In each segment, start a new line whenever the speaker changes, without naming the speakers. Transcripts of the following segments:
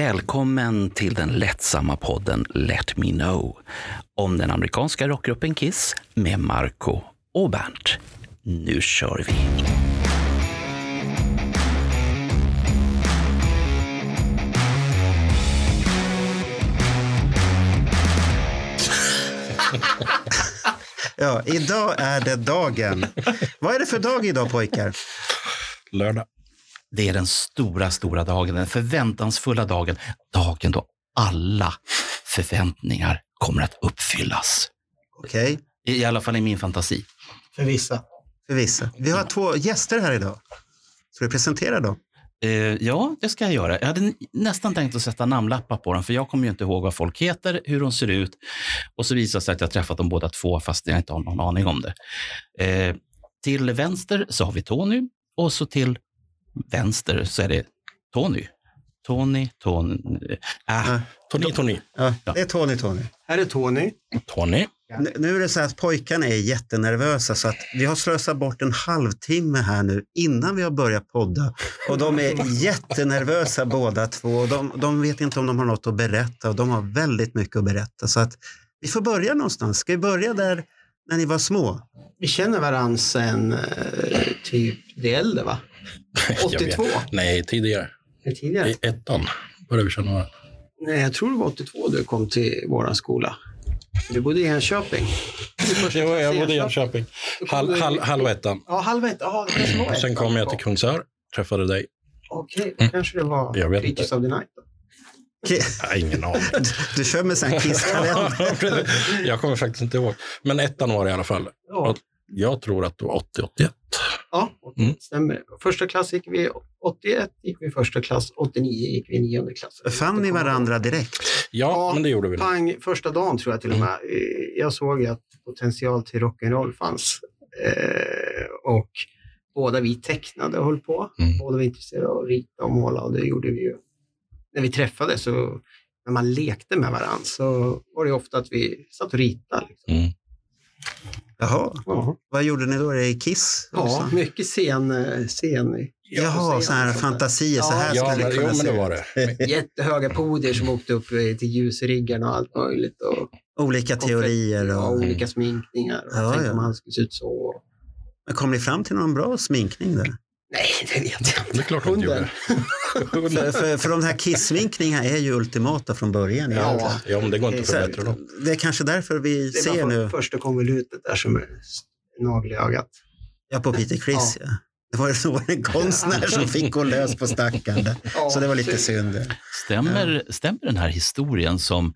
Välkommen till den lättsamma podden Let Me Know om den amerikanska rockgruppen Kiss med Marco och Bernt. Nu kör vi!
Ja, idag är det dagen. Vad är det för dag idag pojkar?
Lördag.
Det är den stora, stora dagen, den förväntansfulla dagen. Dagen då alla förväntningar kommer att uppfyllas.
Okej,
I, i alla fall i min fantasi.
För vissa.
för vissa. Vi har två gäster här idag. Ska du presentera dem?
Eh, ja, det ska jag göra. Jag hade n- nästan tänkt att sätta namnlappar på dem, för jag kommer ju inte ihåg vad folk heter, hur de ser ut. Och så visar det sig att jag har träffat dem båda två, fast jag inte har någon aning om det. Eh, till vänster så har vi Tony och så till vänster så är det Tony. Tony, Tony... Äh,
Tony, Tony.
Ja,
Ja.
det är Tony, Tony.
Här är Tony.
Tony.
N- Nu är det så här att pojkarna är jättenervösa så att vi har slösat bort en halvtimme här nu innan vi har börjat podda. Och de är jättenervösa båda två. Och De, de vet inte om de har något att berätta och de har väldigt mycket att berätta. Så att vi får börja någonstans. Ska vi börja där när ni var små?
Vi känner varandra sen eh, typ det äldre va?
Jag vet.
82?
Nej, tidigare.
Eller tidigare?
I ettan började vi känna varandra.
Nej, jag tror det var 82 du kom till vår skola. Du bodde i Enköping.
Jag, var- jag bodde i Jönköping. Hal, hal, halva ettan.
Ja, halv ett. Ja, det kanske var ett.
Sen kom jag till Kungsör. Träffade dig.
Okej, då kanske det var
Jag vet
Creatures of the Night. Då.
Okej,
Nej, ingen aning.
Du kör med sån här kisskalender.
jag kommer faktiskt inte ihåg. Men ettan var det i alla fall.
Ja,
Jag tror att det var 80-81.
ja
Mm.
stämmer. Första klass gick vi 81, gick vi i första klass. 89 gick vi i nionde klass.
Fann ni varandra direkt?
Ja,
Ja.
men det gjorde vi. nog.
Pang, första dagen tror jag till och med. Eh, Jag såg ju att potential till rock'n'roll fanns. Eh, och båda vi tecknade och höll på.
Mm.
Båda var intresserade av att rita och måla och det gjorde vi ju. När vi träffades så när man lekte med varandra så var det ju ofta att vi satt och ritade. Liksom.
Mm.
Jaha,
Ja,
vad gjorde ni då? Är det Kiss? också?
mycket scen... eh, scen
Jaha, sån här fantasier. Så här
Ja,
skulle
men,
det kunna
jo, men
se
det
ut.
var det.
Jättehöga podier som åkte upp eh, till ljusriggarna och allt möjligt. Och
Olika teorier.
och
Och...
olika sminkningar. Och
Ja,
tänkte
ja.
om han skulle se ut så.
Men kom ni fram till någon bra sminkning där?
Nej, det vet jag inte.
Det är klart vi inte gjorde.
För, för, för de här kissminkningarna är ju ultimata från början. egentligen.
Ja, men det går inte att
Så här,
förbättra dem.
det är kanske därför vi
Det
ser
var
nu,
nu. första konvolutet där som är nagel i ögat.
ja på Peter Criss, ja. det var ju så var det en konstnär som fick gå lös på stackaren. där. Så det var lite synd.
Stämmer, stämmer den här historien som,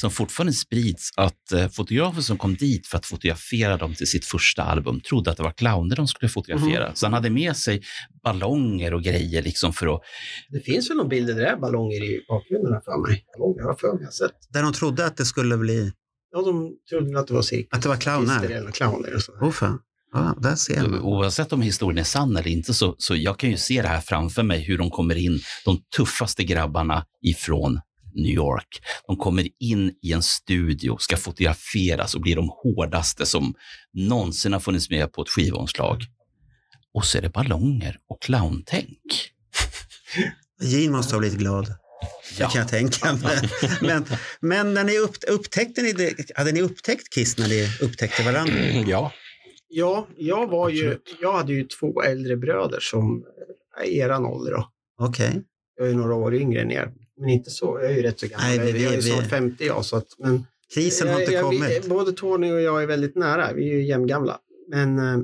som fortfarande sprids att eh, fotografen som kom dit för att fotografera dem till sitt första album trodde att det var clowner de skulle fotografera. Så han hade med sig ballonger och grejer liksom för att...
Det finns väl någon bild där det är ballonger i bakgrunden här för mig. Ballonger har jag för mig jag har sett.
Där de trodde att det skulle bli,
Ja, de trodde väl att det var cirkus.
att det var clowner.
eller clowner och så.
Åh fan, ja, där ser man.
Eh, Oavsett om historien är sann eller inte så, så jag kan ju se det här framför mig hur de kommer in, de tuffaste grabbarna ifrån New York. De kommer in i en studio, ska fotograferas och blir de hårdaste som någonsin har funnits med på ett skivomslag. Och så är det ballonger och clowntänk.
Jean måste ha blivit glad. Det
Ja.
kan jag tänka mig. Men, men när ni upp, upptäckte ni det, hade ni upptäckt Kiss när ni upptäckte varandra?
Ja,
Ja, jag var ju, jag hade ju två äldre bröder som är eran ålder då.
Okej.
Jag är ju några år yngre än er. Men inte så, jag är ju rätt så gammal.
Nej, vi-
jag är ju
vi-
snart 50 jag, så att, men
Krisen har inte
Jag- jag- Eh, vi-
kommit.
Både Tony och jag är väldigt nära. Vi är ju jämngamla. Men eh, eh,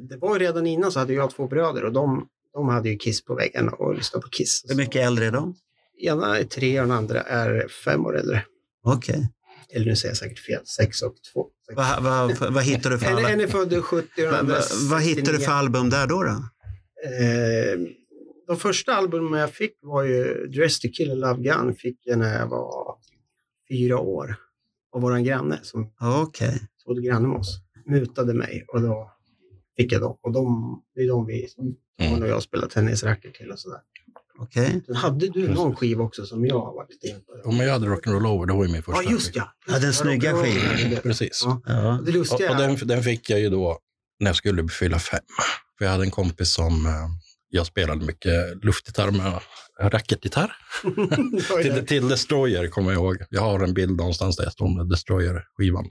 det var ju redan innan så hade jag två bröder och de, de hade ju Kiss på väggen och lyssnade på Kiss.
Hur mycket äldre är de?
Ena är tre och den andra är fem år äldre.
Okej.
Eller nu säger jag säkert fel, sex och två.
Vad vad- vad hittar du för
En,
alla-
en är född 70 och den
vad-
andra
vad- vad hittar du
69.
för album där då? då?
Eh, de första albumen jag fick var ju Dress to kill a love gun fick jag när jag var fyra år. Av våran granne som
Okej.
så bodde granne med oss, mutade mig och då fick jag dem. Och de, det är de vi,
Mm.
hon och jag spelar tennisracket till och sådär.
okej.
Sen hade du någon skiva också som jag har varit in på.
om jag hade Rock'n'Roll Over, det var ju min första.
Ja, just ja.
Ja, den snygga
Ja,
skivan.
det-
Precis.
Ja.
Ja.
Det
Och,
lustiga
och
är,
den, den fick jag ju då när jag skulle fylla fem. För jag hade en kompis som eh, jag spelade mycket luftgitarr med eh, racketgitarr. till, till Destroyer kommer jag ihåg. Jag har en bild någonstans där jag står med Destroyer-skivan.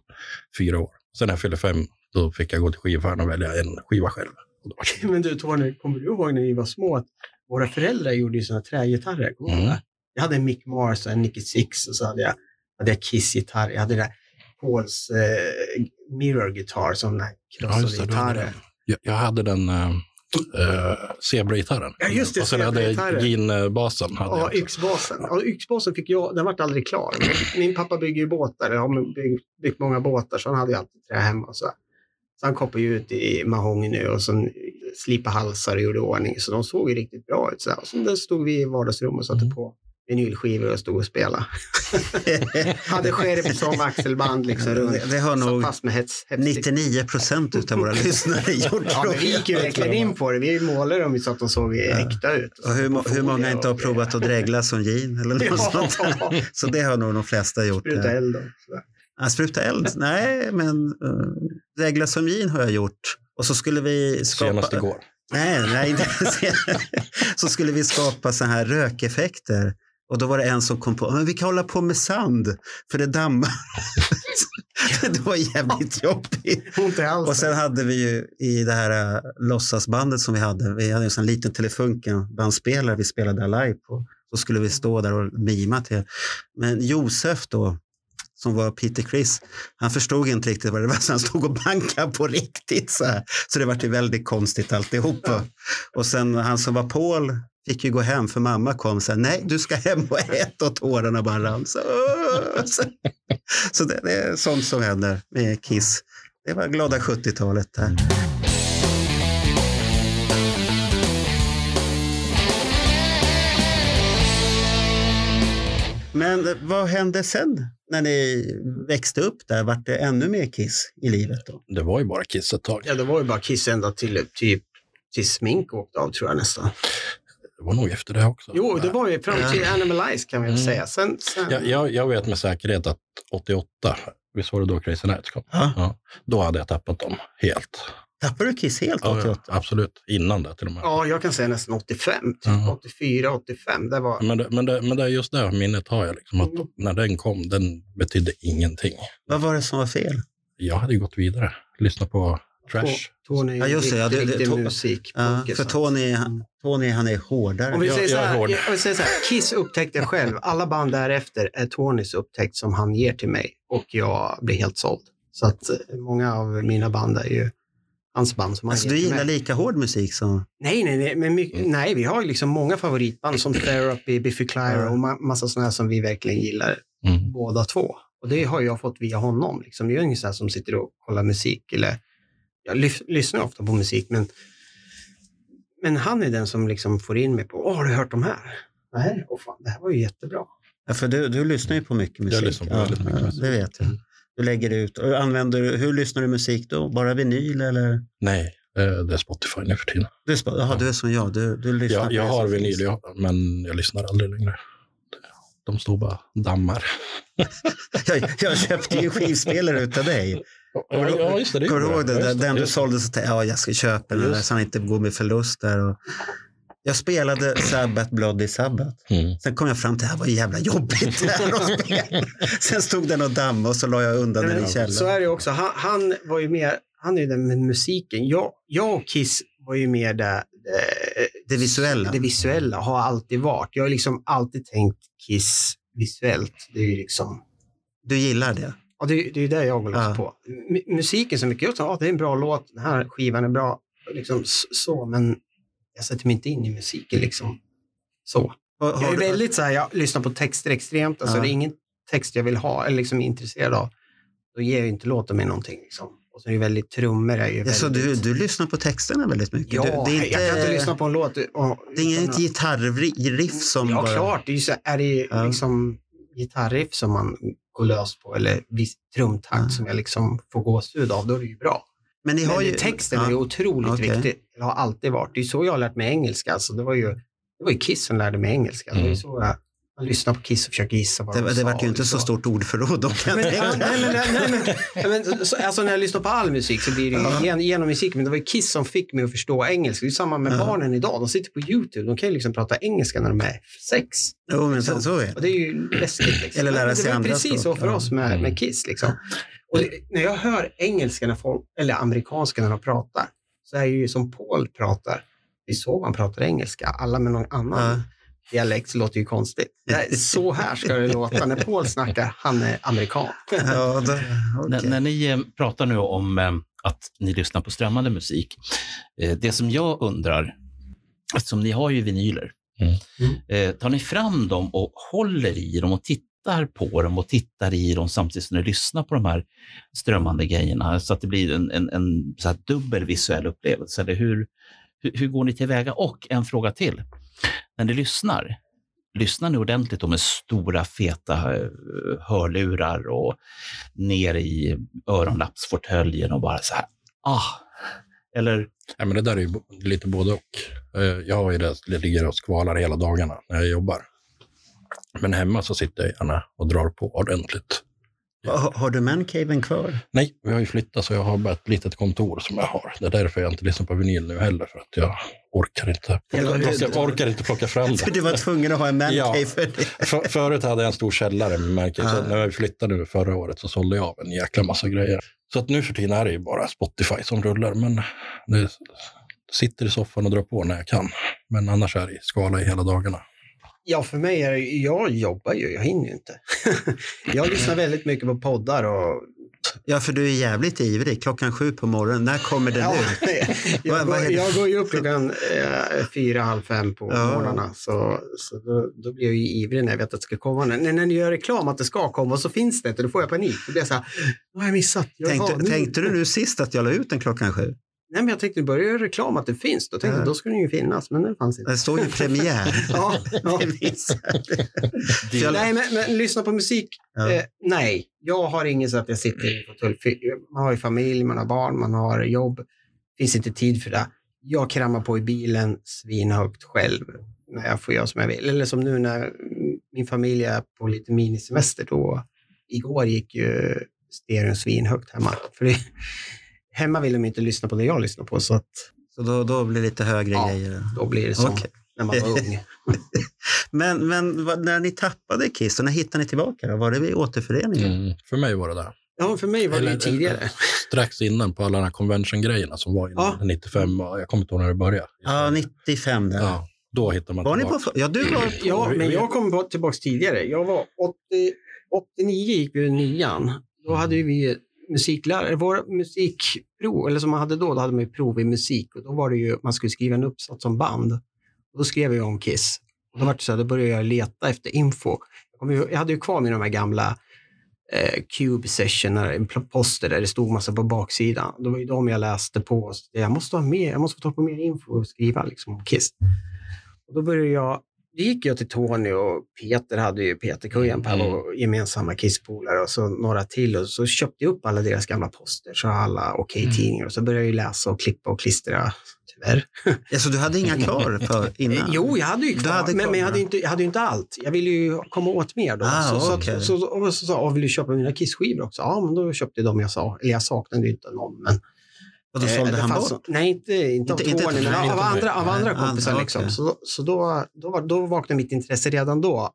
Fyra år. Sen när jag fyllde fem, då fick jag gå till skivaffären och välja en skiva själv. Och då var det-
Men du Tony, kommer du ihåg när vi var små att våra föräldrar gjorde ju sådana trägitarrer? Kommer du ihåg
Mm.
det? Jag hade en Mick Mars och en Nicky Six och så hade jag, hade jag Kiss-gitarr. Jag hade det där Pauls eh, Mirror-gitarr som den här
Ja, just det,
krossade
du hade
gitarren.
Jag, jag hade den äh, Zebra-gitarren.
Ja, just det,
och sen hade
Zebra-gitarren.
jag jeanbasen. Hade jag
Ja,
också.
yxbasen. Ja, yxbasen fick jag, den vart aldrig klar. Min pappa bygger ju båtar, eller har byggt, byggt många båtar, så han hade ju alltid trä hemma. och Så. så han koppar ju ut i mahogny nu och sen slipade halsar och gjorde i ordning, så de såg ju riktigt bra ut. Så, här. och sen där stod vi i vardagsrummet och satte
Mm.
på vinylskivor och stod och spelade. hade skärp som axelband liksom runt.
Det- det har
Satt
nog
fast med hets, hetsstick.
99 procent av våra lyssnare gjort.
Ja, men vi gick ju verkligen in på det. Vi målade dem så att de såg äkta ut.
Och hur, må- hur många inte har provat att dregla som gin eller något sånt.
Ja,
Så det har nog de flesta gjort. eh.
spruta eld och sådär.
Ja, spruta eld? Nej, men uh, dregla som gin har jag gjort. Och så skulle vi skapa...
Senast igår.
Nej, nej inte Så skulle vi skapa så här rökeffekter. Och då var det en som kom på, men vi kan hålla på med sand, för det dammar. det var jävligt jobbigt.
Ont i halsen.
Och sen hade vi ju i det här äh, låtsasbandet som vi hade, vi hade en sån liten Telefunken-bandspelare vi spelade live på. Så skulle vi stå där och mima till. Men Josef då, som var Peter Chris, han förstod inte riktigt vad det var, så han stod och bankade på riktigt. Så, här. så det vart ju väldigt konstigt alltihopa. Och sen han som var Paul fick ju gå hem för mamma kom och sa nej, du ska hem och äta och tårarna bara rann. Så, "Åh!" så, så det, det är sånt som händer med Kiss. Det var glada 70-talet där. Men vad hände sen när ni växte upp där? Vart det ännu mer Kiss i livet då?
Det var ju bara Kiss ett tag.
Ja, det var ju bara Kiss ända till typ till smink åkte av tror jag nästan.
Det var nog efter det också.
Jo, det var ju fram till Animalize kan vi väl
Mm.
säga. Sen, sen...
jag, jag, jag vet med säkerhet att 88, visst var det då Crazy Nights kom?
Ja.
Då hade jag tappat dem helt.
Tappade du Kiss helt
Ja,
88?
ja, absolut. Innan det till och med.
Ja, jag kan säga nästan 85, typ
Ja. Mm,
84, 85. Det var...
Men, det, men, det, men det är just det minnet har jag. Liksom, att
Mm.
När den kom, den betydde ingenting.
Vad var det som var fel?
Jag hade ju gått vidare, lyssnat på Trash.
Tony är
Ja,
ju
just det, ja,
riktig,
det- det-
riktig
to-
musik.
Ja,
Punker,
för
så.
Tony, han- Tony han är hårdare.
Om vi,
Jag-
säger så
jag är
här,
hård.
om vi säger så här, Kiss upptäckte jag själv. Alla band därefter är Tonys upptäckt som han ger till mig och jag blir helt såld. Så att eh, många av mina band är ju hans band som han
Alltså,
ger
du
till mig.
gillar lika hård musik som...
Nej, nej, nej, men mycket, nej, vi har ju liksom många favoritband som Therapy, Biffy Clyro och ma- massa sådana här som vi verkligen gillar
Mm.
båda två. Och det har jag fått via honom. Liksom. Jag är ingen sån här som sitter och kollar musik eller jag lyf- lyssnar ofta på musik, men, men han är den som liksom får in mig på, åh, har du hört de här? Nej, åh fan, det här var ju jättebra.
Ja, för du, du lyssnar ju på mycket musik.
lyssnar på väldigt mycket
ja,
musik. Mm.
Det vet jag. Du lägger ut. Och använder, du- hur lyssnar du musik då? Bara vinyl eller?
Nej, eh, det är Spotify nu för tiden.
Du, sp- jaha, du är som jag. Du, du lyssnar
Jag,
på
jag
det som
har
finns.
vinyl, jag, men jag lyssnar aldrig längre. De står bara dammar.
Jag, jag köpte ju en skivspelare utav dig. Kommer du-
just det. det
Kommer du
gjorde
ihåg den,
jag. Ja,
där,
just det,
den du
just det.
sålde? Så tänkte jag, ja, jag ska köpa den där
Just.
så han inte går med förlust där. Och jag spelade Sabbath Bloody Sabbath.
Mm.
Sen kom jag fram till att det här var jävla jobbigt. Det här att spela. Sen stod den och dammade och så la jag undan
Nej,
den i
men Så
källaren.
är det också. Han, han var ju mer, han är ju den med musiken. Jag, jag och Kiss var ju mer det, det,
Det visuella.
Det visuella har alltid varit. Jag har liksom alltid tänkt Kiss visuellt. Det är ju liksom,
Du gillar det?
ja, det, är- det är det jag håller
Ja.
på. M- musiken så mycket, jag sa, ja, det är en bra låt, den här skivan är bra, liksom s- så, men jag sätter mig inte in i musiken liksom. Så.
Och
Jag
har
är
du-
väldigt så här, jag lyssnar på texter extremt, alltså
Ja.
det är ingen text jag vill ha eller liksom är intresserad av. Då ger ju inte låten mig någonting liksom. Och så är det väldigt, trummor är ju
Ja,
väldigt...
så Alltså, du, du lyssnar på texterna väldigt mycket?
ja,
du,
jag kan inte lyssna på en låt. Och,
Det är inget gitarrriff som
Ja,
bara...
klart. Det är, ju så, är det ju
Ja.
liksom gitarriff som man går lös på eller viss trumtakt
Ja.
som jag liksom får gåshud av, då är det ju bra.
Men ni
Men
har ju...
texten
ja.
är ju otroligt
Okej.
viktig. Det har alltid varit. Det är ju så jag har lärt mig engelska. Alltså, det var ju, det var ju Kiss som lärde mig engelska. Det var ju
Mm.
så jag, Man lyssnar på Kiss och försöker gissa vad
Det,
de
det
sa,
vart ju inte så
liksom.
stort ordförråd. Då, kan
Men,
jag
ja,
tänka.
nej, men, nej, men, nej, men, så, alltså, när jag lyssnar på all musik så blir det ju gen, genom musik. Men det var ju Kiss som fick mig att förstå engelska. Det är ju samma med
Ja.
barnen idag. De sitter på YouTube. De kan ju liksom prata engelska när de är sex.
jo, men så, så är det.
Och det är ju läskigt. Liksom.
Eller lära
Men
sig
det var ju
andra
precis så
språk.
för
Ja.
oss med, med Kiss. Liksom. Och det, när jag hör engelska när folk, eller amerikanska när de pratar, så är det ju som Paul pratar. Det är så man pratar engelska. Alla med någon annan
Ja.
dialekt så låter ju konstigt. Det är så här ska det låta. När Paul snackar, han är amerikan.
Ja, då,
När,
okej.
när ni eh, pratar nu om eh, att ni lyssnar på strömmande musik, eh, det som jag undrar, eftersom ni har ju vinyler,
Mm.
eh, tar ni fram dem och håller i dem och tittar på dem och tittar i dem samtidigt som ni lyssnar på de här strömmande grejerna så att det blir en, en, en så här dubbel visuell upplevelse? Eller hur, hur, hur går ni tillväga? Och en fråga till. När ni lyssnar, lyssnar ni ordentligt då med stora feta eh, hörlurar och ner i öronlappsfåtöljen och bara så här, ah. Eller,
Nej, men det där är ju bo- lite både och. Eh, Jag har ju det, det ligger och skvalar hela dagarna när jag jobbar. Men hemma så sitter jag gärna och drar på ordentligt.
Ha- Har du mancaven kvar?
Nej, vi har ju flyttat så jag har bara ett litet kontor som jag har. Det är därför jag inte lyssnar på vinyl nu heller, för att jag orkar inte
Eller hur?
plocka, jag orkar inte plocka fram
För
det.
du var tvungen att ha en mancave
Ja.
för det.
För, förut hade jag en stor källare med märken. Så när jag flyttade nu förra året så sålde jag av en jäkla massa grejer. Så att nu för tiden är det ju bara Spotify som rullar. Men det sitter i soffan och drar på när jag kan. Men annars är det skala i hela dagarna.
Ja, för mig är det, jag jobbar ju, jag hinner ju inte. jag lyssnar väldigt mycket på poddar och...
Ja, för du är jävligt ivrig. Klockan sju på morgonen, när kommer den
Ja,
ut?
jag,
Vad- vad
går,
är det?
jag går ju upp klockan eh, fyra, halv fem på
Ja.
morgnarna. Så, så då, då blir jag ju ivrig när jag vet att det ska komma. När, när ni gör reklam att det ska komma och så finns det inte, då får jag panik. Då blir jag så här, vad har jag missat? Jag
Tänkte,
var- nu-
tänkte du nu sist att jag la ut den klockan sju?
Nej, men jag tänkte, börja göra reklam att det finns. Då tänkte
Ja.
jag, då ska den ju finnas, men den fanns inte.
Det står ju premiär.
Ja, ja.
Det visar.
Så Nej, men, men lyssna på musik.
Ja.
Eh, nej, jag har ingen så att jag sitter i fåtölj. För Man har ju familj, man har barn, man har jobb. Det finns inte tid för det. Jag kramar på i bilen svinhögt själv när jag får göra som jag vill. Eller som nu när mm, min familj är på lite minisemester. Då, igår gick ju stereon svinhögt hemma. För det, hemma vill de inte lyssna på det jag lyssnar på, så att
Så då, då blir det lite högre
Ja.
grejer.
då blir det så
Okej.
när man var ung.
Men, men vad, när ni tappade Kiss, och när hittade ni tillbaka? då? Var det vid återföreningen?
Mm. För mig var det där.
Ja, för mig var det ju
Eller- eh,
tidigare.
Strax innan på alla de här convention-grejerna som var innan
Ja.
95. och Jag kommer inte ihåg när det började.
Ja, 95 där.
Ja, då hittar man
Var ni
tillbaka.
på... Ja, du var på...
Ja, men jag kom tillbaka tidigare. Jag var 80, 89 gick vi i nian. Då hade ju vi musiklärare. Vår musikprov, eller som man hade då, då hade man ju prov i musik. Och då var det ju, man skulle skriva en uppsats som band. Och då skrev jag om Kiss. Och då, var det så här, då började jag leta efter info. Jag, kommer ihåg- jag hade ju kvar mina de här gamla eh, Cube sessioner, en pl- poster där det stod massa på baksidan. Det var ju de jag läste på. Så jag måste ha mer, jag måste få ta på mer info och skriva liksom, om Kiss. Och då började jag det gick jag till Tony och Peter hade ju Peter Kujanpää,
Mm.
vår gemensamma kisspolare och så några till. Och så köpte jag upp alla deras gamla poster, så alla okej-tidningar. Och så började jag ju läsa och klippa och klistra, tyvärr.
Alltså, du hade inga klar för
Eh,
innan?
Jo, jag hade ju kvar,
hade
men,
kvar
men jag, hade
några.
inte, jag hade ju inte allt. Jag ville ju komma åt mer då.
Ah,
så, så,
okej.
så, så, och så sa jag, "Ah, vill du köpa mina kissskivor också? Ja, men då köpte jag de jag sa. Eller jag saknade ju inte någon. Men,
Och då
Eh,
sålde
det
han
fanns-
bort?
Nej, inte, inte av
Inte- inte-
Tony, men
nej,
av,
inte-
andra, av
nej,
andra
andra,
kompisar.
okej.
liksom. Så, så då, då, var, då vaknade mitt intresse redan då,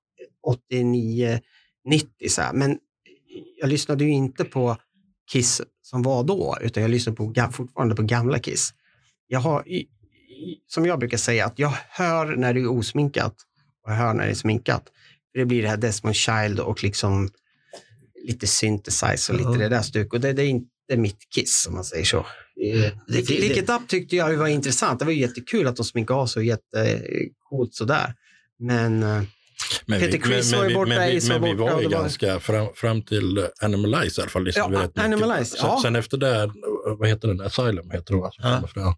89, 90. Så här. Men jag lyssnade ju inte på Kiss som var då, utan jag lyssnade på, ga- fortfarande på gamla Kiss. Jag har, i- i- som jag brukar säga, att jag hör när det är osminkat och jag hör när det är sminkat. För det blir det här Desmond Child och liksom lite synthesizer och lite
Ja.
det där stuket. Och det, det är inte mitt Kiss, om man säger så.
Det- det-
Licket Up tyckte jag var intressant. Det var ju jättekul att de sminkade av sig och jättecoolt sådär. Men eh,
Men
Peter Criss
men,
var ju
vi-
borta,
men, vi-
Ace var
men vi
borta,
var ju
det var-
ganska fram, fram till eh, Animalize i alla fall. lyssnade
Ja,
vi rätt mycket.
Animalize,
sen,
ja.
sen efter det, eh, vad heter den? Asylum heter den va? som
Ja.
kommer fram.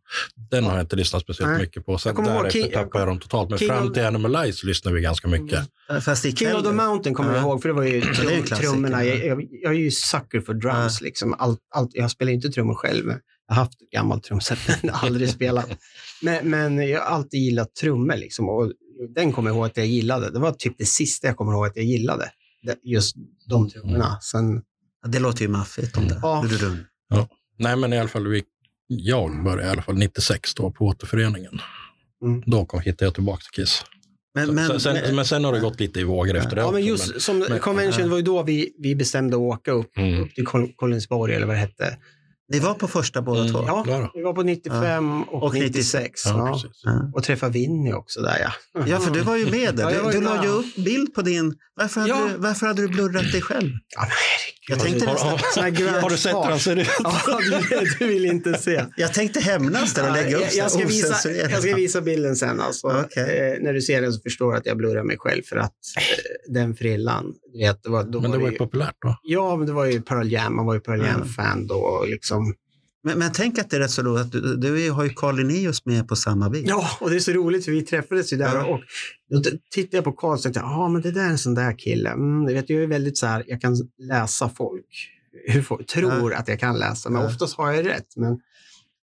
Den har jag inte lyssnat speciellt
Nej.
mycket på. Sen
Jag kommer ihåg
därefter
King-
tappade jag dem totalt. Men
King
fram
of-
till Animalize lyssnade vi ganska mycket.
Mm.
Eh, Fast i
King of the
kväll-
Mountain kommer jag
Ja.
ihåg, för det var ju
det är en
trum,
klassiker,
trummorna.
ja.
Jag, jag, jag är ju sucker för drums. Liksom. Allt, allt, jag spelar inte trummor själv. Jag har haft ett gammalt trumset, men aldrig spelat. Men, men jag har alltid gillat trummor. Liksom. Och den kommer jag ihåg att jag gillade. Det var typ det sista jag kommer ihåg att jag gillade. Det- Just de trummorna. Sen,
Ja, Det låter ju maffigt. De där.
Ja.
Dududum.
Nej, men i alla fall, vi, jag började i alla fall 96 då på återföreningen.
Mm.
Då kom, hittade jag tillbaka till Kiss.
Men,
Så-
men,
sen, sen, men sen har det gått lite i vågor efter det.
ja, men
också,
just som
men-
eh,
Convention var ju då vi, vi bestämde att åka upp,
men- Mm.
upp till Kol- Collinsborg eller vad det hette.
ni var på första båda
Mm.
två?
Ja,
Ja då.
vi var på 95 och,
Och
96.
96,
ja.
Ja, precis.
Ja.
Och träffade Vinny också där ja.
Ja, för du var ju med
Ja,
där.
jag var
Du,
ju
du la
med.
ju upp bild på din... Varför hade,
Ja.
du, varför hade du blurrat dig själv?
Ja, men herregud.
Jag tänkte,
Har-
nästan,
har-
Sån här grön
Har du sett hur han
fars.
ser ut?
Ja, du, du vill inte se.
jag tänkte hämnas där och
Nej,
lägga upp
jag, jag, ska visa, jag ska visa bilden sen. Alltså.
Okej.
Eh, när du ser den så förstår du att jag blurrar mig själv för att eh, den frillan, du vet, det var, då
Men det var
ju,
ju populärt då.
Ja, men det var ju Pearl Jam, man var ju Pearl
Mm.
Jam-fan då. och Liksom.
Men, men tänk att det är rätt så roligt att du, du har ju Carl Linnaeus med på samma bild.
Ja, och det är så roligt för vi träffades ju där
Ja.
och då t- tittade jag på Karl och tänkte, ja ah, men det där är en sån där kille. Mm, du vet, jag är väldigt så här, jag kan läsa folk, hur folk tror att jag kan läsa, men
Ja.
oftast har jag rätt. Men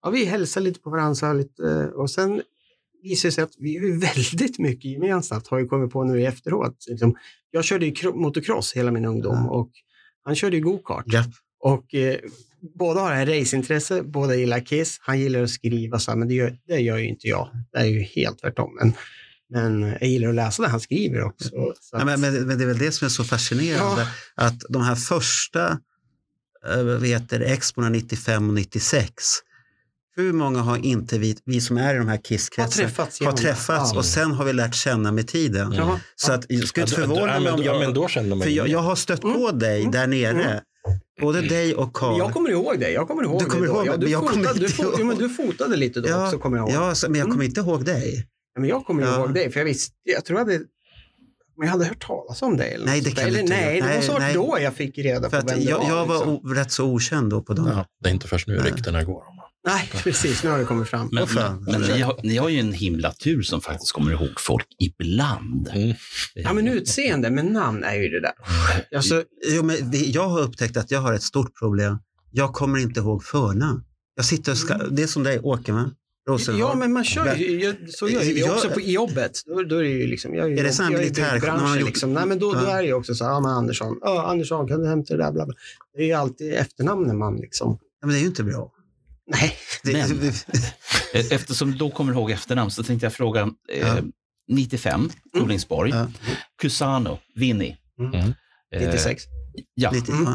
ja, vi hälsade lite på varandra så här lite, eh, och sen visade det sig att vi har ju väldigt mycket gemensamt, har jag kommit på nu i efteråt. Liksom, jag körde ju kro- motocross hela min ungdom
Ja.
och han körde ju go-kart.
Ja.
Och eh, båda har en raceintresse, båda gillar Kiss. Han gillar att skriva, så här, men det gör, det gör ju inte jag. Det är ju helt tvärtom. Men, men jag gillar att läsa det han skriver också. Så
Mm. Ja,
att-
men, men, men det är väl det som är så fascinerande. Att de här första eh, vad heter det, Expona 95 och 96, hur många har inte vi, vi som är i de här
har
Kiss-kretsarna
träffats.
har
genom-
träffats
Ja.
och sen har vi lärt känna med tiden.
Mm.
Ja.
Så att, jag skulle inte förvåna
ja,
mig
men,
om
ja, men
jag...
då kände man
För jag,
ju-
jag har stött på dig där nere, både dig och
Mm. Men Jag
Carl.
kommer ihåg det. Jag kommer ihåg
Du kommer
det då.
ihåg
ja,
det,
du,
men jag
fotade,
kommer
du,
inte
fo-
ihåg.
jo, men du fotade lite då
Ja,
också, kommer jag ihåg. Mm.
Ja, så- men jag kommer inte ihåg dig.
Ja, Men jag kommer ju
Ja.
ihåg dig, för jag visste, jag tror jag hade, men jag hade hört talas om dig. Eller
Nej,
något
det
sånt
kan
där.
du
eller,
inte
Nej,
göra.
det måste ha varit
Nej, nej.
då jag fick reda
För
på vem
att
det
jag,
var.
jag var
liksom.
o, rätt så okänd då på dem.
Ja, det är inte först nu
Nej.
ryktena går. om.
Nej, precis. Nu har det kommit fram.
Men,
Vad fan.
men ni, har, ni har ju en himla tur som faktiskt kommer ihåg folk ibland.
Mm.
Ja, men utseende, men namn är ju det där. Alltså,
Jo, men vi, jag har upptäckt att jag har ett stort problem. Jag kommer inte ihåg förnamn. Jag sitter och ska, det är som dig, Åkerman, Rosenhag.
Mm. ja, men man kör ju. jag- Så gör ju vi
Jag-
också på i jobbet. Då, då är det ju liksom, jag är ju
Är det
jobb-
så här
jag ju
militär-
byggbranschen
när man har gjort-
liksom. Nej, men då, då
Ja.
är det ju också så här, ja men Andersson, ja Andersson, kan du hämta det där, bla, bla. Det är ju alltid efternamnen man liksom.
Ja, men det är ju inte bra.
Nej,
Det,
Men- E- Eftersom du då kommer ihåg efternamn så tänkte jag fråga. Eh,
Ja.
95, Rolingsborg.
Ja.
Cusano, Vinny.
Mm.
Eh,
96.
ja.
lite,
Mm.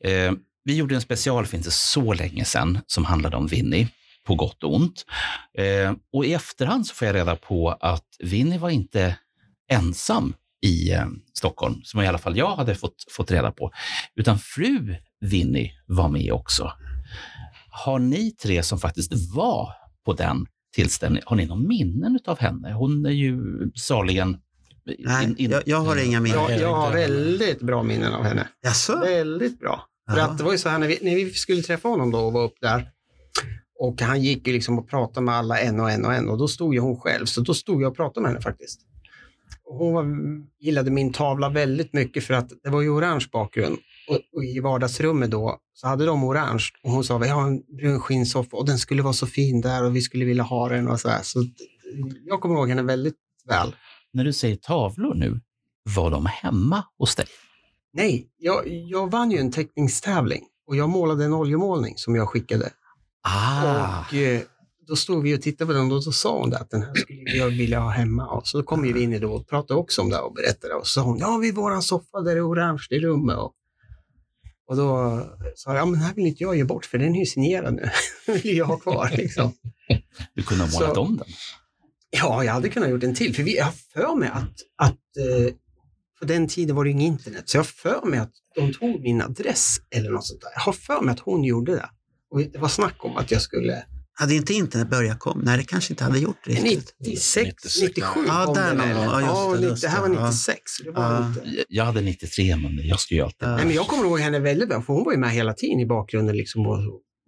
ja.
Eh, vi gjorde en special för inte så länge sedan som handlade om Vinny, på gott och ont. Eh, och i efterhand så får jag reda på att Vinny var inte ensam i eh, Stockholm, som i alla fall jag hade fått, fått reda på, utan fru Vinny var med också. Har ni tre som faktiskt var på den tillställningen, har ni någon minnen av henne? Hon är ju saligen...
Nej, jag, jag har inga minnen.
Jag,
Nej,
jag har
inte.
väldigt bra minnen av henne.
Jaså?
Väldigt bra. För
Jaha.
att det var ju så här när vi, när vi skulle träffa honom då och var upp där. Och han gick ju liksom och pratade med alla en och en och en och då stod ju hon själv. Så då stod jag och pratade med henne faktiskt. Och Hon var, gillade min tavla väldigt mycket för att det var ju orange bakgrund. Och, och i vardagsrummet då så hade de orange och hon sa vi har en brun skinnsoffa och den skulle vara så fin där och vi skulle vilja ha den och så här. Så att jag kommer ihåg henne väldigt väl.
När du säger tavlor nu, var de hemma hos dig?
Nej, jag, jag vann ju en teckningstävling och jag målade en oljemålning som jag skickade.
Ah,
Och eh, då stod vi och tittade på den och då sa hon det att den här skulle jag vilja ha hemma. Och så kom ju vi in i då och pratade också om det och berättade och så sa hon, ja vi har våran soffa där det är orange i rummet. Och, och då sa jag, ja men den här vill inte jag ge bort för den är ju signerad nu. Den vill jag ha kvar liksom.
du kunde ha målat
så-
om den.
Ja, jag hade kunnat gjort en till för vi, jag har för mig att, att eh, på den tiden var det ju inget internet, så jag har för mig att de tog min adress eller något sånt där. Jag har för mig att hon gjorde det. Och det var snack om att jag skulle
Hade inte internet börjat komma? Nej, det kanske inte hade gjort riktigt.
96, 97
Ja,
kom
där
den
någon
väl?
gång. Ja, just
Ja,
det,
det,
just
det här
det.
var
Ja.
96. Det var
Ja.
inte.
Jag- Jag hade 93, men jag skulle ju alltid...
Ja.
Nej, men jag kommer ihåg henne väldigt väl, för hon var ju med hela tiden i bakgrunden liksom, och,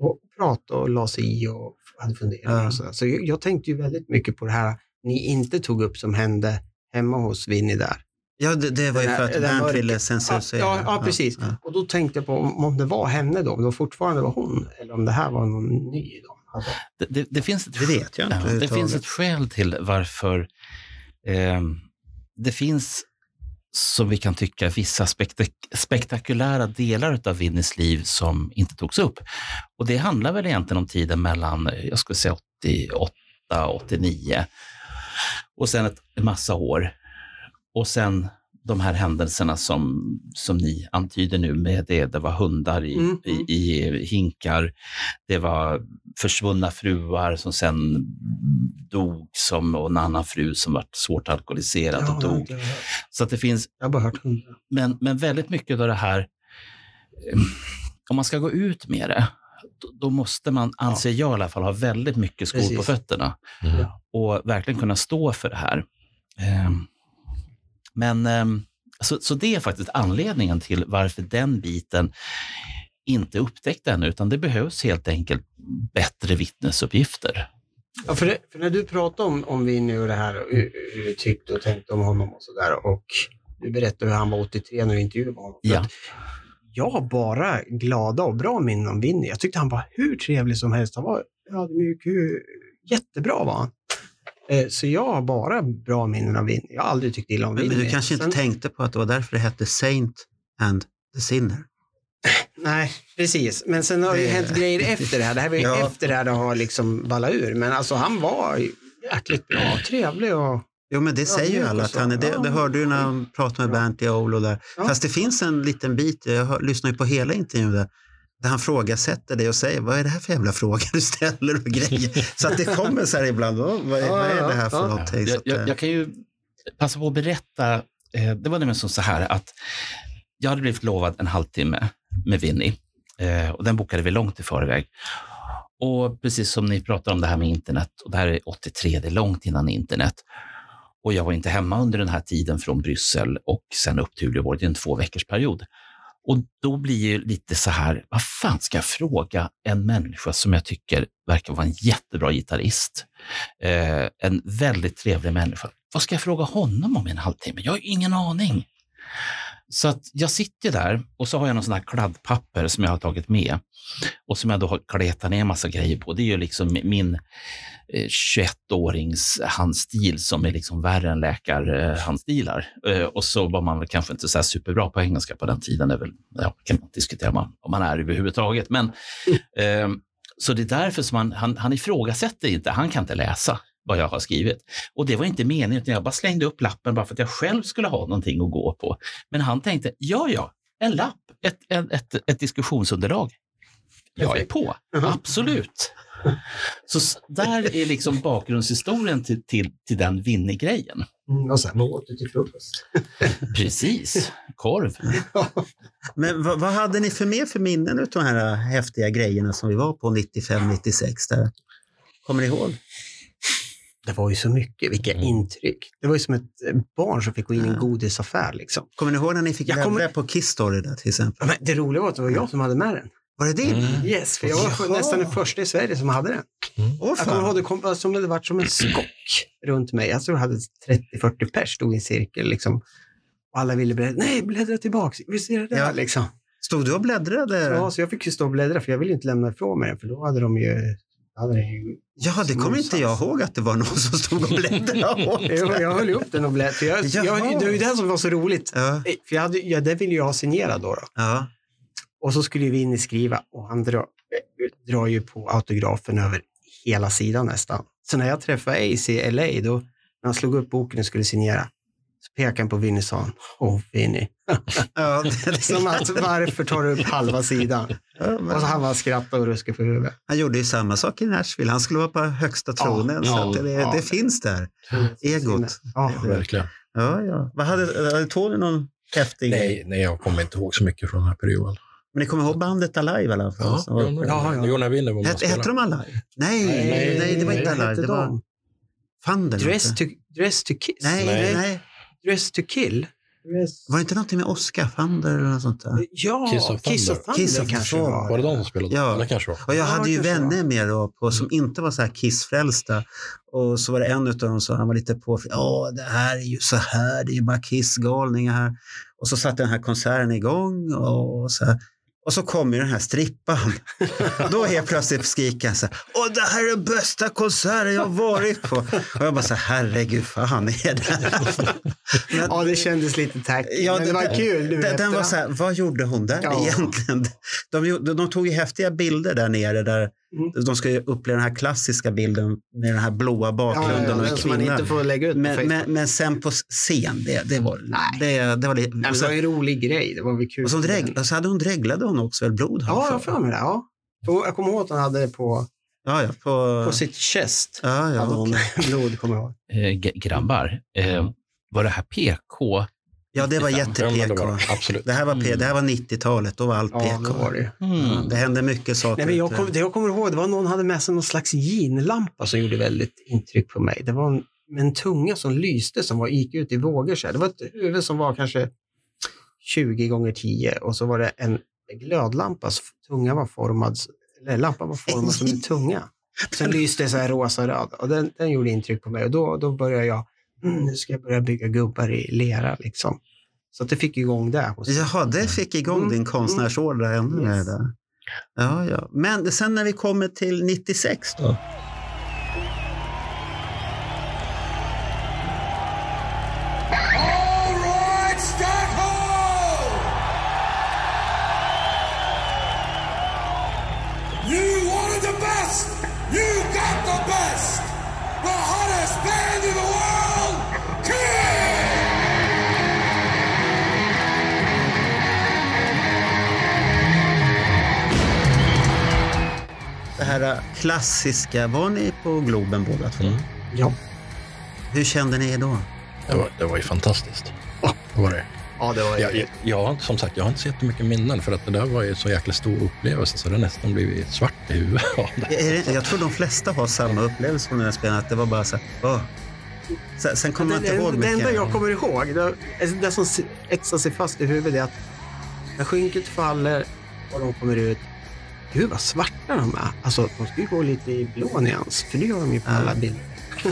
och pratade och la sig i och hade funderingar.
Ja.
Och sådär. så jag, jag tänkte ju väldigt mycket på det här ni inte tog upp som hände hemma hos Winnie där.
Ja, det, det var ju
Den
för
där-
att
den där
Bernt
mörka-
ville
Ja,
censurera.
ja, ja precis.
ja.
Och då tänkte jag på om, om det var henne då, om det fortfarande var hon, eller om det här var någon ny. Då. Alltså,
Det, det, det finns ett
Det vet jag inte
Ja, det
överhuvudtaget.
finns ett skäl till varför Eh, det finns, som vi kan tycka, vissa spektak spektakulära delar av Vinnys liv som inte togs upp. Och det handlar väl egentligen om tiden mellan, jag skulle säga 88, 89 och sen ett en massa år. Och sen de här händelserna som, som ni antyder nu med det, det var hundar i,
Mm,
i, i hinkar, det var försvunna fruar som sen dog som, och en annan fru som var svårt alkoholiserad och
jag, har
dog.
inte hört.
Så att det finns,
jag har bara hört hundra.
men, men väldigt mycket av det här, eh, om man ska gå ut med det, då, då måste man, anser jag i alla fall, ha väldigt mycket skor på
Precis.
fötterna
Mm.
och verkligen kunna stå för det här. Ehm, Men ehm, så, så det är faktiskt anledningen till varför den biten inte upptäckt ännu, utan det behövs helt enkelt bättre vittnesuppgifter.
Ja, för, det, för när du pratade om, om vi nu och det här, och hur, hur du tyckte och tänkte om honom och sådär och du berättade hur han var 83 när du intervjuade honom. För
Ja.
att Jag har bara glada och bra minnen om Vinny. Jag tyckte han var hur trevlig som helst. Han var ödmjuk, hur- jättebra var han. Eh, Så jag har bara bra minnen av Vinny. Jag har aldrig tyckt illa om
Men,
Vinny.
men du kanske inte
Sen-
tänkte på att det var därför det hette Saint and the Sinner?
Nej, precis. Men sen har det ju
Det-
hänt grejer efter det här. Det här var ju
Ja.
efter det här det har liksom ballat ur. Men alltså han var ju jäkligt bra, trevlig och...
Jo, men det säger ju
mjuk
alla.
och
Att
så.
han är, det,
Ja,
det hörde du när han pratade med
Ja.
Bernt Diolo där.
Ja.
Fast det finns en liten bit, jag hör, lyssnar ju på hela intervjun där, där han frågasätter dig och säger vad är det här för jävla fråga du ställer och grejer. Så att det kommer så här ibland, "Åh, vad är,
Ja,
vad är
ja,
det här för
ja.
någonting? Så
Jag,
att, eh,
jag, jag kan ju passa på att berätta, eh, det var nämligen som så här att jag hade blivit lovad en halvtimme med Vinny eh, och den bokade vi långt i förväg. Och precis som ni pratar om det här med internet, och det här är 83, det är långt innan internet. Och jag var inte hemma under den här tiden från Bryssel och sen upp till Uleåborg, det är en två veckors period. Och då blir ju lite så här, vad fan ska jag fråga en människa som jag tycker verkar vara en jättebra gitarrist? Eh, en väldigt trevlig människa. Vad ska jag fråga honom om i en halvtimme? Jag har ju ingen aning. Så att jag sitter där och så har jag någon sån här kladdpapper som jag har tagit med och som jag då har kletat ner massa grejer på. Det är ju liksom min eh, 21-årings handstil som är liksom värre än läkarhandstilar. Eh, och så var man väl kanske inte så här superbra på engelska på den tiden. Det är väl, ja, kan man diskutera om man, om man är överhuvudtaget. Men, ehm, så det är därför som han, han, han ifrågasätter inte, han kan inte läsa vad jag har skrivit. Och det var inte meningen, utan jag bara slängde upp lappen bara för att jag själv skulle ha någonting att gå på. Men han tänkte, ja, ja, en lapp, ett, ett, ett, ett diskussionsunderlag. Jag är på,
Jaha.
absolut. Så s- där är liksom bakgrundshistorien till, till, till den vinnig-grejen.
Mm, och sen vad åt du till frukost?
Precis, korv.
Men vad, vad hade ni för mer för minnen av de här eh, häftiga grejerna som vi var på 95-96? där? Kommer ni ihåg?
Det var ju så mycket, vilka
Mm.
intryck. Det var ju som ett eh, barn som fick gå in i en godisaffär. Liksom.
Kommer ni ihåg när ni fick
Jag
levla
kommer-
på Kiss Story där till exempel?
Men det roliga var att det var jag som hade med den.
Var det din?
Mm.
Yes, för jag var
Jaha.
nästan den första i Sverige som hade den.
Åh,
Jag
fan.
kommer ihåg, det kom, som det varit som en skock runt mig. Jag tror jag hade 30-40 pers, stod i en cirkel. Liksom. Och alla ville bläddra. Nej, bläddra tillbaka. Visst är det där?
Ja.
Liksom.
Stod du och bläddrade?
Ja, så jag fick ju stå och bläddra, för jag ville ju inte lämna ifrån mig den, för då hade de ju... Hade den ju
Ja, det kommer inte jag ihåg att det var någon som stod och bläddrade åt.
jag, jag höll ju upp den och bläddrade. för Jag,
Jaha.
jag, det var ju det som var så roligt.
Ja,
Nej, För jag hade, ja, det ville jag ha signerad då, då.
ja.
Och så skulle vi in i skriva och han drar, drar ju på autografen över hela sidan nästan. Så när jag träffade Ace i LA, då, när han slog upp boken och skulle signera, så pekade han på Vinny och sa, åh Vinny.
ja, det, det,
Som att, varför tar du upp halva sidan?
ja
Och
men,
så han bara skrattade och ruskade på huvudet.
han gjorde ju samma sak i Nashville. Han skulle vara på högsta tronen.
ja,
så att det,
ja.
det finns där. Egot.
Ja.
Verkligen.
Ja, ja. Vad hade, hade Tony någon häftig?
Nej, nej, jag kommer inte ihåg så mycket från den här perioden.
Men ni kommer ihåg bandet Alive i alla fall?
Ja,
som var-
Ja, ja.
Jonna Winner var med och
Hette, hette
spelade.
de Alive? Nej, nej,
Nej,
det var inte
vad
Alive.
hette
Det var
de?
Fanden.
Dress to, dress to Kiss?
Nej, nej,
Nej.
nej.
Dress to Kill? Dress...
Var det inte någonting med Oscar Fander eller något sånt där?
Ja,
Kiss of
Kiss of
Thunder.
Thunder,
Kiss of
kanske det
Thunder.
var.
Var det de som spelade?
Ja.
Ja. Det kanske var.
Och jag
Ja,
hade ju
kanske
vänner
var.
med då på, som inte var så här kissfrälsta. Och så var det en utav dem som han var lite på, ja det här är ju så här, det är ju bara kissgalningar här. Och så satte den här konserten igång och så här. Och så kom ju den här strippan. Då helt plötsligt skriker han så här, Åh, det här är den bästa konserten jag har varit på. Och jag bara så här, herregud, fan är det Men-
Ja, det kändes lite tack.
Ja,
men det
det-
var kul. Nu
Den, den var
efterhand.
så här, vad gjorde hon där
Ja.
egentligen? De, gjorde- de tog ju häftiga bilder där nere där
Mm.
de ska ju uppleva den här klassiska bilden med den här blåa
ja, ja,
bakgrunden
ja,
och
den
en
som man
kvinna.
inte får lägga ut på
Men,
Facebook.
men, men sen på scen, det, det var...
Nej.
Det, det var lite,
Nej,
och,
men det var
så,
ju en rolig grej. Det var väl kul.
alltså- och, så alltså, dreg, och så hade hon dreglade hon också väl blod? har
Ja, jag har
jag för
för
mig.
mig det. Ja. Jo, Jag kommer ihåg att han hade det på,
ja, ja, på,
på sitt chest.
ja, ja,
Hade hon
hon,
blod, kommer jag ihåg.
Eh, g- grabbar, eh, var det här PK?
ja, det var
Ja, men det
jätte-PK.
var det. Absolut.
Det här var, P- det här var 90-talet, då var allt
Ja, det
PK.
var det ju.
Ja, det hände mycket saker.
Nej, men jag
ute.
kom, det jag kommer ihåg det var någon hade med sig någon slags ginlampa som gjorde väldigt intryck på mig. Det var en, med en tunga som lyste som var, gick ut i vågor. Så här. Det var ett huvud som var kanske 20 gånger 10 och så var det en glödlampa. Så tungan var formad, eller lampan var formad som en tunga. Sen lyste det så här rosa och röd och den, den gjorde intryck på mig. Och då, då började jag, mm, nu ska jag börja bygga gubbar i lera liksom. Så att det fick igång det. hos-
Jaha, det fick igång
Mm,
din konstnärsålder ännu mer.
Yes.
Där. Ja, ja. Men sen när vi kommer till 96 då?
All right, Stockholm! You wanted the best! You got the best! The hottest band in the world! Kiss!
Det här äh, klassiska, var ni på Globen båda två?
Mm.
Ja.
Hur kände ni er då?
Det var, det var ju fantastiskt. Det var det.
ja, det var
Jag, jag, jag, har inte- som sagt, jag har inte så jättemycket minnen för att det där var ju en så jäkla stor upplevelse så det har nästan blivit svart i huvudet av det.
Är det, jag tror de flesta har samma upplevelse från den här spelningen, att det var bara så här, åh. Sen, sen kommer man
det,
inte ihåg
det, det enda
mycket.
jag kommer ihåg, det, alltså det som s- etsar sig fast i huvudet är att när skynket faller och de kommer ut, gud vad svarta de är. Alltså de ska ju gå lite i blå nyans, för det gör de ju på alla bilder.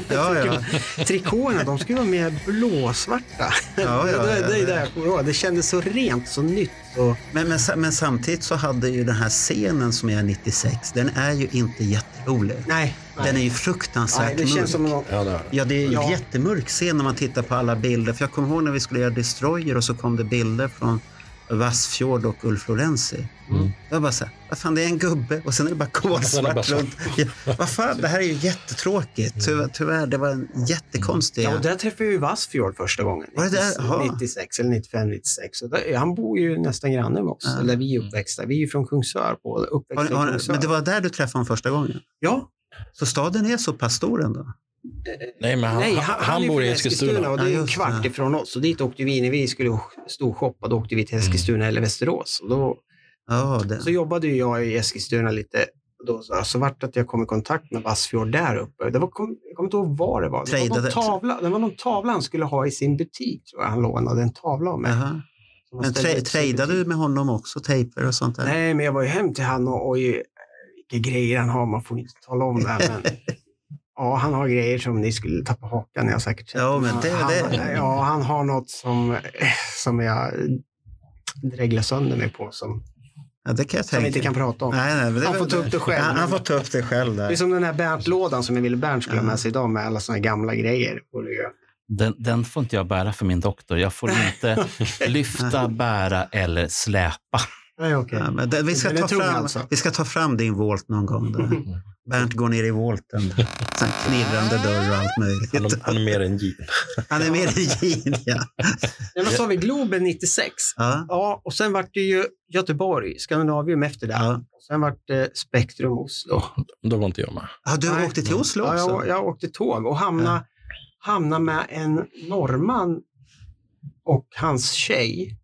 Ja, ja.
Trikåerna, de ska ju vara mer blåsvarta.
Ja, ja,
det, det, det är
ja.
det jag kommer ihåg. Det kändes så rent, så nytt. Så,
Men, men, sa- men samtidigt så hade ju den här scenen som är 96, den är ju inte jätterolig.
nej, nej.
Den är ju
nej,
fruktansvärt
det
mörk.
känns som någon,
Ja, det var det.
Ja, det är
Ja.
jättemörk scen när man tittar på alla bilder. För jag kommer ihåg när vi skulle göra Destroyer och så kom det bilder från Vassfjord och Ulf Lorenzi.
Mm.
Jag bara så här, vad fan, det är en gubbe och sen är det bara
Sen är det bara
kolsvart
svart.
runt. Ja, vad fan, det här är ju jättetråkigt. Tyvärr, tyvärr det var en jättekonstig...
Mm. Ja, och där träffade jag ju Vassfjord första gången.
Var det där? Jaha.
96 eller 95, 96. Och där, han bor ju nästan granne med oss,
Ja.
där vi är uppväxta. Vi är ju från Kungsör, på,
Har,
uppväxta i
har,
Kungsör.
men det var där du träffade honom första gången?
Ja,
Så staden är så pass stor ändå?
Nej, men han,
nej,
han,
är ju
bor
från
i Eskilstuna.
och det
Ja,
är en
just
kvart
det.
ifrån oss. Och dit åkte vi när vi skulle storshoppa, då åkte vi
Mm.
till Eskilstuna eller Västerås. Och då,
Ja, det,
så jobbade ju jag i Eskilstuna lite. Och Då, så, så vart det att jag kom i kontakt med Vassfjord där uppe. Det var, kom, jag kommer inte ihåg vad det var. Det var, någon
Tradade-
tavla, det var någon tavla han skulle ha i sin butik, tror jag. Han lånade en tavla av mig.
Jaha.
Som han
Men
ställde
tra-
ut i sin butik.
trejdade du med honom också? Tejper och sånt där?
Nej, men jag var ju hem till han och oj, vilka grejer han har. Man får inte tala om det. här, Men, ja, han har grejer som ni skulle tappa hakan. Jag har säkert sett.
Ja, men det-
han,
det-
Ja, han har något som, som jag dreglar sönder mig på som,
Ja, det kan jag
som vi inte
tänka
kan
mig.
prata om.
Nej, nej, men det är
Han
väl-
får ta upp det själv.
Han, han får ta upp det själv där.
Det är som den här Bernt-lådan som jag ville Bernt skulle ha
Ja.
med sig idag med alla såna här gamla grejer. Och det-
Den, den får inte jag bära för min doktor. Jag får inte lyfta, bära eller släpa.
Nej, okej.
Ja, men det, vi, ska
Den är
ta
tung
fram,
alltså.
vi ska ta fram din volt någon gång. Där. Bernt går ner i volten. Sen knirrande dörr och allt
Han,
möjligt.
han är mer än Jeep.
Han är mer i jean, ja.
Nej, men så har vi Globen 96.
ja.
Ja, och sen vart det ju Göteborg, Skandinavium efter det.
Ja.
Och Sen vart det Spektrum Oslo.
Då var inte jag med.
Ja, du
Nej.
åkte till Oslo
Ja,
också?
jag, jag åkte tåg och hamnade, hamnade med en norrman och hans tjej.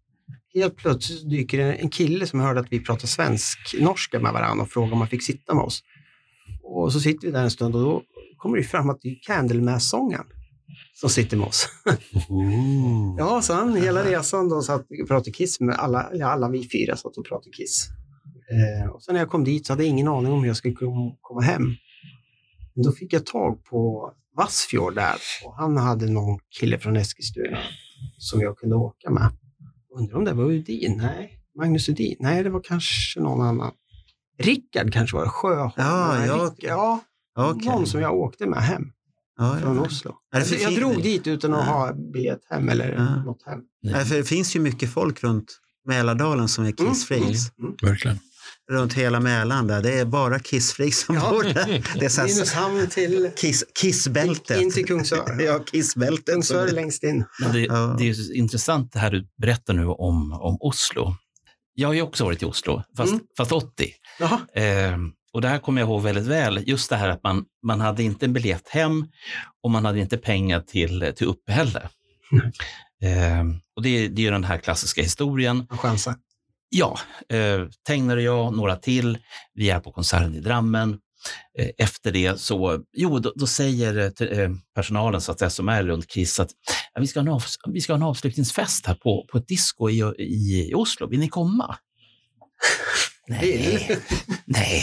Helt plötsligt dyker en, en kille som hörde att vi pratar svensk-norska med varandra och frågar om han fick sitta med oss. Och så sitter vi där en stund och då kommer det ju fram att det är Candlemass-sångaren som sitter med oss. Ja, så han hela resan då satt och pratade Kiss med alla, ja, alla vi fyra satt och pratade Kiss. Eh, och sen när jag kom dit så hade jag ingen aning om hur jag skulle kom- komma hem. Men då fick jag tag på Vassfjord där och han hade någon kille från Eskilstuna som jag kunde åka med. Undrar om det var Udin? Nej, Magnus Edin? Nej, det var kanske någon annan. Rickard kanske var det, Sjöholm.
Ja,
Nej,
ja,
Rick- ja
Okej.
någon som jag åkte med hem
Ja,
från
ja.
Oslo.
Är det för
jag
fin-
drog dit utan att
Ja.
ha biljett hem eller
Ja.
något hem.
Nej, för det finns ju mycket folk runt Mälardalen som är
Mm.
Kiss-freaks.
Verkligen.
Runt hela Mälaren där. Det är bara Kiss-freaks som
Ja.
bor där. Det är så här
Nynäshamn till...
kiss, Kissbältet.
In till Kungsör.
Ja, Kissbältet. som-
Kungsör längst in.
Men det,
Ja.
det är ju intressant det här du berättar nu om, om Oslo. Jag har ju också varit i Oslo, fast,
Mm.
fast 80.
Jaha.
Ehm, och det här kommer jag ihåg väldigt väl. Just det här att man, man hade inte en biljett hem och man hade inte pengar till, till uppehälle. Ehm, och det, det är ju den här klassiska historien.
Jag chansar.
Ja, eh, Tegner och jag, några till, vi är på konserten i Drammen. Eh, efter det så, jo, då, då säger eh, te- eh, personalen så att säga, som är runt Chris att "Ja, vi ska ha en, avs- vi ska ha en avslutningsfest här på, på ett disco i, i, i Oslo. Vill ni komma? Nej, nej,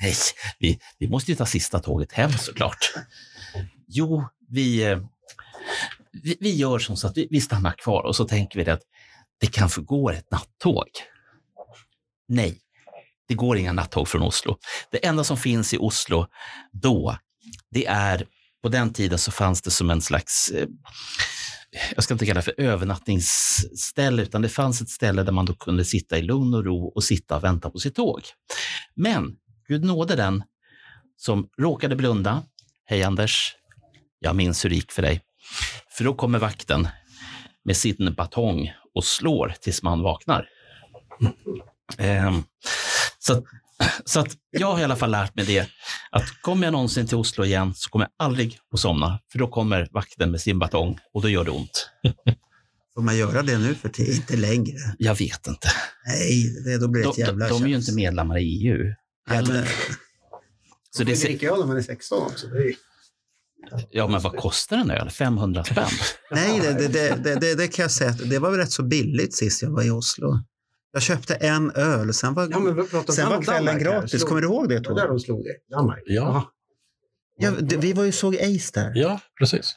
nej. Vi, vi måste ju ta sista tåget hem såklart. Jo, vi, eh, vi, vi gör som så att vi, vi stannar kvar och så tänker vi det att det kanske går ett nattåg. Nej, det går inga nattåg från Oslo. Det enda som finns i Oslo då, det är på den tiden så fanns det som en slags, eh, jag ska inte kalla det för övernattningsställe, utan det fanns ett ställe där man då kunde sitta i lugn och ro och sitta och vänta på sitt tåg. Men Gud nåde den som råkade blunda. Hej Anders, jag minns hur det gick för dig. För då kommer vakten med sin batong och slår tills man vaknar. Ehm, så att, så att jag har i alla fall lärt mig det, att kommer jag någonsin till Oslo igen så kommer jag aldrig att somna, för då kommer vakten med sin batong och då gör det ont.
Får man göra det nu för tiden? Inte längre.
Jag vet inte.
Nej, det, då blir det ett
De, de,
jävla
de är ju
tjafs.
inte medlemmar i E EU.
Nej, men-
Så det,
Det
ser-
dricker öl när man är 16 också. Det är ju-
ja, men vad kostar en öl? 500 spänn?
Nej, det, det, det, det, det, det kan jag säga att det var väl rätt så billigt sist jag var i Oslo. Jag köpte en öl, sen var,
Ja, men vi pratar om
sen var
Danmark
kvällen
här.
gratis.
Slog-
Kommer du ihåg det
Det var där
Tor?
de slog det. Danmark.
Ja.
Ja, det- vi var ju såg Ace där.
ja, precis.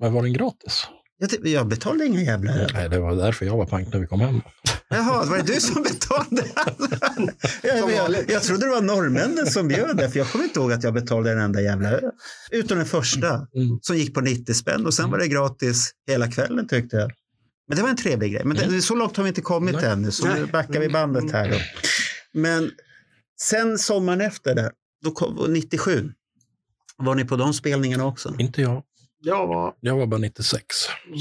Men var den gratis?
Jag, ty- jag betalade inga jävla öl.
Eh, Nej, det var därför jag var pank när vi kom hem.
Jaha, var det du som betalade? jag, jag, jag trodde det var norrmännen som bjöd det, för jag kommer inte ihåg att jag betalade en enda jävla öl. Utom den första,
Mm.
som gick på 90 spänn
Mm.
och sen var det gratis hela kvällen tyckte jag. Men det var en trevlig grej. Men det, så långt har vi inte kommit
Nej.
ännu, så nu
Mm. Nej. Mm.
backar vi bandet här. Då. Men sen sommaren efter det, då kom, 97, var ni på de spelningarna också?
Inte jag.
Jag var
Jag var bara 96.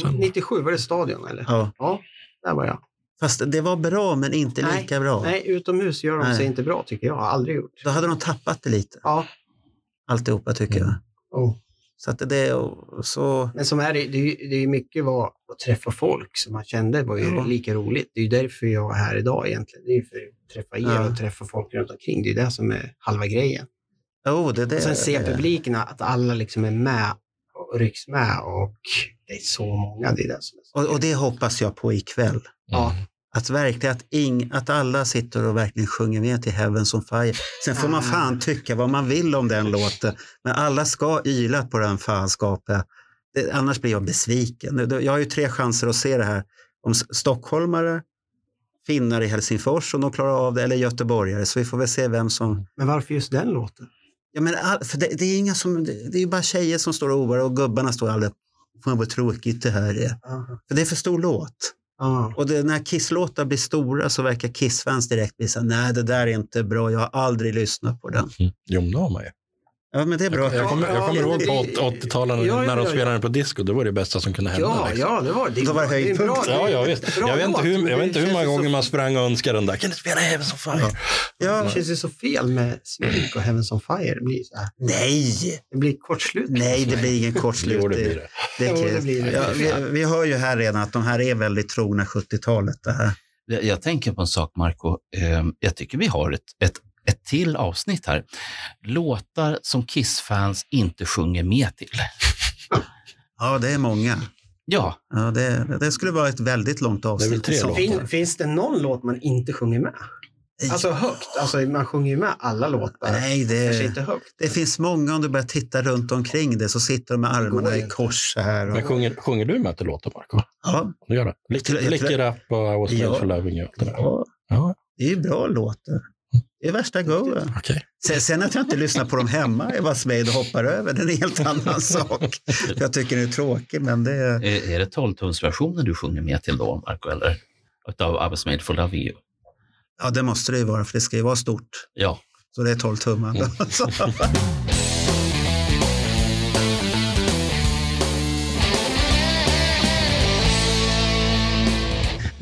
Sen,
97, var det stadion eller?
Ja.
Ja, där var jag.
Fast det var bra, men inte
Nej.
lika bra.
Nej, utomhus gör de
Nej.
sig inte bra tycker jag. Har aldrig gjort.
Då hade de tappat det lite,
Ja.
alltihopa tycker jag.
Oh.
Så att det och så...
Men som är det, det, är ju- det är ju mycket vad, att träffa folk som man kände var ju
Ja.
lika roligt. Det är ju därför jag är här idag egentligen. Det är ju för att träffa er
Ja.
och träffa folk runt omkring. Det är det som är halva grejen.
Jo, det, det,
Och sen se
det-
publiken, att alla liksom är med och rycks med och det är så många. Det är det som är så.
Och, och det hoppas jag på ikväll.
Ja.
Att verkligen att, ing, att alla sitter och verkligen sjunger med till Heavens on Fire. Sen får man
Ah.
fan tycka vad man vill om den låten. Men alla ska yla på den fanskapet. Det, annars blir jag besviken. Nu- Jag har ju tre chanser att se det här. Om s- stockholmare, finnar i Helsingfors om de klarar av det, eller göteborgare. Så vi får väl se vem som...
Men varför just den låten?
Ja, men all, för det, det är inga som... Det, det är ju bara tjejer som står och oar och gubbarna står aldrig... Fan vad tråkigt det här är. För det är för stor låt.
Ja.
Och det, när Kiss-låtar blir stora så verkar Kiss-fans direkt bli så här, nej det där är inte bra, jag har aldrig lyssnat på den.
Jo, men det har man ju.
Ja, men det är bra.
Jag, jag kommer, jag kommer
Ja,
ihåg
det-
på åt- 80-talet när-
Ja, ja,
när de
ja, ja.
spelade den på disco. Det var det bästa som kunde hända.
Ja,
liksom.
ja, det var det.
Då var det
är en
höjdpunkt.
bra-
Ja, ja, visst.
bra
Jag vet inte
låt,
hur,
men
jag vet inte
det
hur många
känns
gånger
så-
man sprang och önskade den där. Kan du spela Heaven som fan?
Ja.
Det
Ja.
känns ju så fel med Smink och Heavens on Fire. Det blir, så här.
Nej,
Det blir kortslut.
nej det blir ingen
Jo, det
kortslutning.
blir det.
Det är
Jo, det
kul.
blir det.
Ja, vi, vi hör ju här redan att de här är väldigt trogna 70-talet. Det här.
Jag, jag tänker på en sak, Marco. Ehm, Jag tycker vi har ett, ett, ett till avsnitt här. Låtar som Kiss-fans inte sjunger med till.
Ja, det är många.
Ja,
Ja, det, det skulle vara ett väldigt långt avsnitt.
väl tre
i så
låtar.
fall.
Fin, finns det någon låt man inte sjunger med? Alltså högt. Alltså, man sjunger ju med alla låtar.
Nej,
Kanske
det,
inte högt.
det finns många om du börjar titta runt omkring dig så sitter de med armarna
går
i
inte.
kors så här.
Men
Och,
sjunger, sjunger du med till låten, Marco?
ja,
Du gör det.
Jag tror- jag
Lick
tror-
it up och I was made
Ja.
for loving you.
ja, Det är ju bra låtar. Det är värsta goa.
Okej.
Sen, sen att jag inte lyssnar på dem hemma, Eva Smid och hoppar över, det är en helt annan sak. Jag tycker det är tråkigt, men det är...
Är, är det 12-tumsversionen du sjunger med till då, Marco? Eller? Utav Abbas Made for Loving You?
Ja, det måste det ju vara, för det ska ju vara stort.
Ja.
Så det är 12 tummar. Så-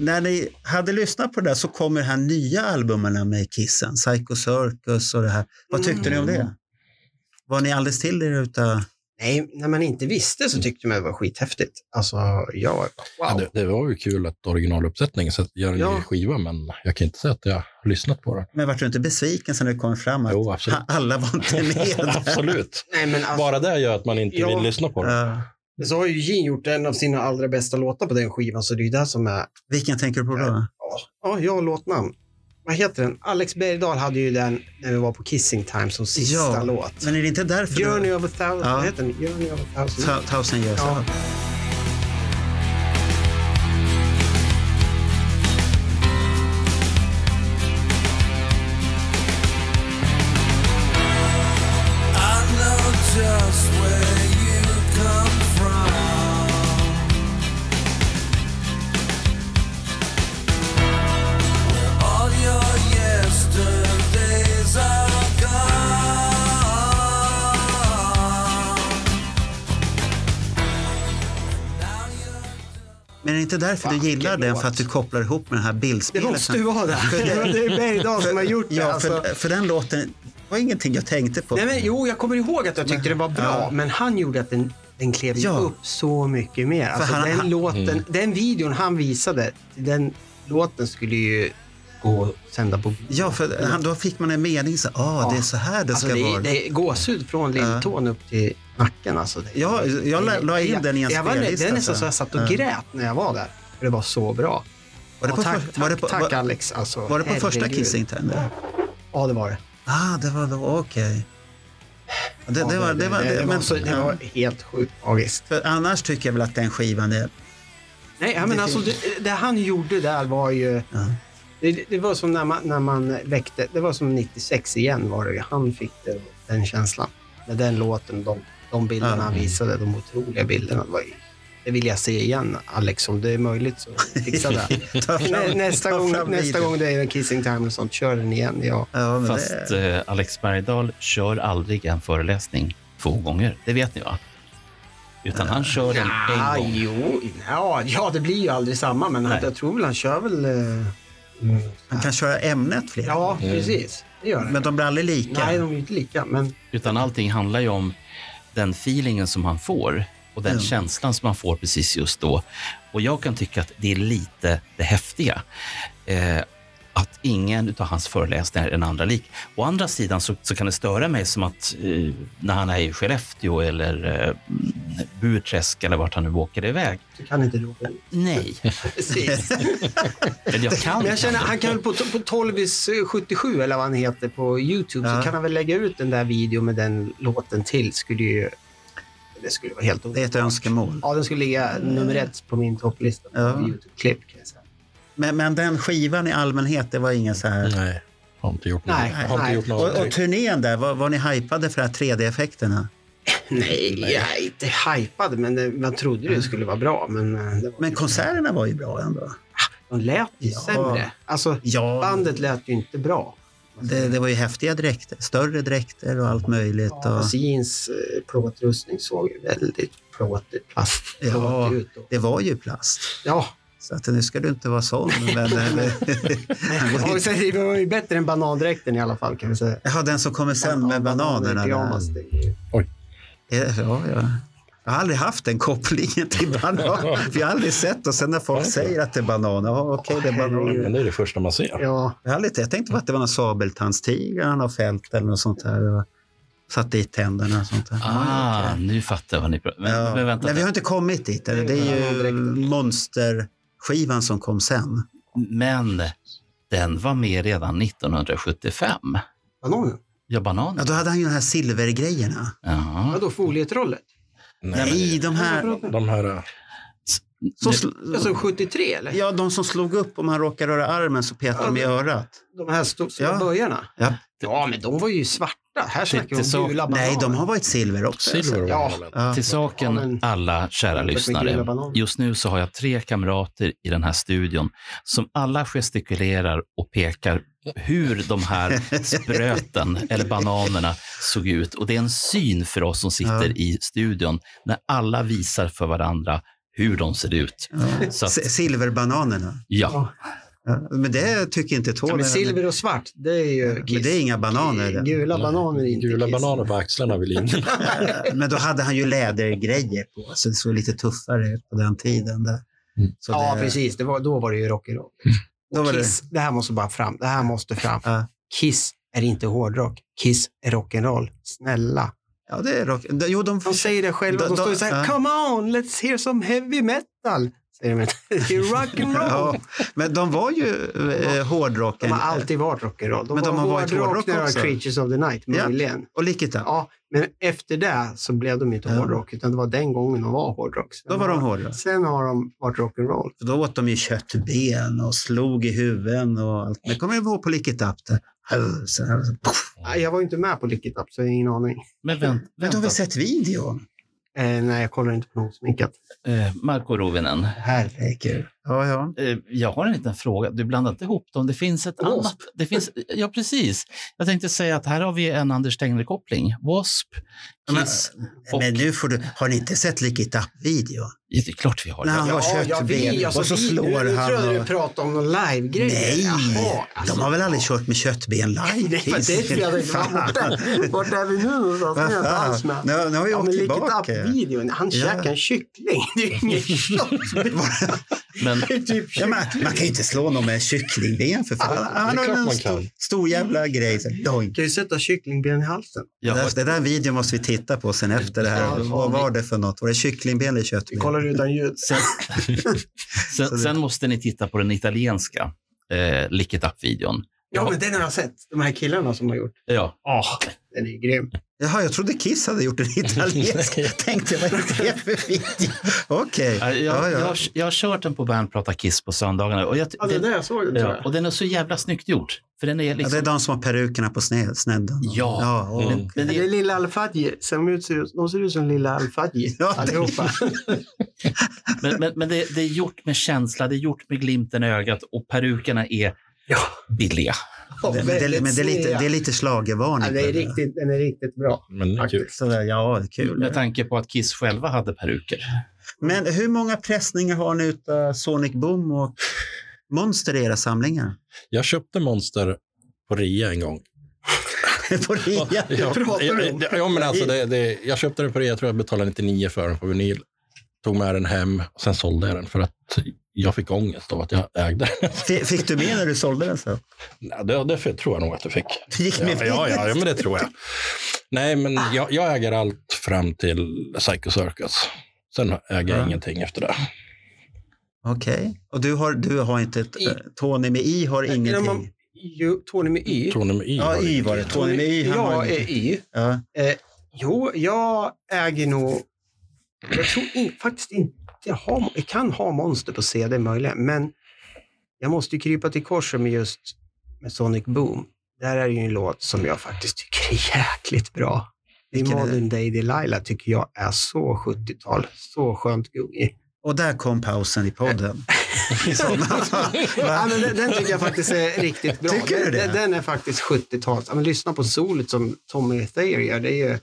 När ni hade lyssnat på det där så kommer de här nya albumen med Kissen, Psycho Circus och det här. Vad tyckte ni om det? Var ni alldeles till er utav...
Nej, när man inte visste så tyckte man det var skithäftigt. Alltså, jag wow.
Ja, det, det var ju kul att originaluppsättningen så att gör en
Ja.
ny skiva, men jag kan inte säga att jag har lyssnat på den.
Men vart du inte besviken sen det kom fram att
Jo, absolut.
alla var inte med?
absolut.
Nej, men alltså,
Bara det gör att man inte
Ja. Eh.
vill lyssna på den.
Ja.
så har ju Gene gjort en av sina allra bästa låtar på den skivan, så det är ju det som är...
Vilken tänker du på då?
Ja, ja, jag har låtnamn. Vad heter den? Alex Bergdahl hade ju den när vi var på Kissing Time som sista
Ja.
låt.
Men är det inte därför du-
Journey of a thousand.
Ja.
Vad heter den? Journey of a thousand.
Ta- Thousand years.
Ja.
I know just where you come from. All your yesterdays are gone. Now you're
Men är det inte därför du
Fucking
gillar den?
låt.
För att du kopplar ihop med den här
Det
bildspelet?
måste ju vara det. Det är Bergdahl som har gjort det.
Ja,
alltså.
för, för den låten var ingenting jag tänkte på.
Nej, men, jo, jag kommer ihåg att jag tyckte det var bra,
Ja.
men han gjorde att den, den klev ju
Ja.
upp så mycket mer. Alltså,
han-
den,
han- Mm.
låten, den videon han visade, den låten skulle ju gå att sända på
Ja, för han, då fick man en mening. Så, ah,
Ja.
Det är så här det
Alltså,
ska
det, är-
vara.
det är gåshud från lilltån upp till nacken. Alltså. Det-
Ja, jag la- la in den i en
jag var-
spellista,
Det är nästan
så.
så jag satt och
Ja.
grät när jag var där. För det var så bra.
Var det
Ja,
på
tack,
för-
tack,
var det på-
tack
var-
Alex. Alltså,
Var det på första
herregud.
Kissing Time? där?
Ja, det var det.
Ah, det var då, okej. Ja, Det,
Ja,
det var, det var,
det, det, var,
men,
så, det var helt sjukt magiskt.
för annars tycker jag väl att den skivan är...
Nej, ja, men
Det
alltså,
finns-
det, det han gjorde där var ju...
Ja.
Det, det var som när man, när man väckte... Det var som 96 igen var det. Han fick det, den känslan. Med den låten, de, de bilderna
Ja.
han visade, de otroliga bilderna. Det, var, ju- det vill jag se igen, Alex. Om det är möjligt så fixa det.
Ta fram-
Nä, nästa
ta
gång,
fram
nästa
videon.
gång det är en Kissing Time och sånt, kör den igen. Ja.
Ja, men
Fast
det,
eh, Alex Bergdahl kör aldrig en föreläsning två gånger. Det vet ni, va? Utan han kör den
Ah,
en gång.
jo, ja, ja, det blir ju aldrig samma, men
Nej.
jag tror väl han kör väl... eh,
man kan köra ämnet fler
Ja, precis. Det gör han.
Men de blir aldrig lika.
Nej, de är ju inte lika, men...
Utan allting handlar ju om den feelingen som han får och den
Mm.
känslan som man får precis just då. Och jag kan tycka att det är lite det häftiga. Eh, att ingen av hans föreläsningar är den andra lik. Å andra sidan så, så kan det störa mig som att eh, när han är i Skellefteå eller eh, Burträsk eller vart han nu åker iväg.
Du kan inte låta bli.
Nej,
Precis.
men jag kan.
Men jag känner, han kan väl på, på Tolvis eh, 77 eller vad han heter på Youtube
Ja.
så kan han väl lägga ut den där videon med den låten till. Skulle ju, det skulle vara helt
Det är ett önskemål.
Ja, den skulle ligga nummer ett på min topplista på
Ja.
Youtube-klipp. Kan jag säga.
Men, men den skivan i allmänhet, det var ingen så här...
Nej, har inte gjort
Nej,
något. Har inte
nej.
gjort något.
Och, och turnén där, var, var ni hypade för de här 3D-effekterna?
Nej, jag är inte hypad, men det, man trodde ju det skulle vara bra. Men, eh, det var,
Men konserterna var ju bra ändå.
de lät ju
Ja.
sämre. Alltså,
Ja,
bandet lät ju inte bra.
det, det var ju häftiga dräkter, större dräkter och allt möjligt. Och,
Ja, Jeans eh, plåtrustning såg ju väldigt plåtigt, plast,
Ja.
plåtigt ut. Och,
det var ju plast.
ja,
Så att nu ska du inte vara sån. Men,
Ja, och sen, det var ju bättre än banandräkten i alla fall kan vi säga.
ja, den som kommer sen med bananerna.
i
där.
pyjamas, det är ju-
Eh, Ja, ja. Jag har aldrig haft den kopplingen till banan. Vi har aldrig sett och sen när folk säger att det är banan. Ja, okej, det är banan.
Men det är det första man ser.
Ja,
Jag, har aldrig, jag tänkte bara att det var någon sabeltandstiger han har fält eller något sånt där. Och satt dit tänderna och sånt där. Ja,
Ah,
okej.
nu fattar jag vad ni pratar men,
Ja.
men vänta.
Nej, vi har inte kommit dit. Eller? Det
Nej,
är
ja,
ju monsterskivan som kom sen.
Men den var med redan 1975.
bananen.
Ja, bananen.
Ja, då hade han ju de här silvergrejerna.
Ja.
Vadå folietrollet?
Nej, de här...
De här...
Så
Det-
sl-
Alltså 73 eller?
ja, de som slog upp, om han råkar röra armen så petar de i örat.
De här stora
Ja.
böjarna?
Ja.
Ja, men de var ju svarta. Här snackar vi
så-
om gula bananer.
Nej, de har varit silver också.
Silver
alltså.
ja.
Ja.
Ja.
Till saken,
Ja, men-
alla kära
Jämfört med gula
lyssnare.
bananer.
Just nu så har jag tre kamrater i den här studion som alla gestikulerar och pekar hur de här spröten eller bananerna såg ut. Och det är en syn för oss som sitter
Ja.
i studion när alla visar för varandra hur de ser ut.
Ja.
Så att,
S- Silverbananerna.
ja,
Ja. Men det tycker inte
Ja,
Tony.
men silver och svart, det är ju
Men
kiss.
det är inga bananer. det.
Gula bananer är inte
Gula
kiss.
bananer på axlarna vill ingen.
Men då hade han ju lädergrejer på sig, så lite tuffare ut på den tiden. Där.
Mm.
Så
Ja,
det-
precis. Det var, då var det ju rock'n'roll.
Då var
Och
det-
Kiss, det här måste bara fram. Det här måste fram.
Ja.
Kiss är inte hårdrock. Kiss är rock'n'roll. Snälla.
Ja, det är rock. Jo, de,
De säger det själva.
Då-
De
då-
står ju så här,
ja.
come on, let's hear some heavy metal. Säger de inte. Det är rock'n'roll.
ja, men de var ju eh, hårdrocken.
De har alltid varit rock'n'roll. De
Men de
var
har varit hårdrock
hårdrock när det var
också.
Creatures of the Night,
Ja.
möjligen.
Och Likita,
Ja, men efter det så blev de inte
Ja.
hårdrock, utan det var den gången de var hårdrock. Sen
då var de
har-
hårdrock.
Sen har de varit rock'n'roll.
För Då åt de ju köttben och slog i huvuden och allt. Men kommer jag ihåg på Likita? Så här, poff.
Nej, Jag var ju inte med på Lick It Up, så jag har ingen aning.
men vänt,
Men då har
vänta.
vi sett videon.
Eh, nej, jag kollar inte på något sminkat.
Eh, Marko Rovinen,
Herregud. Ja, ja.
eh, jag har en liten fråga. Du blandar inte ihop dem. Det finns ett
Wasp.
annat. Det finns, ja, precis. Jag tänkte säga att här har vi en Anders Tegnell-koppling. Wasp,
Men-
Kiss.
Men nu får du, har ni inte sett Likita videon
Ja, det är klart vi har.
När han
det.
var köttben och så slår
Alltså, nu,
han.
Nu tror jag
och-
du pratar om någon live-grej.
Nej,
Jaha, alltså.
de har väl aldrig kört med köttben
Nej,
live?
nej, men det tror jag inte. Fan, Vart är- vart är vi nu någonstans? Det är jag inte alls
Fan.
med.
Nu, nu har vi
Ja,
åkt
men Lick
tillbaka.
It Up-videon, han
Ja.
käkar en kyckling. Det är ju ingen köttben.
Men
Det är typ
Ja, men, man kan ju inte slå någon med en kycklingben för fan. Han
det är
har
klart
en
man
stor,
kan.
stor jävla grej. Så, doink.
kan ju sätta kycklingben i halsen.
jag har
Det, det där videon måste vi titta på sen efter det här.
Ja,
Vad var det för något? Var det kycklingben eller
Vi
köttben?
kollar utan ljud.
Sen, sen måste ni titta på den italienska eh, Lick It Up-videon.
Ja, men den har jag sett. De här killarna som har gjort.
Ja,
Ah.
Oh, den är ju grym.
Jaha, jag trodde Kiss hade gjort en italiensk. Tänkte jag, vad är det för video? Okej.
jag,
Ja, ja.
Jag, jag har kört den på Band Prata Kiss på söndagarna. Och, jag,
Ja, det
den,
där jag såg den, tror
ja,
jag.
och den är så jävla snyggt gjord. För den är
Ja, det är
liksom...
de som har perukerna på sne- snedden.
Ja.
ja och,
Mm.
Den
Men det
är,
är Lilla Al-Fadji. som ut- ser ut- De ser ut som Lilla Al-Fadji,
Ja, det-
allihopa.
men men, men det, det är gjort med känsla, det är gjort med glimten i ögat och perukerna är
Ja.
billiga.
Och
men det,
väldigt
men det är lite,
sneda.
det är lite schlagervarning.
Ja, det är
på där.
riktigt, Mm, den är riktigt bra.
Men det är kul.
Sådär, ja, kul.
Med tanke på att Kiss själva hade peruker.
Men hur många pressningar har ni utav Sonic Boom och Monster i era samlingar?
Jag köpte Monster på rea en gång.
på rea?
Ja,
pratar
ja,
du om?
ja, men alltså det, det, jag köpte den på rea, jag tror jag betalade 99 för den på vinyl. Tog med den hem och sen sålde jag den för att jag fick ångest av att jag ägde den.
F- Fick du med när du sålde den? Så?
Nej, det, det tror jag nog att jag fick.
Du gick
Ja,
med
ja, ja, ja, men det tror jag. Ah. Nej, men jag, jag äger allt fram till Psycho Circus. Sen äger jag
Ja.
ingenting efter det.
Okej. Och du har, du har inte... ett- eh,
I.
Tony med I har
När
ingenting?
man- ju- Tony med Y.
Tror ni med I?
ja,
har
Y var det. Tony med Y. Han har
jag
ingenting.
är Y.
ja.
Eh, jo, jag äger nog... Jag tror in, faktiskt inte... Jag, har, jag kan ha monster på CD möjligen, men jag måste ju krypa till korset med just med Sonic Boom. Där är det ju en låt som jag faktiskt tycker är jäkligt bra. Det är
Vilken är det?
Modern Day Delilah tycker jag är så 70-tal. Så skönt guggig.
Och där kom pausen i podden. I sådana fall.
Ja,
Va?
men den, den tycker jag faktiskt är riktigt bra.
Tycker du
Den-
det?
Den, den är faktiskt 70-tals. Ja, men lyssna på solet som Tommy Thayer gör. Det är ju eh,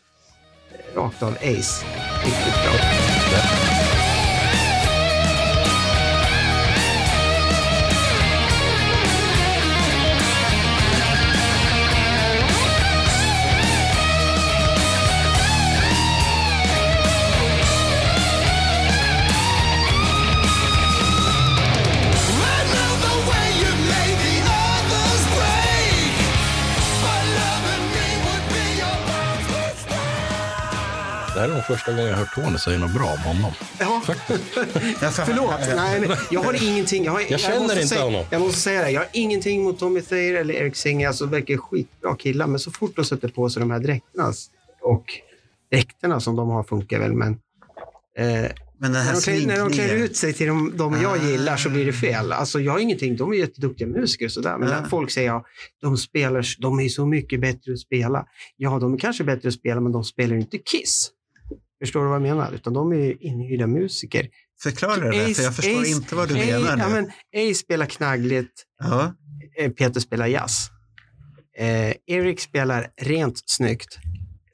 rakt av Ace. Riktigt bra.
I love the way you made the others break. But loving me would be your mom's mistake.
Det här är nog första gången jag hört Tony säga något bra om honom.
Ja,
Ja, fan.
förlåt. Nej, men jag har ingenting. Jag, har,
känner
måste
inte
säga,
honom.
Jag måste säga det. Jag har ingenting mot Tommy Thayer eller Eric Singer. Alltså, de verkar skitbra killar. Men så fort de sätter på sig de här dräkterna s- och dräkterna som de har funkar väl, men eh,
Men den här
När de, klär, när de klär
sminkningen.
ut sig till de, de jag
Ah.
gillar så blir det fel. Alltså jag har ingenting, de är jätteduktiga musiker och sådär. Men
Ah.
när folk säger ja, de spelar, de är så mycket bättre att spela. Ja, de är kanske bättre att spela, men de spelar ju inte Kiss. Förstår du vad jag menar? Utan de är ju inhyrda musiker.
Förklara det där, för jag
Ace-
förstår
Ace-
inte vad du
Ey,
menar nu.
ja, men, Ey spelar knaggligt,
ja.
eh, Peter spelar jazz. Eh, Erik spelar rent snyggt,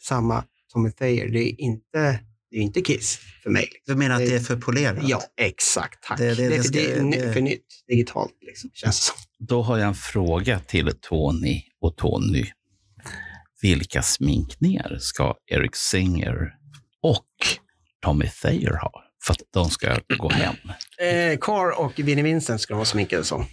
samma Tommy Thayer. Det är inte, det är inte Kiss för mig.
Du menar att det är för polerat?
Eh, Ja, exakt. Tack.
Det-
Det,
det- det
är för-
ska-
det är ny-
det-
för nytt, digitalt. Liksom, känns det som.
Då har jag en fråga till Tony och Tony. Vilka sminkningar ska Eric Singer och Tommy Thayer ha för att de ska gå hem?
Eh, Carr och Vinnie Vincent ska de vara sminkade som.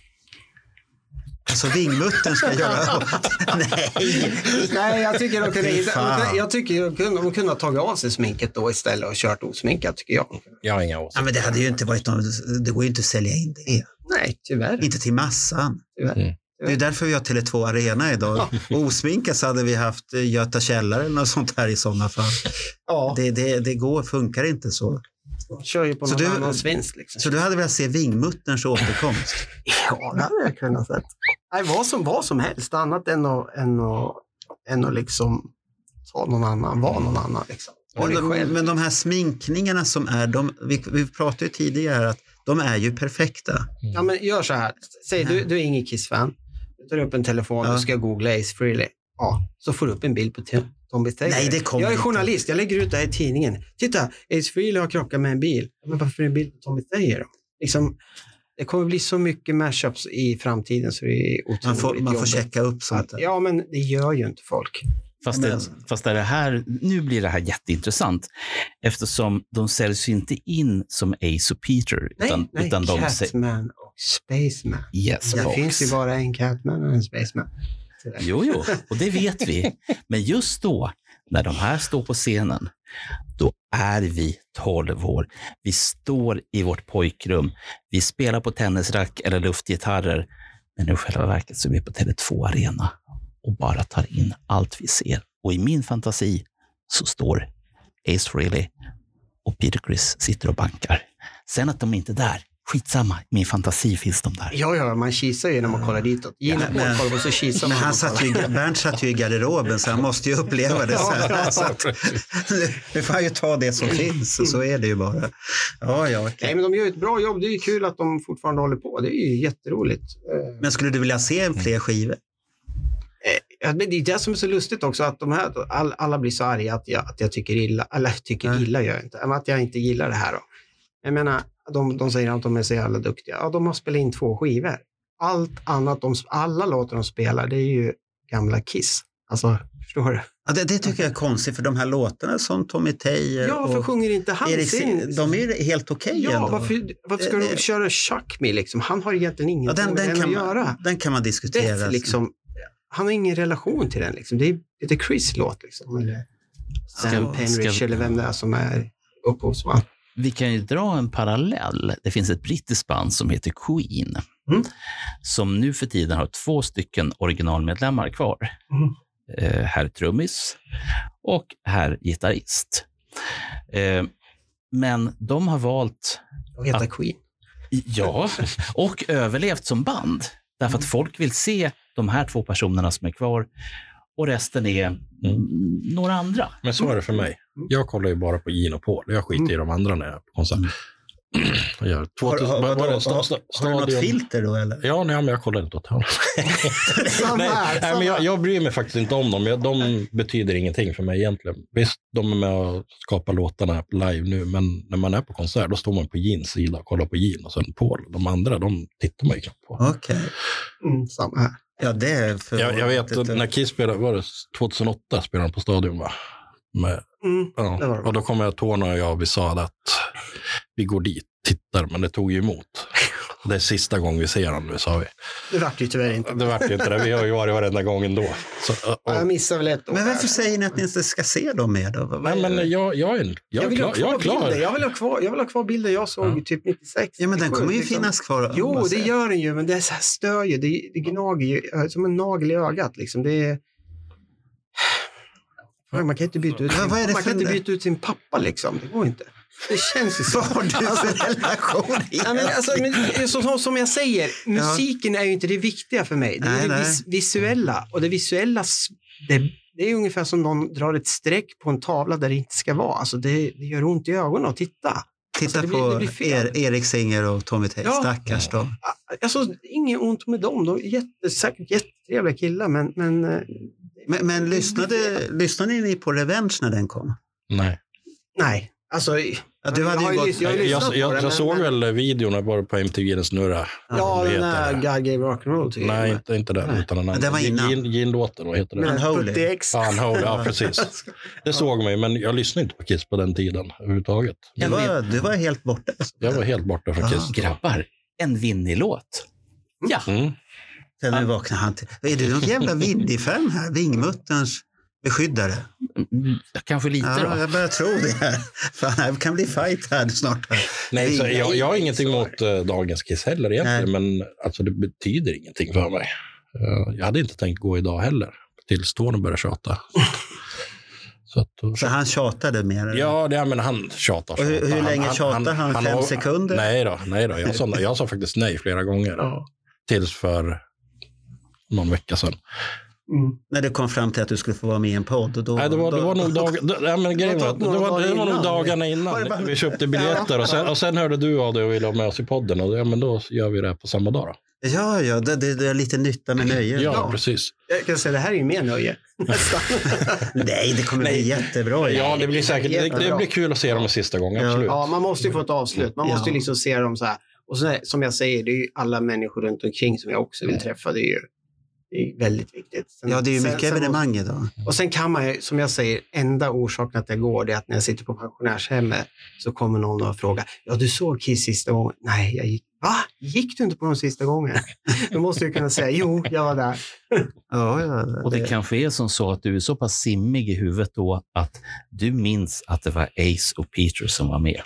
Alltså vingmuttern ska göra... Nej!
Nej, jag tycker de kunde,
Fy fan.
jag, jag tycker de kunde, de kunde ha tagit av sig sminket då istället och kört osminkat, tycker jag.
Jag har inga åsikter.
Ja, men det hade ju inte varit någon, det går ju inte att sälja in det.
Nej, tyvärr.
Inte till massan.
tyvärr.
Mm.
Det är därför vi har Tele2 Arena idag. Och osminkat så hade vi haft eh, Göta källare eller något sånt här i sådana fall.
Ja,
Det, det, det går, funkar inte så.
de kör ju på
Så
någon
du-
annans vinst. Liksom.
Så du hade velat se vingmutterns återkomst?
Ja, det hade jag kunnat sett. Nej, vad som, vad som helst annat än att, än att, än att liksom ta någon annan, vara någon annan. Liksom. Var
Men
dig
de,
själv.
men de här sminkningarna som är, de, vi, vi pratade ju tidigare här att de är ju perfekta.
Ja, men gör så här. Säg, du, du är ingen Kiss-fan. Du tar upp en telefon
Ja.
och ska googla Ace Frehley. Ja, så får du upp en bild på Tim- Tommy Taylor.
Nej, det kommer
jag är
inte.
journalist, jag lägger ut det här i tidningen. Titta, Ace Frehley har krockat med en bil. Men varför är det en bild på Tommy Taylor? Liksom, det kommer bli så mycket mashups i framtiden så det är otroligt
Man får, man får
jobbigt.
checka upp sånt
Att-
där.
Ja, men det gör ju inte folk.
Fast,
Men-
det, fast är det här, nu blir det här jätteintressant eftersom de säljs ju inte in som Ace och Peter.
Nej,
utan,
nej
utan de säger
Catman och Spaceman.
yes,
Det
box.
finns ju bara en Catman och en Spaceman. Sådär.
Jo, jo, och det vet vi. Men just då, när de här står på scenen, då är vi 12 år. Vi står i vårt pojkrum. Vi spelar på tennisrack eller luftgitarrer. Men i själva verket så är vi på Tele2 Arena och bara tar in allt vi ser. Och i min fantasi så står Ace Frehley och Peter Criss sitter och bankar. Sen att de inte är där, skitsamma. I min fantasi finns de där.
Ja, ja, man kisar ju när man kollar ditåt. Gina
Ja, men-
kollar och så kisar
Men
man.
han satt ju, i- Bernt satt ju i garderoben så han måste ju uppleva det. Så, här. så att, nu får han ju ta det som finns och så är det ju bara. Ja, ja, okej.
Nej, men de gör ju ett bra jobb. Det är ju kul att de fortfarande håller på. Det är ju jätteroligt. Eh,
Men skulle du vilja se en fler skivor?
ja, Men det är det som är så lustigt också, att de här, all, alla blir så arga att jag, att jag tycker illa. Eller tycker
Nej.
illa gör jag inte, men att jag inte gillar det här. Då. Jag menar, de, de säger att de är så jävla duktiga. Ja, de har spelat in två skivor. Allt annat, de, alla låtar de spelar, det är ju gamla Kiss. Alltså, förstår du?
Ja, det, det tycker jag är konstigt för de här låtarna som Tommy Teijer
Ja, varför
och
sjunger inte han
Erik,
sin?
de är ju helt okej
ja,
ändå.
varför, varför ska
Eh, eh.
de köra Chuck Me liksom? Han har egentligen
Ja,
ingenting
den,
med
den,
den att
kan
göra.
man, den kan man
Beth,
diskutera.
liksom, han har ingen relation till den. Liksom. Det är lite Chris låt. Liksom. Eller Sam Penrich
ska-
eller vem det är som är upphovsman.
Vi kan ju dra en parallell. Det finns ett brittiskt band som heter Queen,
Mm.
som nu för tiden har två stycken originalmedlemmar kvar.
Mm.
Eh, herr trummis och herr gitarrist. Eh, men de har valt,
Och heter Queen.
ja, och överlevt som band. Därför att folk vill se de här två personerna som är kvar och resten är mm, några andra.
Men så är det för mig.
Mm.
Jag kollar ju bara på Gin och Paul. Jag skiter i de andra när jag är på konsert. Jag gör
Har, har,
2000,
har,
vad-
vadå?
vad-
har,
sta- sta-
har du något
stadion-
filter då eller?
Ja, nej, men jag kollar inte åt honom.
Samma
nej,
här,
nej,
samma
men jag,
här.
jag bryr mig faktiskt inte om dem. Jag, de betyder ingenting för mig egentligen. Visst, de är med och skapar låtarna live nu, men när man är på konsert, då står man på Jeans sida och kollar på Jean och sen Paul. De andra, de tittar man ju knappt på.
Okej.
Mm, samma här.
Ja, det är
Jag, jag vet,
förvånande.
när Kiss spelade, var det 2008 spelade de på Stadion, va? Med,
Mm. det var
ja.
det.
Och då kommer jag, Tony och jag, vi sa att vi går dit, tittar, men det tog ju emot. Det är sista gången vi ser honom nu, sa vi.
Det vart ju tyvärr inte.
Det vart ju inte det. Vi har ju varit varenda gång ändå. Så, och,
Ja, Jag missade väl ett år.
Men varför
där.
säger ni att ni inte ska se dem mer då? Vad- vad
nej,
är
eh,
det?
men jag, jag, är, jag,
jag
är
vill,
klar, jag
ha kvar
är
bilder.
klar.
jag, vill ha kvar, jag vill ha kvar bilder jag såg
Ja.
typ 96.
ja, men den
97,
kommer ju
liksom.
finns kvar.
Jo,
Man
det
ser.
gör den ju, men det är så här stör ju. Det, det gnager ju eh, som en nagel i ögat. Liksom. Det är... Fan, Man kan inte byta ut,
Men vad är det
man
för-
kan inte byta ut sin pappa. Liksom. Det går inte. Det känns ju så. Alltså,
Vad har du för relation
Ja, men alltså, men, det är så, så, som jag säger, musiken är ju inte det viktiga för mig. Det är
Nej,
det
nej.
vis, visuella. Och det visuella, s- det, det är ungefär som någon drar ett streck på en tavla där det inte ska vara. Alltså, det, det gör ont i ögonen att titta.
Titta
det blir- det
på
blir fel.
er, Erik Singer och Tommy Tay.
Ja.
Stackars dem.
Alltså, inget ont med dem. De är jätte, säkert jättetrevliga killar, men... men eh,
Men, men lyssnade, lyssnade ni på Revenge när den kom?
Nej.
Nej. Alltså,
Ja, du
Jag
hade
har
ju
ju
gått...
lyssnat-
Ja,
har
Jag,
lyssnat
jag,
på den,
jag,
men-
såg väl videon bara på MTV, den snurra.
ja,
Vad
den
heter
där
det?
God Gave Rock'n'Roll typ.
Nej, inte, inte den.
Nej.
Utan den
Men den var innan.
Gin- Gin-låten, vad heter
Men
den?
Unholy.
Putty X.
Ja, Unholy, ja, precis. Det såg mig, men jag lyssnade inte på Kiss på den tiden överhuvudtaget.
du, var, du var helt borta.
Jag var helt borta från
Ah,
Kiss. då.
Grabbar, en vinnilåt. Ja,
Mm.
Sen nu vaknar han till. Är du någon jävla Viddifem här? Vingmutterns beskyddare?
mm, kanske lite
Ja,
då.
jag börjar tro det här. Fan, det kan bli fight här snart.
Nej, så
Nej,
jag, jag har ingenting emot eh, dagens Kiss heller egentligen, men alltså, det betyder ingenting för mig. Eh, jag hade inte tänkt gå idag heller, tills Tony började tjata. Så att, då-
Så han tjatade mer? eller?
ja, det, ja, men han tjatar.
Och hur,
tjatar.
hur länge tjatade han? Fem
har-
sekunder?
Nej då, nej då. Jag, sa, jag sa faktiskt nej flera gånger.
Ja.
Tills för någon vecka sedan.
Mm.
När du kom fram till att du skulle få vara med i en podd? Och då,
Nej, det var, det var nog dag, det, nej, men grejen var, att det var, det var nog dagarna
Var det bara-
innan vi köpte biljetter. Och sen, och sen hörde du av dig och ville ha med oss i podden. Och, ja, men då gör vi det här på samma dag. Då.
Ja, ja, det, det, det är lite nytta med nöje.
Ja, precis.
Jag kan säga, det här är ju mer nöje. Nästan.
Nej, det kommer bli jättebra.
Ja, det blir säkert det, det blir kul att se dem en sista gång,
Ja.
absolut.
Ja, man måste ju få ett avslut. Man måste
Ja.
ju liksom se dem så här. Och så, är- som jag säger, det är ju alla människor runt omkring som jag också vill träffa. Det är ju det är ju väldigt viktigt. Sen-
Ja, det är ju
sen-
mycket
sen
evenemang idag.
måste- Och sen kan man ju, som jag säger, enda orsaken att jag går det är att när jag sitter på pensionärshemmet så kommer någon och frågar, ja du såg Kiss sista gången? Nej, jag gick. Va? Gick du inte på de sista gången? Då måste jag kunna säga, jo, jag var där.
Ja, ja,
Och det kanske är som så att du är så pass simmig i huvudet då att du minns att det var Ace och Peter som var med.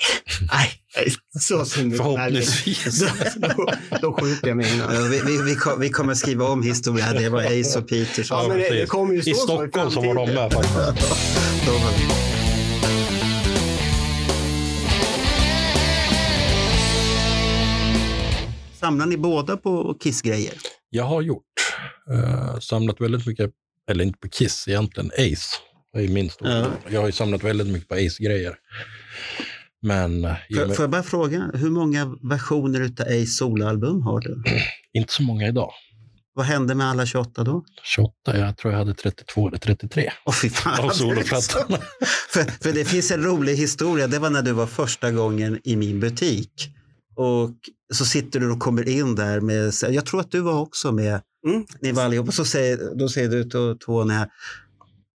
Nej, jag är så sinnigt
Förhoppningsvis.
Då, då skjuter jag mig innan.
Ja, vi, vi, vi, kom- vi kommer skriva om historien. Det var Ace och Peter.
Ja,
som-
men det, det
precis.
kommer ju stå
I
så
Stockholm så var
framtiden.
de med faktiskt.
de var- Samlar ni båda på Kiss-grejer?
Jag har gjort. eh, samlat väldigt mycket, eller inte på Kiss egentligen, Ace. Det är min stora.
Ja.
Jag har ju samlat väldigt mycket på Ace-grejer. Men, eh, i och
Får,
med-
får jag bara fråga, hur många versioner utav Ace soloalbum har du?
inte så många idag.
Vad hände med alla 28 då?
28, jag tror jag hade 32 eller 33
Åh fy fan.
av soloplattan.
För, för det finns en rolig historia. Det var när du var första gången i min butik. Och så sitter du och kommer in där med, jag tror att du var också med,
Mm.
ni var allihop. Och så säger, då säger du till Tony här,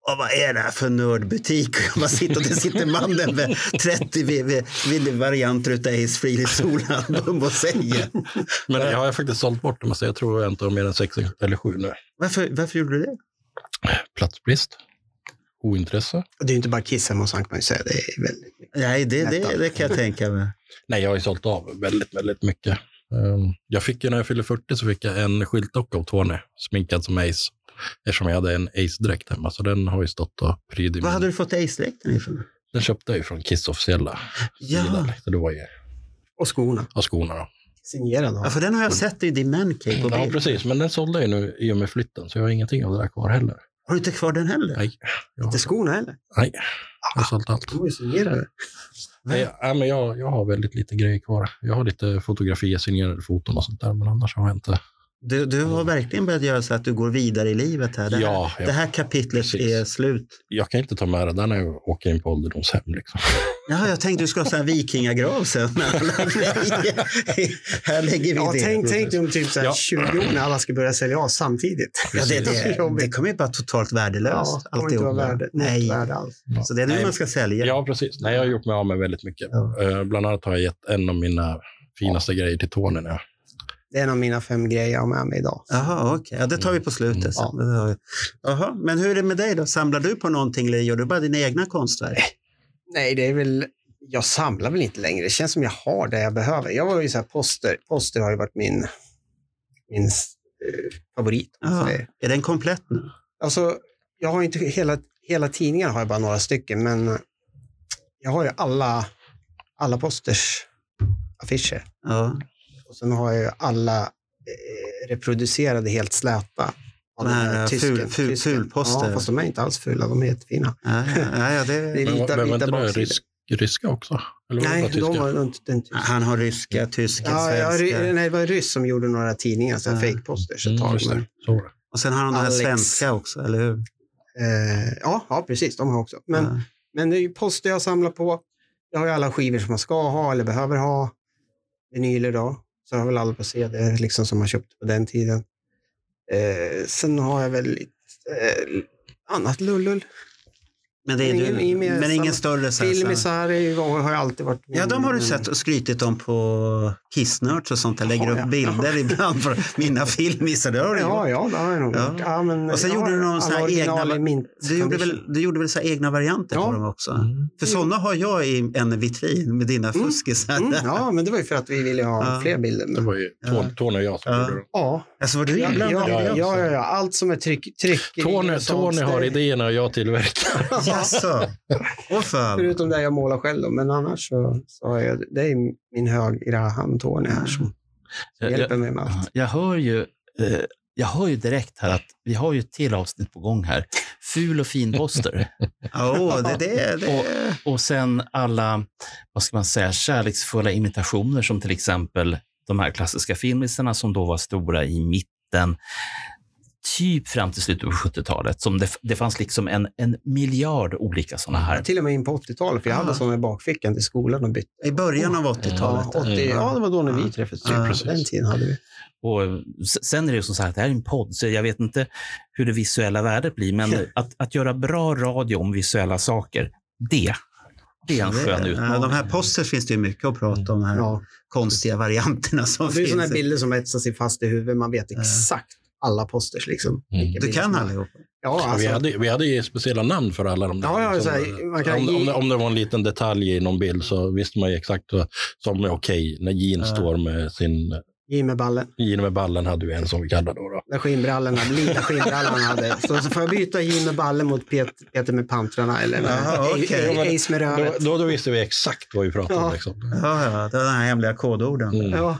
"Ja, vad är det här för nördbutik? Och jag bara sitter, och där sitter mannen med 30 vi- vi- vi- varianter utav Ace Frehley solalbum och säger.
Men jag har faktiskt sålt bort dem, så jag tror jag inte har mer än 6 eller 7 nu.
Varför, varför gjorde du det?
Platsbrist, ointresse.
Och Det är ju inte bara Kiss hemma hos han kan man ju säga. Det är väldigt...
Nej, det, det, det kan jag tänka mig.
Nej, jag har ju sålt av väldigt, väldigt mycket. Ehm, Jag fick ju när jag fyllde 40 så fick jag en skyltdocka av Tony, sminkad som Ace. Eftersom jag hade en Ace-dräkt hemma, så den har ju stått och pryd i
Vad
min-
hade du fått Ace-dräkten ifrån?
Den köpte jag ju från Kiss officiella
Ja.
sida. Så det var ju
Och skorna.
av skorna. Då.
Signerad av.
ja, för den har jag sett i din mancave på
Ja,
bild.
precis. Men den sålde jag ju nu i och med flytten, så jag har ingenting av det där kvar heller.
Har du inte kvar den heller?
Nej. Ja.
Inte skorna heller.
Nej, jag har sålt allt.
De är ju signerade.
Nej, ja, men jag, jag har väldigt lite grejer kvar. Jag har lite fotografier, signerade foton och sånt där, men annars har jag inte.
Du, du har verkligen börjat göra så att du går vidare i livet här. Det här,
Ja,
det
jag,
här kapitlet
precis.
är slut.
jag kan inte ta med det där när jag åker in på ålderdomshem. Liksom.
Jaha, jag tänkte du skulle ha en vikingagrav sen. med alla grejer. här lägger vi
Ja,
det.
tänk, tänk dig om typ så här
Ja.
20 år när alla ska börja sälja av samtidigt.
Ja, det,
Det är så
det,
jobbigt.
det kommer ju bara totalt värdelöst.
det kommer inte vara
alltihop.
värde, Nej.
Nej,
värde alls.
så det är nu
Nej,
man ska sälja.
Ja, precis. Nej, jag har gjort mig av med väldigt mycket.
Ja.
Eh, Bland annat har jag gett en av mina finaste grejer till Tony. När jag,
Det är en av mina fem grejer jag har med mig idag.
Jaha, okej. Ja, det tar vi på
Mm.
slutet. sen. Det har vi. Jaha, men hur är det med dig då? Samlar du på någonting eller gör du bara dina egna konstverk?
Nej, det är väl... Jag samlar väl inte längre. Det känns som jag har det jag behöver. Jag var ju så här poster. Poster har ju varit min, min eh, favorit. om man
Ja.
säger.
Alltså, Är den komplett nu?
Alltså, jag har inte hela, hela tidningen har jag bara några stycken, men jag har ju alla, alla posters affischer.
Ja.
Och sen har jag ju alla eh, reproducerade helt släta. av
De
den
här, eh,
tysken-
ful- ful-
tysken.
fulposter.
Ja, fast de är inte alls fula, de är jättefina.
Ja, ja, ja,
Det
det...
är-
Men
vita-
var- men var
vita
inte det
baksidor.
rysk, ryska också? Eller var det
Nej,
bara tyska?
de var inte den tyska.
Han har ryska, tyska,
Ja,
svenska.
ja,
Ah.
ry- eh, nej, det var en ryss som gjorde några tidningar, så här
Ja.
fake-posters ett
Mm,
tag.
just
men,
det. Så var det.
Och sen har de det här
Alex.
svenska också, eller hur?
eh, ja, ja, precis, de har också. Men,
Ja.
men det är ju poster jag samlar på. Jag har ju alla skivor som man ska ha eller behöver ha. Vinyler då. Så jag har väl alla på CD liksom, som man köpte på den tiden. Eh, sen har jag väl lite eh, annat lullul.
Men, det är
Ingen-
du,
ingen mer
men ingen
sam-
större så här-
Filmisar är ju- har ju alltid varit
Ja, de har du
min-
sett och skrytit om på Kissnörds och sånt. Jag lägger
Ja,
upp
ja.
bilder ibland på mina filmisar. Det har du gjort.
Ja, ja, det har jag nog
Ja.
gjort. Ja, men
Och sen
jag
gjorde
har
du någon sån här
alla original
egna-
i mint
Du gjorde,
condition.
väl, du gjorde väl så här egna varianter på
Ja.
dem också?
Mm.
För sådana har jag i en vitrin med dina
Mm.
fuskisar.
Mm, ja, men det var ju för att vi ville ha
Ja.
fler bilder.
Det
Men,
var ju Tony- Tony och jag som
Ja.
gjorde det.
ja,
Alltså var du
ja, ja,
inblandad i det
ja,
också?
ja, ja, allt som är tryck, tryck
Tony,
och sånt,
Tony har
det-
idéerna och jag tillverkar.
Jaså? Åh fan.
Förutom det jag målar själv, då, men annars så, så har jag, det är min högra hand Tony här som hjälper mig med allt.
Jag hör ju, eh, jag hör ju direkt här att vi har ju ett till avsnitt på gång här. Ful och fin-poster.
Ja, åh, det, det, det.
och sen alla, vad ska man säga, kärleksfulla imitationer som till exempel de här klassiska filmisarna som då var stora i mitten, typ fram till slutet på 70-talet. Som det, det fanns liksom en, en miljard olika sådana här.
Till och med in på 80-talet, för jag
Ja.
hade sådana i bakfickan till skolan och bytte.
I början av 80-talet.
Ja, 80, ja, det var då när vi träffades.
Ja,
Ja,
precis.
den tiden hade vi.
Och eh, s- sen är det ju som sagt, det här är en podd, så jag vet inte hur det visuella värdet blir, men att, att göra bra radio om visuella saker, det, det är en skön
Det-
utmaning.
ja, Eh, De här posters finns det ju mycket att prata om, de här
Ja.
konstiga varianterna som
Det är sådana här
finns.
bilder som etsar sig fast i huvudet. Man vet exakt alla posters. Liksom.
Mm.
Vilka
Du
bilder
kan
som-
allihop.
Ja,
vi,
alltså,
hade, vi hade ju speciella namn för alla de där.
Ja, ja,
Liksom,
så här, man kan
om,
ge-
om, det- om det var en liten detalj i någon bild så visste man ju exakt vad som är okej. När Jean
Ja.
står med sin...
Jimmy Ballen.
Jean med ballen hade vi en som vi kallade då. då.
när skinnbrallorna, lila skinnbrallorna hade. Så, så får jag byta Jim med ballen mot Pet, Peter med pantrarna eller med
Jaha,
A-
okej.
A- Ace med
Då,
röret.
då, då visste vi exakt vad vi pratade om.
Ja.
Liksom.
Ja, ja, det var de här hemliga kodorden.
Mm.
Ja.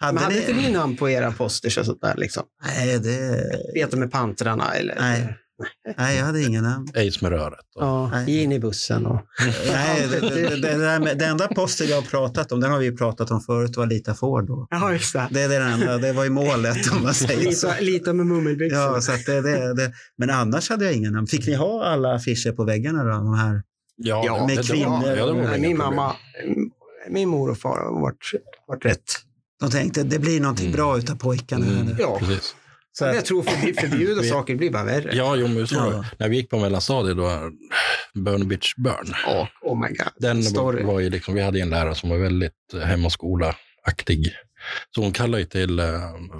Men
Hade
hade
ni?
inte ni namn på era posters och sånt där? Liksom?
Nej, det...
Peter med pantrarna eller?
Nej. Nej, jag hade ingen namn.
Ace med röret.
Ja,
Nej.
in i bussen och...
Nej, det, det, det, det, där med, det enda poster jag har pratat om, den har vi ju pratat om förut, var Lita Ford då.
Ja, just det.
Det är det enda, det var ju målet om man säger så.
Lita, lita med mummelbyxor.
Ja, så att det, det, det. Men annars hade jag ingen namn. Fick ni ha alla affischer på väggarna då? De här?
Ja,
Ja,
med
det- det var-
kvinnor.
ja, det var
Nej,
inga
min
problem.
mamma, min mor och far har varit, varit rätt.
De tänkte det blir någonting
Mm.
bra utav pojkarna. här nu.
Mm,
Ja.
precis.
Så
jag
att,
tror förbi- förbjuda
Vi-
saker blir bara värre.
Ja, jo, men så var det.
Ja.
När vi gick på mellanstadiet, då, Burn Bitch Burn.
Ja, oh my god.
Den
Story.
var ju liksom, vi hade ju en lärare som var väldigt eh, hem och skola-aktig. Så hon kallade ju till eh,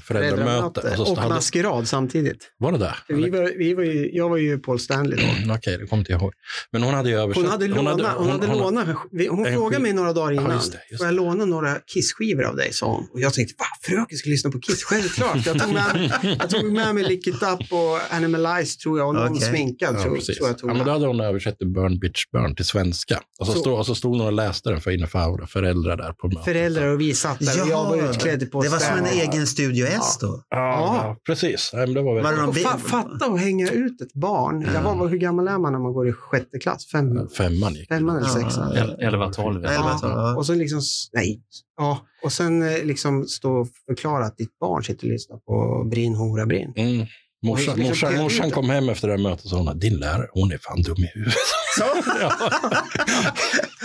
föräldramöte. Och så
Föräldramöte
stod-
och
hade,
maskerad samtidigt.
var det där?
Vi var, vi var ju, jag var ju Paul Stanley då.
Mm, Okej, det kommer inte jag ihåg. Men hon hade ju översatt.
Hon hade lånat. Hon, hade lånat. vi- hon
en
frågade
skiv-
mig några dagar
Ja,
innan.
just det, just
Får jag låna några Kiss-skivor av dig? sa hon. Och jag tänkte, va? Fröken ska lyssna på Kiss? Självklart. Jag tog med, jag tog med mig Lick It Up och Animalize tror jag. Och någon
Okej.
sminkad
Ja,
tror,
precis.
tror jag tog
ja, men
med.
då hade hon översatt till Burn Bitch Burn till svenska. Och så,
Så-
Stod, och så stod hon och läste den för innanför våra föräldrar där på mötet.
Föräldrar och vi satt där och jag var
Ja,
utklädd på
det var som en
stämma.
egen Studio S då.
Ja,
Ja.
precis. Ja, men det var
Var
väldigt...
det någon
Och
bild?
fa- fatta att hänga ut ett barn. Jag var, hur gammal är man när man går i sjätte klass? Fem,
Femman gick
femman eller
Ja.
sexan?
El- 11-12.
Ja, elva, tolv, ja.
Ja, och så liksom, s- nej. Ja, och sen eh, liksom stå och förklara att ditt barn sitter och lyssnar på Brin Hora Brin.
Mm.
Och
Morsan,
liksom
morsan,
peka ut
morsan
det.
kom hem efter det här mötet och sa hon att din lärare, hon är fan dum i huvudet.
Så,
Ja.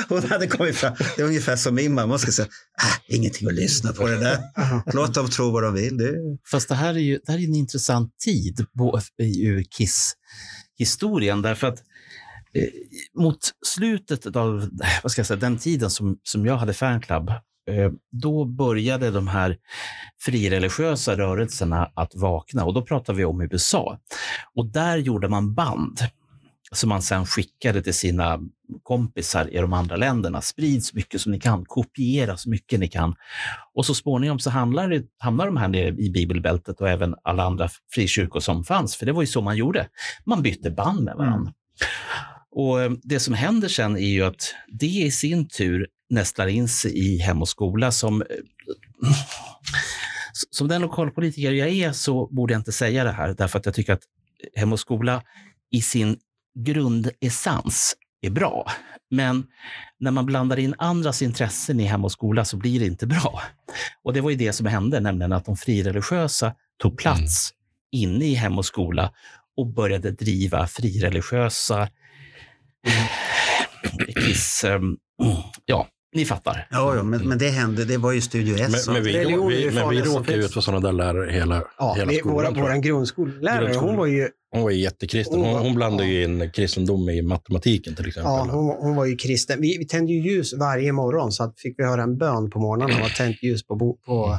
hon hade kommit fram. Det är ungefär som min mamma. Hon ska säga, äh, ingenting att lyssna på det där. Låt dem tro vad de vill. Det är
Fast det här är ju det här är en intressant tid på, i- ur Kiss-historien. Därför att eh, mot slutet av vad ska jag säga, den tiden som, som jag hade fanclub, eh, då började de här frireligiösa rörelserna att vakna. Och då pratar vi om USA. Och där gjorde man band som man sen skickade till sina kompisar i de andra länderna. Sprid så mycket som ni kan, kopiera så mycket ni kan. Och så småningom så hamnar, det, hamnar de här nere i bibelbältet och även alla andra frikyrkor som fanns, för det var ju så man gjorde. Man bytte band med varandra. Och eh, det som händer sen är ju att det i sin tur nästlar in sig i Hem och skola som... eh, Som den lokalpolitiker jag är så borde jag inte säga det här, därför att jag tycker att Hem och skola i sin grundessens är bra. Men när man blandar in andras intressen i Hem och skola så blir det inte bra. Och det var ju det som hände, nämligen att de frireligiösa tog plats inne i Hem och skola och började driva frireligiösa kiss... ehm, ja, ni fattar.
Ja, ja men, men det hände. Det var ju Studio
Men,
S. som-
men vi,
Religion är ju
vi, men vi
farligast som
råkar ju
finns.
ut för sådana där lärare hela,
Ja,
hela
vi,
skolan.
vår,
tror jag.
vår grundskollärare, hon
Grundskolan.
var ju,
Hon var ju jättekristen. Hon, hon blandade ju in kristendom i matematiken till exempel.
ja, hon, hon var ju kristen. Vi, vi tände ju ljus varje morgon så att fick vi höra en bön på morgonen och tänt ljus på, bo, på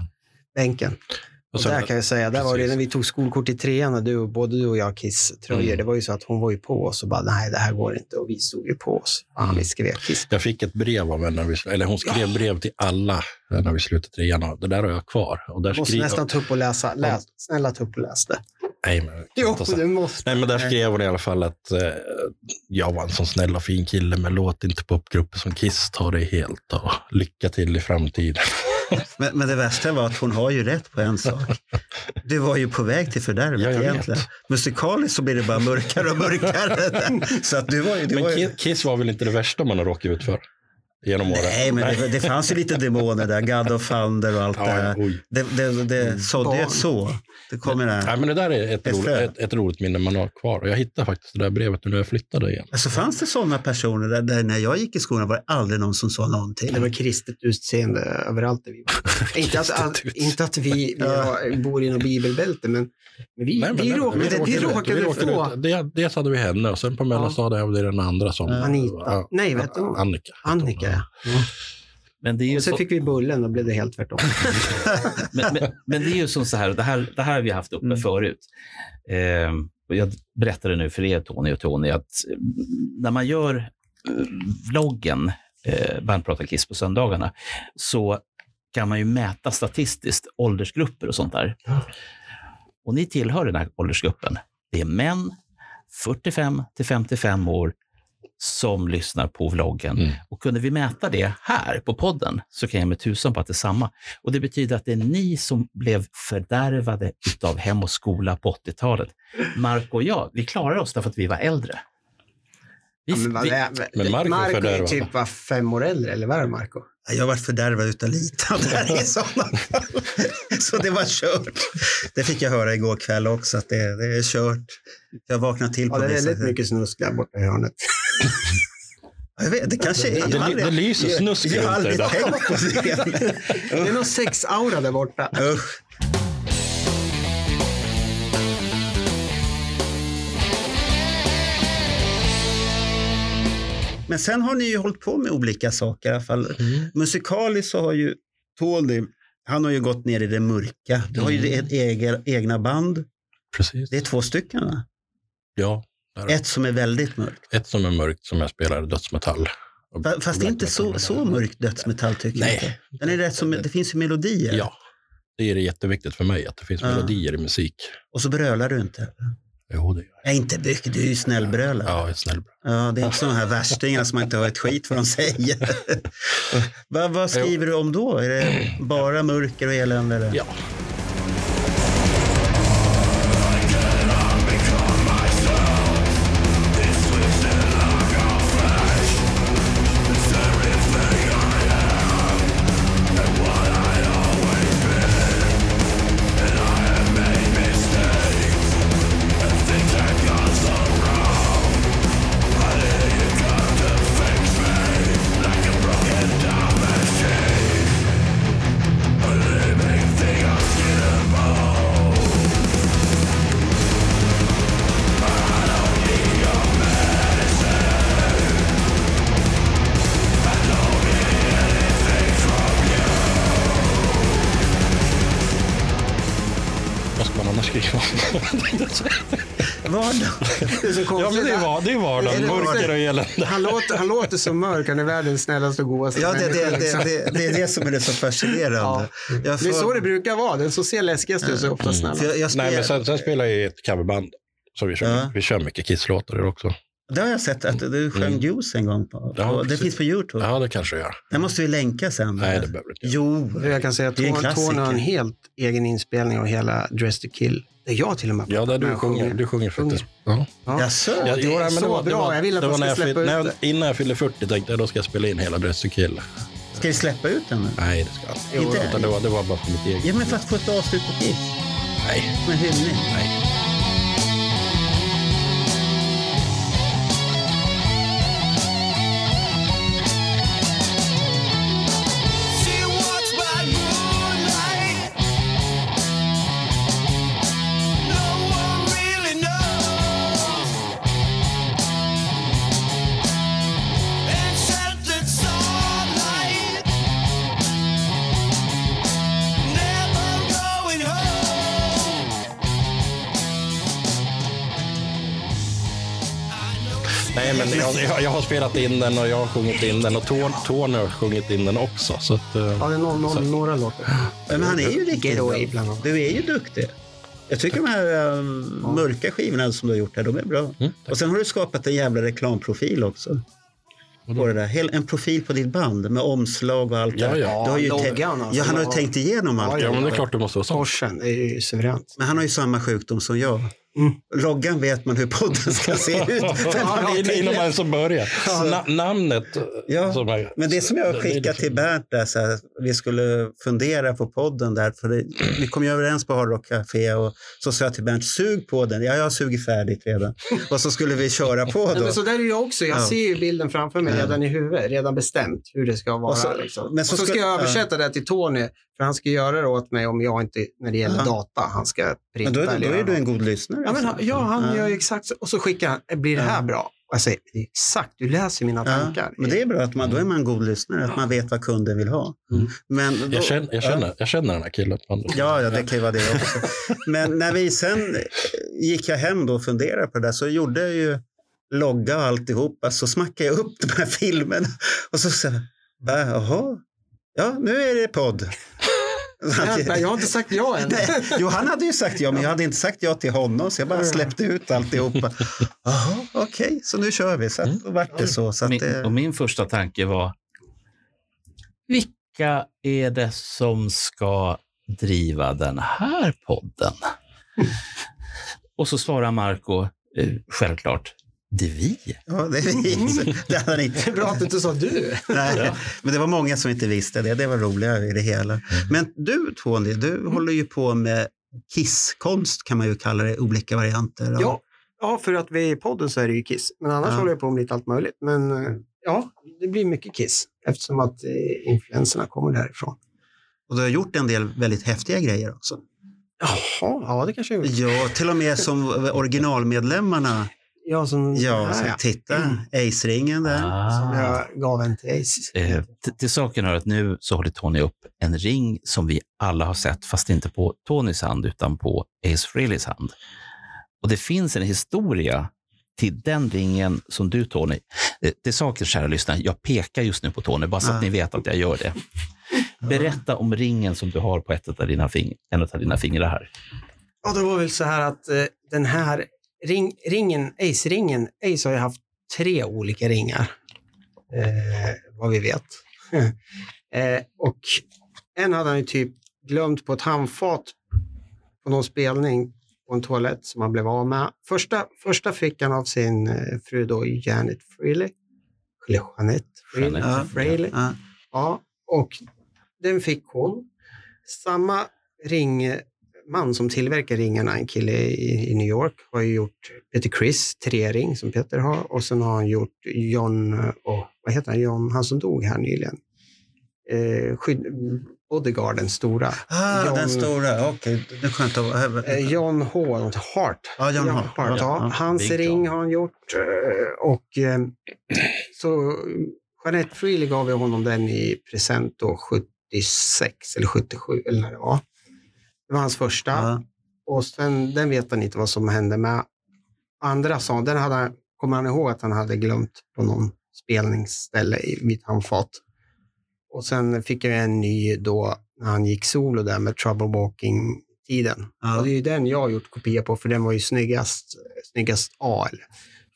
bänken. Och
Mm. och sen,
där kan jag säga, där var det
precis.
när vi tog skolkort i trean och du, både du och jag Kiss-tröjor,
Mm.
det var ju så att hon var ju på oss och bara nej det här går inte och vi stod ju på oss. Fan,
Mm.
vi skrev Kiss.
jag fick ett brev av henne, när vi, eller hon skrev
Ah.
brev till alla när vi slutade trean. och Det där har jag kvar. Och där
Jag måste
skri-
nästan ta upp och läsa. Läs, snälla ta upp och läs det.
Nej, men,
Jo,
inte så-
du måste.
Nej, men där skrev hon i alla fall att eh, jag var en sån snäll och fin kille, men låt inte popgrupper som Kiss ta dig helt. Och lycka till i framtiden.
Men, men det värsta var att hon har ju rätt på en sak. Du var ju på väg till fördärvet
Ja, jag vet.
egentligen. Musikaliskt så blir det bara mörkare och mörkare. Så att du var ju... Du var
Men
ju
Ki- Kiss var väl inte det värsta man har råkat ut för genom åren?
nej, men det, det fanns ju lite demoner där. God of Thunder och allt det
Ja, ja,
här.
oj. Mm.
Det, det, det sådde ju ett så. Det kommer
Nej,
där.
men det där är ett,
Ett
roligt,
frö.
ett, ett roligt minne man har kvar. Och jag hittade faktiskt det där brevet nu när jag flyttade igen.
Alltså fanns det sådana personer där, där när jag gick i skolan var det aldrig någon som sa någonting.
Det var kristet utseende överallt där vi var. inte, att, att,
Kristet
inte att vi, vi
Ja.
har, bor i något bibelbälte, men, men vi,
Nej, men
vi
nej,
råkade,
vi
vi
råkade ut.
råkade
Vi
vi
råkade
få
ut. Det- Dels hade vi henne och sen på mellanstadiet hade vi den andra som...
Anita.
Ja,
Nej, vet du vad?
Annika.
Annika. ja.
Men det är ju
Och sen
så-
fick vi bullen och blev det helt tvärtom.
men, men, men det är ju som så här, det här, det här har vi haft uppe
Mm.
förut. Eh, och jag berättade nu för er Tony och Tony att eh, när man gör eh, vloggen eh, Bernt pratar Kiss på söndagarna så kan man ju mäta statistiskt åldersgrupper och sånt där. Och ni tillhör den här åldersgruppen. Det är män 45 till 55 år som lyssnar på vloggen.
Mm.
Och kunde vi mäta det här på podden så kan jag med tusan på att det är samma. Och det betyder att det är ni som blev fördärvade utav hem och skola på 80-talet. Marco och jag, vi klarar oss därför att vi var äldre. Vi,
Ja, men vad
vi,
är-
Men Marco är
är
fördärvad.
typ var fem år äldre, eller vad är det, Marco?
Jag var fördärvad utan lite av det här i sådana fall. Så det var kört. Det fick jag höra igår kväll också, att det, det är kört. Jag vaknade till på
Ja, det är
vissa
väldigt
sätt.
mycket snusk där borta i hörnet.
Jag vet, det kanske är...
Det,
jag har
det,
aldrig-
det lyser snusk
Jag har
runt dig
aldrig
idag.
tänkt på det.
Det är någon sexaura där borta.
Usch. Men sen har ni ju hållit på med olika saker i alla fall.
Mm.
Musikaliskt så har ju Tony, han har ju gått ner i det mörka. Du har ju
Mm.
ett eget, egna band.
Precis.
Det är två stycken va?
Ja,
Ett som är väldigt mörkt.
ett som är mörkt som jag spelar dödsmetall. Och-
Fa- Fast det är inte så, så mörkt dödsmetall tycker jag.
Nej.
inte. Den är rätt som, det finns ju melodier.
Ja. Det är jätteviktigt för mig att det finns
Ja.
melodier i musik.
Och så brölar du inte.
Jo, det gör jag.
Nej, inte mycket. Du är ju snällbrölare.
Ja, jag är snäll.
Ja, det är inte sådana här värstingar som man inte hör ett skit vad de säger. vad, vad skriver du om då? Är det bara mörker och elände? Eller?
Ja. Vad ska man annars skriva om?
Vad?
Det är så
ja,
konstigt.
men det är, var, det är
Är
vardagen.
det
Mörker och elände.
han, låter, han låter så mörk, han är världens snällaste och godaste
Ja, det, det,
människa, liksom.
det, det, det är det som är det så fascinerande. Jag
Det är
får-
så det brukar vara. Den som ser läskigast ut är ofta
för
snällast.
jag, jag
Nej, men
spelar-
sen, sen spelar jag i ett coverband. Så vi kör,
Ja.
vi kör mycket Kiss-låtar där också.
Det har jag sett att du sjöng
Mm.
Juice en gång. På.
Ja,
och det
precis.
finns på YouTube.
Ja, det kanske jag gör.
Den måste vi länka sen.
Nej, det behöver du inte göra.
Jo,
Jag kan säga att
Det är en
Torn Torn har en
klassiker.
helt egen inspelning av hela Dress to kill. Det är jag till och med.
Ja, där du
Jag
sjunger. Du sjunger faktiskt. Ja.
Ja.
Jaså?
Ja,
det är
men
så bra. Jag vill att
det
man ska
var när jag
släppa
fyll-
ut
när jag,
det.
Innan jag fyllde 40 tänkte jag då ska jag spela in hela Dress to kill.
Ska vi släppa ut den nu?
Nej, det ska jag inte.
Jo, Inte?
Utan det var, det var bara för mitt eget.
Ja, men för att få ett avslut på Kiss.
Nej,
Med hyllning.
nej.
She walks by moonlight. No one really knows. Enchanted starlight. Never going home. I know.
nej men jag, jag, jag har spelat in den och jag har sjungit in den och Tony- Tony har sjungit in den också. Så att, eh,
Ja, det är någon, någon, några låtar.
Men han är ju riktigt
Get away
bra.
bland annat.
Du är ju duktig. Jag tycker de här eh, mörka skivorna som du har gjort här, de är bra.
Mm, tack.
och sen har du skapat en jävla reklamprofil också. På det där. Hel- En profil på ditt band med omslag och allt
Ja,
det där.
ja.
Du har ju
Ja,
tänkt-
loggan alltså.
ja, han har ju
Ja.
tänkt igenom allt.
ja, men det är klart du måste vara sån.
Torsen, det är ju suveränt.
Men han har ju samma sjukdom som jag.
Mm.
Loggan vet man hur podden ska se ut. Men han har
In-
inte-
Innan man ens börjar.
Ja.
Na, namnet. eh,
Ja,
som är,
Men det som jag
det- det är
skickade
lite-
till Bernt, där, så här, vi skulle fundera på podden där, för det, vi kom ju överens på Hard Rock Café och så sa jag till Bernt, sug på den. Ja, jag har sugit färdigt redan. Och så skulle vi köra på
Nej,
då.
men så där är jag också. Jag
Ja.
ser ju bilden framför mig
Ja.
redan i huvudet, redan bestämt hur det ska vara.
Och så-
liksom.
men
och
så
så ska
skulle-
jag översätta det till Tony, för han ska göra det åt mig om jag inte, när det gäller
Ja.
data, han ska
Men
printa
då, är-
eller
då är
göra
du en god lyssnare.
Ja, men, han-
alltså.
ja, han
Ja.
gör ju exakt så. Och så skickar han, "Eh, blir det här
Ja.
bra? Och jag säger, exakt, du läser mina
Ja,
tankar.
men det är bra, att man, då är man en god lyssnare, att man vet vad kunden vill ha.
Mm.
Men då,
Jag känner, jag, känner, jag känner den här killen.
Ja, ja, det kan ju vara det också. Men när vi sen gick jag hem då och funderade på det där så gjorde jag ju logga och alltihopa. Så smackade jag upp de här filmerna och så sa jag, "Va, jaha, ja nu är det podd.
Nej, nej, jag har inte sagt ja än.
Nej, jo, han hade ju sagt ja, men jag hade inte sagt ja till honom så jag bara släppte ut alltihopa. Jaha, okej, så nu kör vi. Så att, då vart det så. så att
min,
det,
och min första tanke var, vilka är det som ska driva den här podden? och så svarar Marco, eh, självklart, det är vi.
ja, det, det hade han
Det
inte.
är bra att du inte sa du.
Nej, men det var många som inte visste det. Det var roligare i det hela. Men du Tony, du håller ju på med kisskonst kan man ju kalla det, olika varianter. av-
Ja. ja, för att vi är i podden så är det ju Kiss. Men annars
Ja.
håller jag på med lite allt möjligt. Men eh, ja, det blir mycket Kiss eftersom att eh, influenserna kommer därifrån.
Och du har gjort en del väldigt häftiga grejer också.
Jaha, ja det kanske jag gjorde.
Ja, till och med som originalmedlemmarna.
Jag som,
Ja, Mm.
här,
så
ja.
titta, Ace-ringen där.
som
Ah.
jag gav en till Ace.
Eh, t- till saken hör att nu så håller Tony upp en ring som vi alla har sett, fast inte på Tonys hand utan på Ace Frehleys hand. Och det finns en historia till den ringen som du, Tony... Eh, till saken, kära lyssnare, jag pekar just nu på Tony, bara så att
Ja.
ni vet att jag gör det. Berätta om ringen som du har på ett av dina fing- en av dina fingrar här.
Ja, det var väl så här att eh, den här ring, ringen, Ace-ringen, Ace har ju haft tre olika ringar, eh, vad vi vet. eh, och en hade han ju typ glömt på ett handfat på någon spelning på en toalett som han blev av med. Första, första fick han av sin eh, fru då, Janet Freely. Eller Jeanette Freely.
Jeanette,
ja.
Freely.
Ja.
Ja, och den fick hon. Samma ringman som tillverkar ringarna, en kille i, i New York, har ju gjort Peter Chris, tre ring som Peter har, och sen har han gjort John, och, vad heter han, John, han som dog här nyligen. Eh, skydd, Bodyguard, den stora.
Ah,
John-
den stora. Okej, det är skönt att vara
Eh, John H. något, Hart.
Ja, John Hart.
Ja,
Ja, ja.
Hans
Big
ring
John.
har han gjort. eh, Och eh, så eh, Jeanette Freely gav jag honom den i present då 76 eller 77 eller när det var. Det var hans första.
Ja.
Och sen, den vet han inte vad som hände med. Andra sa, den hade, kommer han ihåg att han hade glömt på någon spelningsställe i mitt handfat. Och sen fick jag en ny då när han gick solo där med Trouble Walking-tiden.
Ja.
Och det är ju den jag har gjort kopia på, för den var ju snyggast, snyggast A. Eller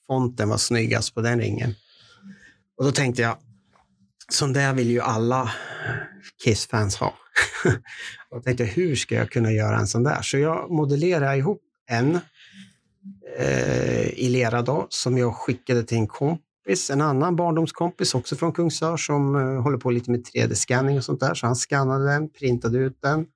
fonten var snyggast på den ringen. Och då tänkte jag, sån där vill ju alla Kiss-fans ha. och jag tänkte, hur ska jag kunna göra en sån där? Så jag modellerade ihop en eh, i lera då, som jag skickade till en kompis, en annan barndomskompis också från Kungsör som eh, håller på lite med 3D-scanning och sånt där. Så han skannade den, printade ut den.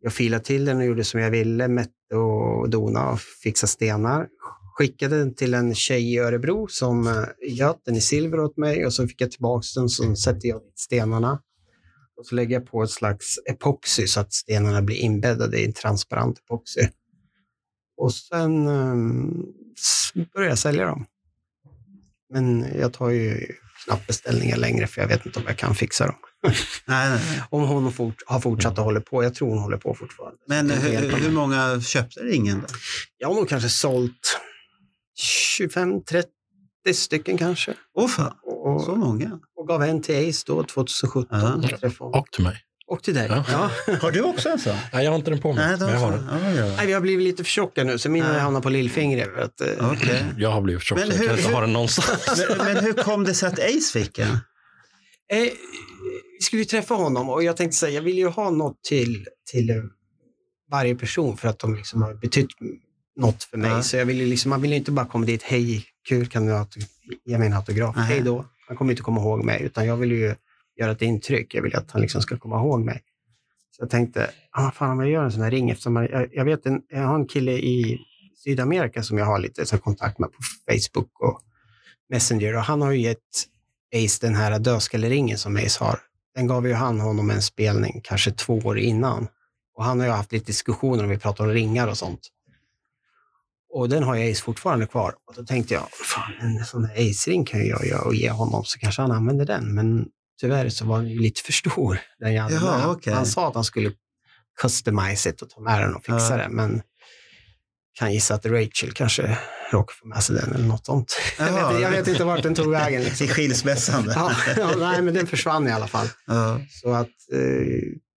Jag filade till den och gjorde som jag ville, mätte och donade och fixade stenar. Skickade den till en tjej i Örebro som eh, göt den i silver åt mig och så fick jag tillbaka den så sätter jag dit stenarna. Och så lägger jag på ett slags epoxy så att stenarna blir inbäddade i en transparent epoxy. Och sen um, började jag sälja dem. Men jag tar ju knappt beställningar längre för jag vet inte om jag kan fixa dem.
Nej, nej.
Om hon fort, har fortsatt och håller på. Jag tror hon håller på fortfarande.
Men
Så jag kan hjälpa
hur,
mig.
hur många köpte ringen? Då?
Jag har nog kanske sålt 25-30 stycken kanske.
Åh fan,
Och,
så många.
och gav en till Ace då 2017.
Ja.
Jag träffade honom.
Och till mig.
Och till dig.
Ja.
Ja.
Har du också en sån?
Nej, jag har inte den på mig,
Nej, då,
men jag har den.
ja, ja.
Nej, vi har blivit lite för tjocka nu, så mina
Ja.
hamnar på lillfingret. för att, eh,
Okej.
Jag har blivit tjock,
Men
så jag
hur-
kan inte
hur-
ha den någonstans.
Men, men hur kom det sig att Ace fick en?
Eh, vi skulle ju träffa honom och jag tänkte säga, jag vill ju ha något till, till eh, varje person för att de liksom har betytt något för mig.
Ja.
Så jag vill ju liksom, man vill ju inte bara komma dit, hej, kul, kan du aut- ge mig en autograf?
Nej.
Hej då. Han kommer inte komma ihåg mig, utan jag vill ju göra ett intryck. Jag vill att han liksom ska komma ihåg mig. Så jag tänkte, ah, fan om jag gör en sån här ring, eftersom jag, jag, jag vet en, jag har en kille i Sydamerika som jag har lite så här kontakt med på Facebook och Messenger och han har ju gett Ace den här dödskalleringen som Ace har. Den gav ju han honom en spelning kanske två år innan. Och han har ju haft lite diskussioner om vi pratar om ringar och sånt. Och den har ju Ace fortfarande kvar. Och då tänkte jag, fan en sån här Ace-ring kan ju jag göra och ge honom så kanske han använder den. Men tyvärr så var den ju lite för stor. Den jag hade
Jaha,
med.
okej.
Han sa att han skulle customize it och ta med den och fixa
Ja.
det. Men kan gissa att Rachel kanske råkar få med sig den eller något sånt. Jag
Jaha.
vet, jag vet inte vart den tog vägen. Liksom.
Till skilsmässan? där.
Ja, ja, nej, men den försvann i alla fall.
Ja.
Så att eh,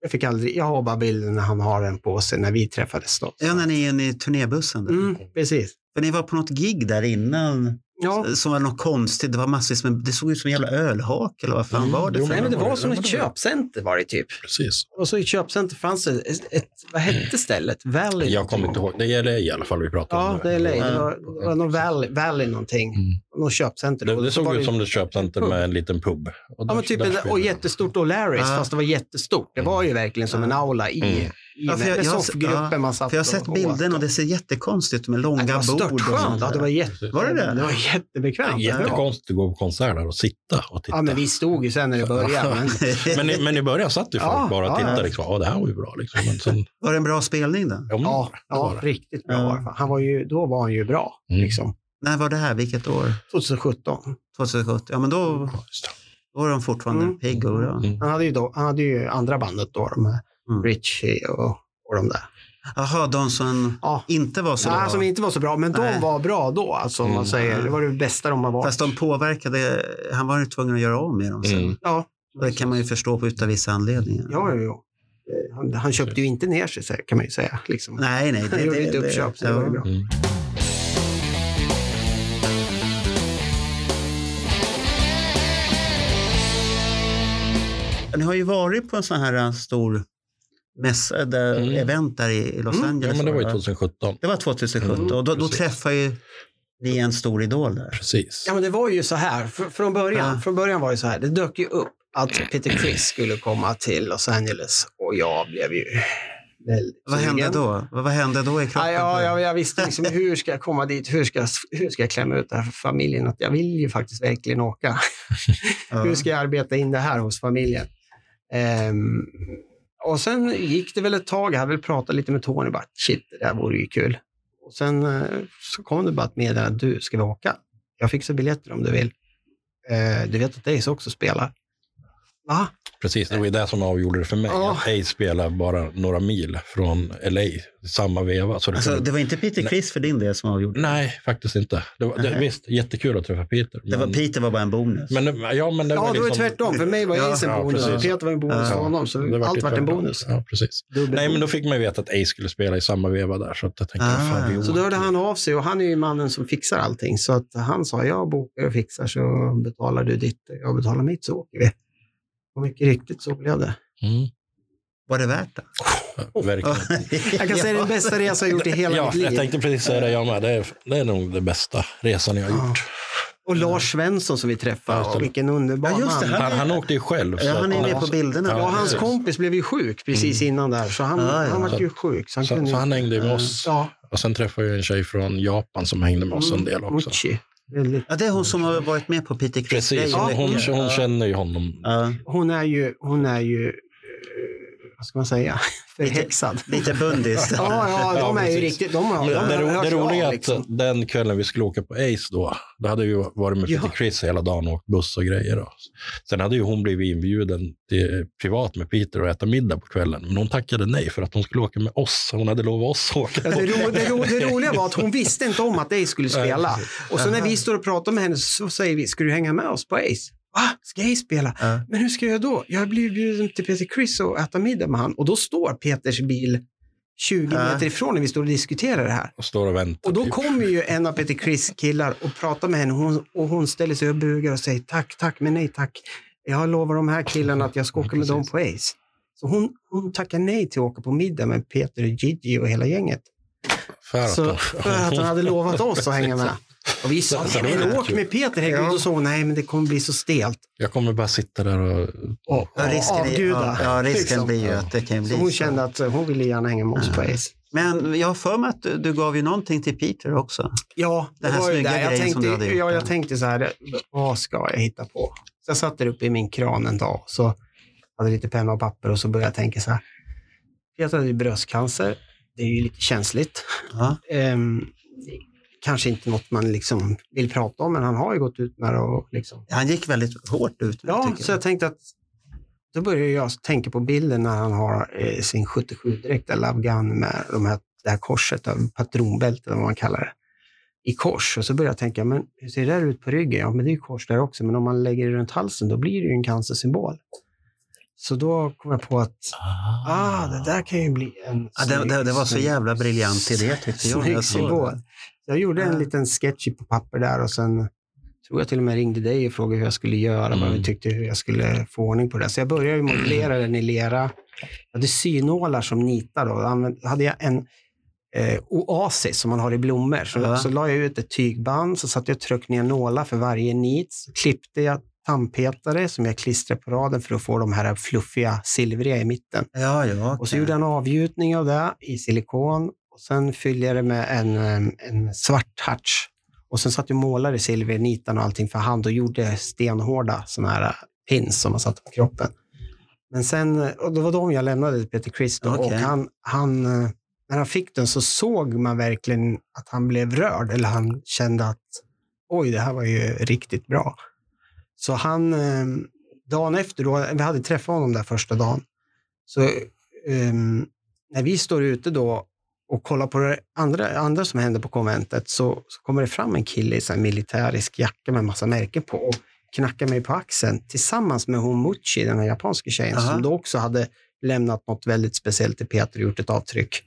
jag fick aldrig, jag har bara bilden när han har den på sig när vi träffades då.
ja, när ni är inne i turnébussen. Där.
Mm, precis.
För ni var på något gig där innan
Ja,
som var något konstigt. Det var massvis med, det såg ut som en jävla ölhak eller vad fan
Mm,
var det?
jo,
för
nej, men det var
det-
som
det-
ett köpcenter var det typ.
Precis.
Och så i köpcenter fanns det ett, ett vad hette stället? Valley?
Jag kommer inte ihåg. Det är LA i alla fall vi pratar om.
Ja,
nu.
det är LA. Det var,
Ja.
det var någon Valley, Valley någonting.
Mm.
Någon köpcenter.
Det,
Och
det
så var
såg ut som ett köpcenter med en liten pub. Och
Ja,
där-
men typ
där
en,
spelade
och
de.
jättestort O'Larrys,
Ja.
fast det var jättestort. Det var ju verkligen som en aula i, i
Ja, för jag-
med
jag har-
soffgruppen
ja,
man satt
För jag har sett
och åt.
bilden och det ser jättekonstigt ut med
Ja,
långa
det var
bord. och
störtskönt.
sånt
Ja, det
där.
var, jätte,
Var det det?
det var jättebekvämt.
Jättekonstigt att gå på konsert där och sitta och titta.
Ja, men vi stod ju sen när det började. Men,
men, i, men i början satt ju folk
Ja,
bara och
ja,
tittade.
ja.
Liksom. Ja, det här var ju bra. Liksom. Men sen,
Var det en bra spelning då?
ja, men,
ja,
var
ja,
det.
riktigt bra.
Ja.
var det. Han var ju, då var han ju bra.
Mm.
Liksom.
När var det här? Vilket år?
2017.
2017? Ja, men då
Ja, just det.
var de fortfarande
Mm.
pigg och bra.
Mm.
Han hade ju, då, han hade ju andra bandet då, de här
Mm.
Richie och, och de där.
Jaha, de som
Ja.
inte var så
Nej, som
bra.
inte var så bra, men
Nej.
de var bra då. Alltså, om man
Mm.
säger. Det var det bästa de har varit.
Fast de påverkade, han var ju tvungen att göra om med dem sen.
Mm.
ja.
Och Det kan man ju förstå på utav vissa anledningar.
Ja, ja, ja. Eh, Han, han köpte ju inte ner sig, så här kan man ju säga. Liksom.
Nej, nej.
han gjorde ett uppköp, så det var ju bra.
Mm.
Ni har ju varit på en sån här eh, stor mässa, eh, där,
Mm.
event där i i Los
Mm.
Angeles.
ja, men det var ju
va?
2017.
Det var 2017
Mm,
och då, då
precis.
träffade ju ni en stor idol där.
Precis.
Ja, men det var ju så här. Fr- från, början,
Ja.
från början var det så här. Det dök ju upp att Peter Criss skulle komma till Los Angeles och jag blev ju väldigt
Vad
sugen.
hände då? Vad, vad hände då i kroppen?
Ja, ja, ja, jag visste liksom hur ska jag komma dit? Hur ska, jag- hur ska jag klämma ut det här för familjen? Att jag vill ju faktiskt verkligen åka.
Ja.
Hur ska jag arbeta in det här hos familjen? Ehm, och sen gick det väl ett tag. Jag hade väl pratat lite med Tony. Bara, Shit, det där vore ju kul. Och sen eh, så kom det bara ett meddelande. Du, ska vi åka? Jag fixar biljetter om du vill. Eh, du vet att Days också spelar. Va?
Precis, det var ju det som avgjorde det för mig.
Ja.
Att Ace spelade bara några mil från LA, samma veva. Så det
Alltså,
kunde...
det var inte Peter Criss för din del som avgjorde.
Nej, faktiskt inte. Det var, det,
Nej.
visst, jättekul att träffa Peter.
Det var
men-
Peter var bara en bonus.
Men, ja, men det
Ja,
var
det var ju
liksom...
tvärtom. För mig var
Ja,
Ace
ja,
en bonus.
precis.
Peter var en bonus
Ja.
för honom. Så
ju
allt vart en
tvärtom.
bonus.
Ja, precis.
Dubbel
Nej, men
bonus.
då fick man ju veta att Ace skulle spela i samma veva där. Så att jag tänkte,
Ah.
fan, det är
Så då hörde
oerhört.
han av sig och han är ju mannen som fixar allting. Så att han sa, jag bokar och fixar så betalar du ditt, jag betalar mitt så åker vi. Och mycket riktigt så blev det.
Mm.
Var det värt det?
Ja, Verkligen.
Jag kan säga det är den bästa resa jag gjort i Oh, hela
Ja,
mitt
jag
liv.
tänkte precis säga det jag med. Det är, det är nog den bästa resan jag har
Ja.
gjort.
Och Lars Svensson som vi
Ja,
träffade,
just det.
och vilken underbar
Ja, just det.
man.
Han, han åkte ju själv.
Ja,
så
han är
att-
med på bilderna.
Ja,
Ja, hans
precis. Mm.
kompis blev ju sjuk precis innan där, så han,
Ja, ja.
han var ju sjuk. Så han
Så,
kunde
så han hängde ju med
Ja.
oss.
Ja, Mm.
Och sen träffade jag en tjej från Japan som hängde med oss en del också.
Uchi. Väldigt.
Ja, det är hon som har varit med på Peter Criss.
Precis, hon, hon,
Ja.
hon känner ju honom.
Ja.
Hon är ju, hon är ju, eh, vad ska man säga, förhäxad.
Lite bundis.
Ja, ja, de
Ja,
är ju
precis.
riktigt, de
Men
har, de har
det, ro,
hört
det
sig av,
roliga är att
liksom.
den kvällen vi skulle åka på Ace då, då hade vi ju varit med
Ja.
Peter Criss hela dagen och åkt buss och grejer. Då. Sen hade ju hon blivit inbjuden till, eh, privat med Peter och äta middag på kvällen. Men hon tackade nej för att hon skulle åka med oss. Hon hade lovat oss att åka.
Ja, Alltså, det, ro, det, ro, det roliga var att hon visste inte om att Ace skulle spela. Och så när vi står och pratar med henne så säger vi, ska du hänga med oss på Ace? Va? Ska Ace spela?
Ja.
Men hur ska jag då? Jag blir bjuden till Peter Criss och äta middag med han. Och då står Peters bil 20
Ja.
meter ifrån när vi står och diskuterar det här.
Och står och väntar.
Och då
typ.
kommer ju en av Peter Criss killar och pratar med henne och hon, och hon ställer sig och bugar och säger tack, tack, men nej tack. Jag lovar de här killarna att jag ska åka med dem på Ace. Så hon, hon tackar nej till att åka på middag med Peter och Gigi och hela gänget.
För att
Så,
hon-
för att hon hade lovat oss att hänga med. Och vi sa,
Så det var
men
jättekul.
åk med Peter Hägglund. Och då sa hon, nej men det kommer bli så stelt.
Jag kommer bara sitta där och...
Och,
Ja, risken, är,
avguda.
ja, ja, risken
liksom.
blir ju att det kan bli
Så hon
så.
kände att hon ville gärna hänga med oss på Ace.
Men jag har för mig att du, du gav ju någonting till Peter också.
Ja,
Den här
var ju
snygga
där. jag
grejen som
tänkte,
du hade gjort,
ja, jag
ja.
tänkte så här, vad ska jag hitta på? Så jag satt där uppe i min kran en dag och så hade lite penna och papper och så började jag tänka så här. Jag hade ju bröstcancer, det är ju lite känsligt.
Ja.
Ehm, kanske inte något man liksom vill prata om, men han har ju gått ut med det och liksom
Han gick väldigt hårt ut. med det,
Ja,
tycker
så jag tänkte att då började jag tänka på bilden när han har eh, sin 77-dräkt, eller afghan med de här, det här korset, av patronbältet, vad man kallar det, i kors. Och så började jag tänka, men hur ser det där ut på ryggen? Ja, men det är ju kors där också, men om man lägger det runt halsen, då blir det ju en cancersymbol. Så då kom jag på att, ah, det där kan ju bli en...
Ja, det, det, det var så
snygg-
jävla briljant idé tyckte jag. när
Snygg
jag såg
symbol.
den.
Jag gjorde
Ja.
en liten sketch på papper där och sen tror jag till och med ringde dig och frågade hur jag skulle göra, vad
Mm.
vi tyckte hur jag skulle få ordning på det. Så jag började ju modellera den i lera. Jag hade synålar som nitar då. Använd- hade jag en eh, oasis som man har i blommor. Så,
Ja.
så la jag ut ett tygband, så satte jag och tryckte ner nålar för varje nit. Så klippte jag tandpetare som jag klistrade på raden för att få de här fluffiga silvriga i mitten.
Ja, ja.
Och så
okej.
gjorde jag en avgjutning av det i silikon. Och sen fyllde jag det med en, em, en svart touch. Och sen satt jag och målade silvernitan och allting för hand och gjorde stenhårda sådana här pins som man satte på kroppen. Men sen, och det var de jag lämnade till Peter Christ då. och
Okej.
han, han, eh, när han fick den så såg man verkligen att han blev rörd, eller han kände att oj, det här var ju riktigt bra. Så han, eh, dagen efter, då, vi hade träffat honom där första dagen, så ehm, när vi står ute då och kollar på det andra, andra som händer på konventet så, så kommer det fram en kille i så här militärisk jacka med massa märken på och knackar mig på axeln tillsammans med hon Muchi, den här japanska tjejen,
Aha.
som då också hade lämnat något väldigt speciellt till Peter och gjort ett avtryck.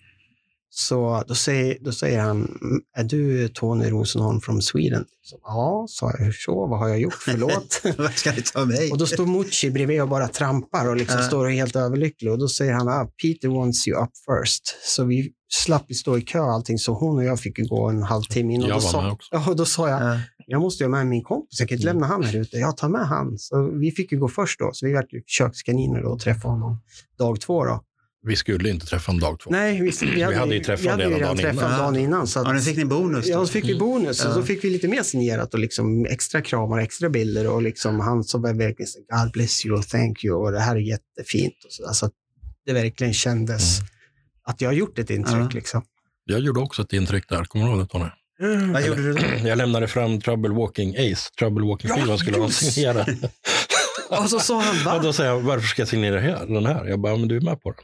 Så då säger, då säger han, "Mm, är du Tony Rosenholm från Sweden? Så, ja, sa jag, hur så? Vad har jag gjort? Förlåt.
Vad ska ni ta mig?
Och då står Mucci bredvid och bara trampar och liksom
Ja.
står och är helt överlycklig. Och då säger han, ah, Peter wants you up first. Så vi slapp ju stå i kö och allting, så hon och jag fick ju gå en halvtimme innan.
Jag
då
var med
sa,
också.
ja, och då sa jag,
Ja. Mm.
jag måste ju ha med min kompis, jag kan inte lämna han här ute. Jag tar med han. Så vi fick ju gå först då, så vi vart ju kökskaniner då och träffade honom dag två. Då.
Vi skulle inte träffa honom dag två.
Nej, vi, vi, hade,
hade ju träffat
vi hade
redan
redan
dagen innan.
träffat dagen innan. Så att,
ja, nu fick ni bonus. då.
Ja, så fick vi bonus.
Mm. Ja.
Och så fick vi lite mer signerat och liksom extra kramar och extra bilder. Och liksom han som var verkligen så God bless you och thank you och det här är jättefint. Och så, alltså, att det verkligen kändes att jag har gjort ett intryck.
Mm. Ja.
Liksom.
Jag gjorde också ett intryck där. Kommer du ihåg det Tony?
Vad gjorde du då?
Jag lämnade fram Trouble Walking Ace. Trouble Walking
Ja,
skivan skulle han
just.
signera.
Och så sa han
Och
va?
då säger jag, varför ska jag signera här, den här? Jag bara, men du är med på den.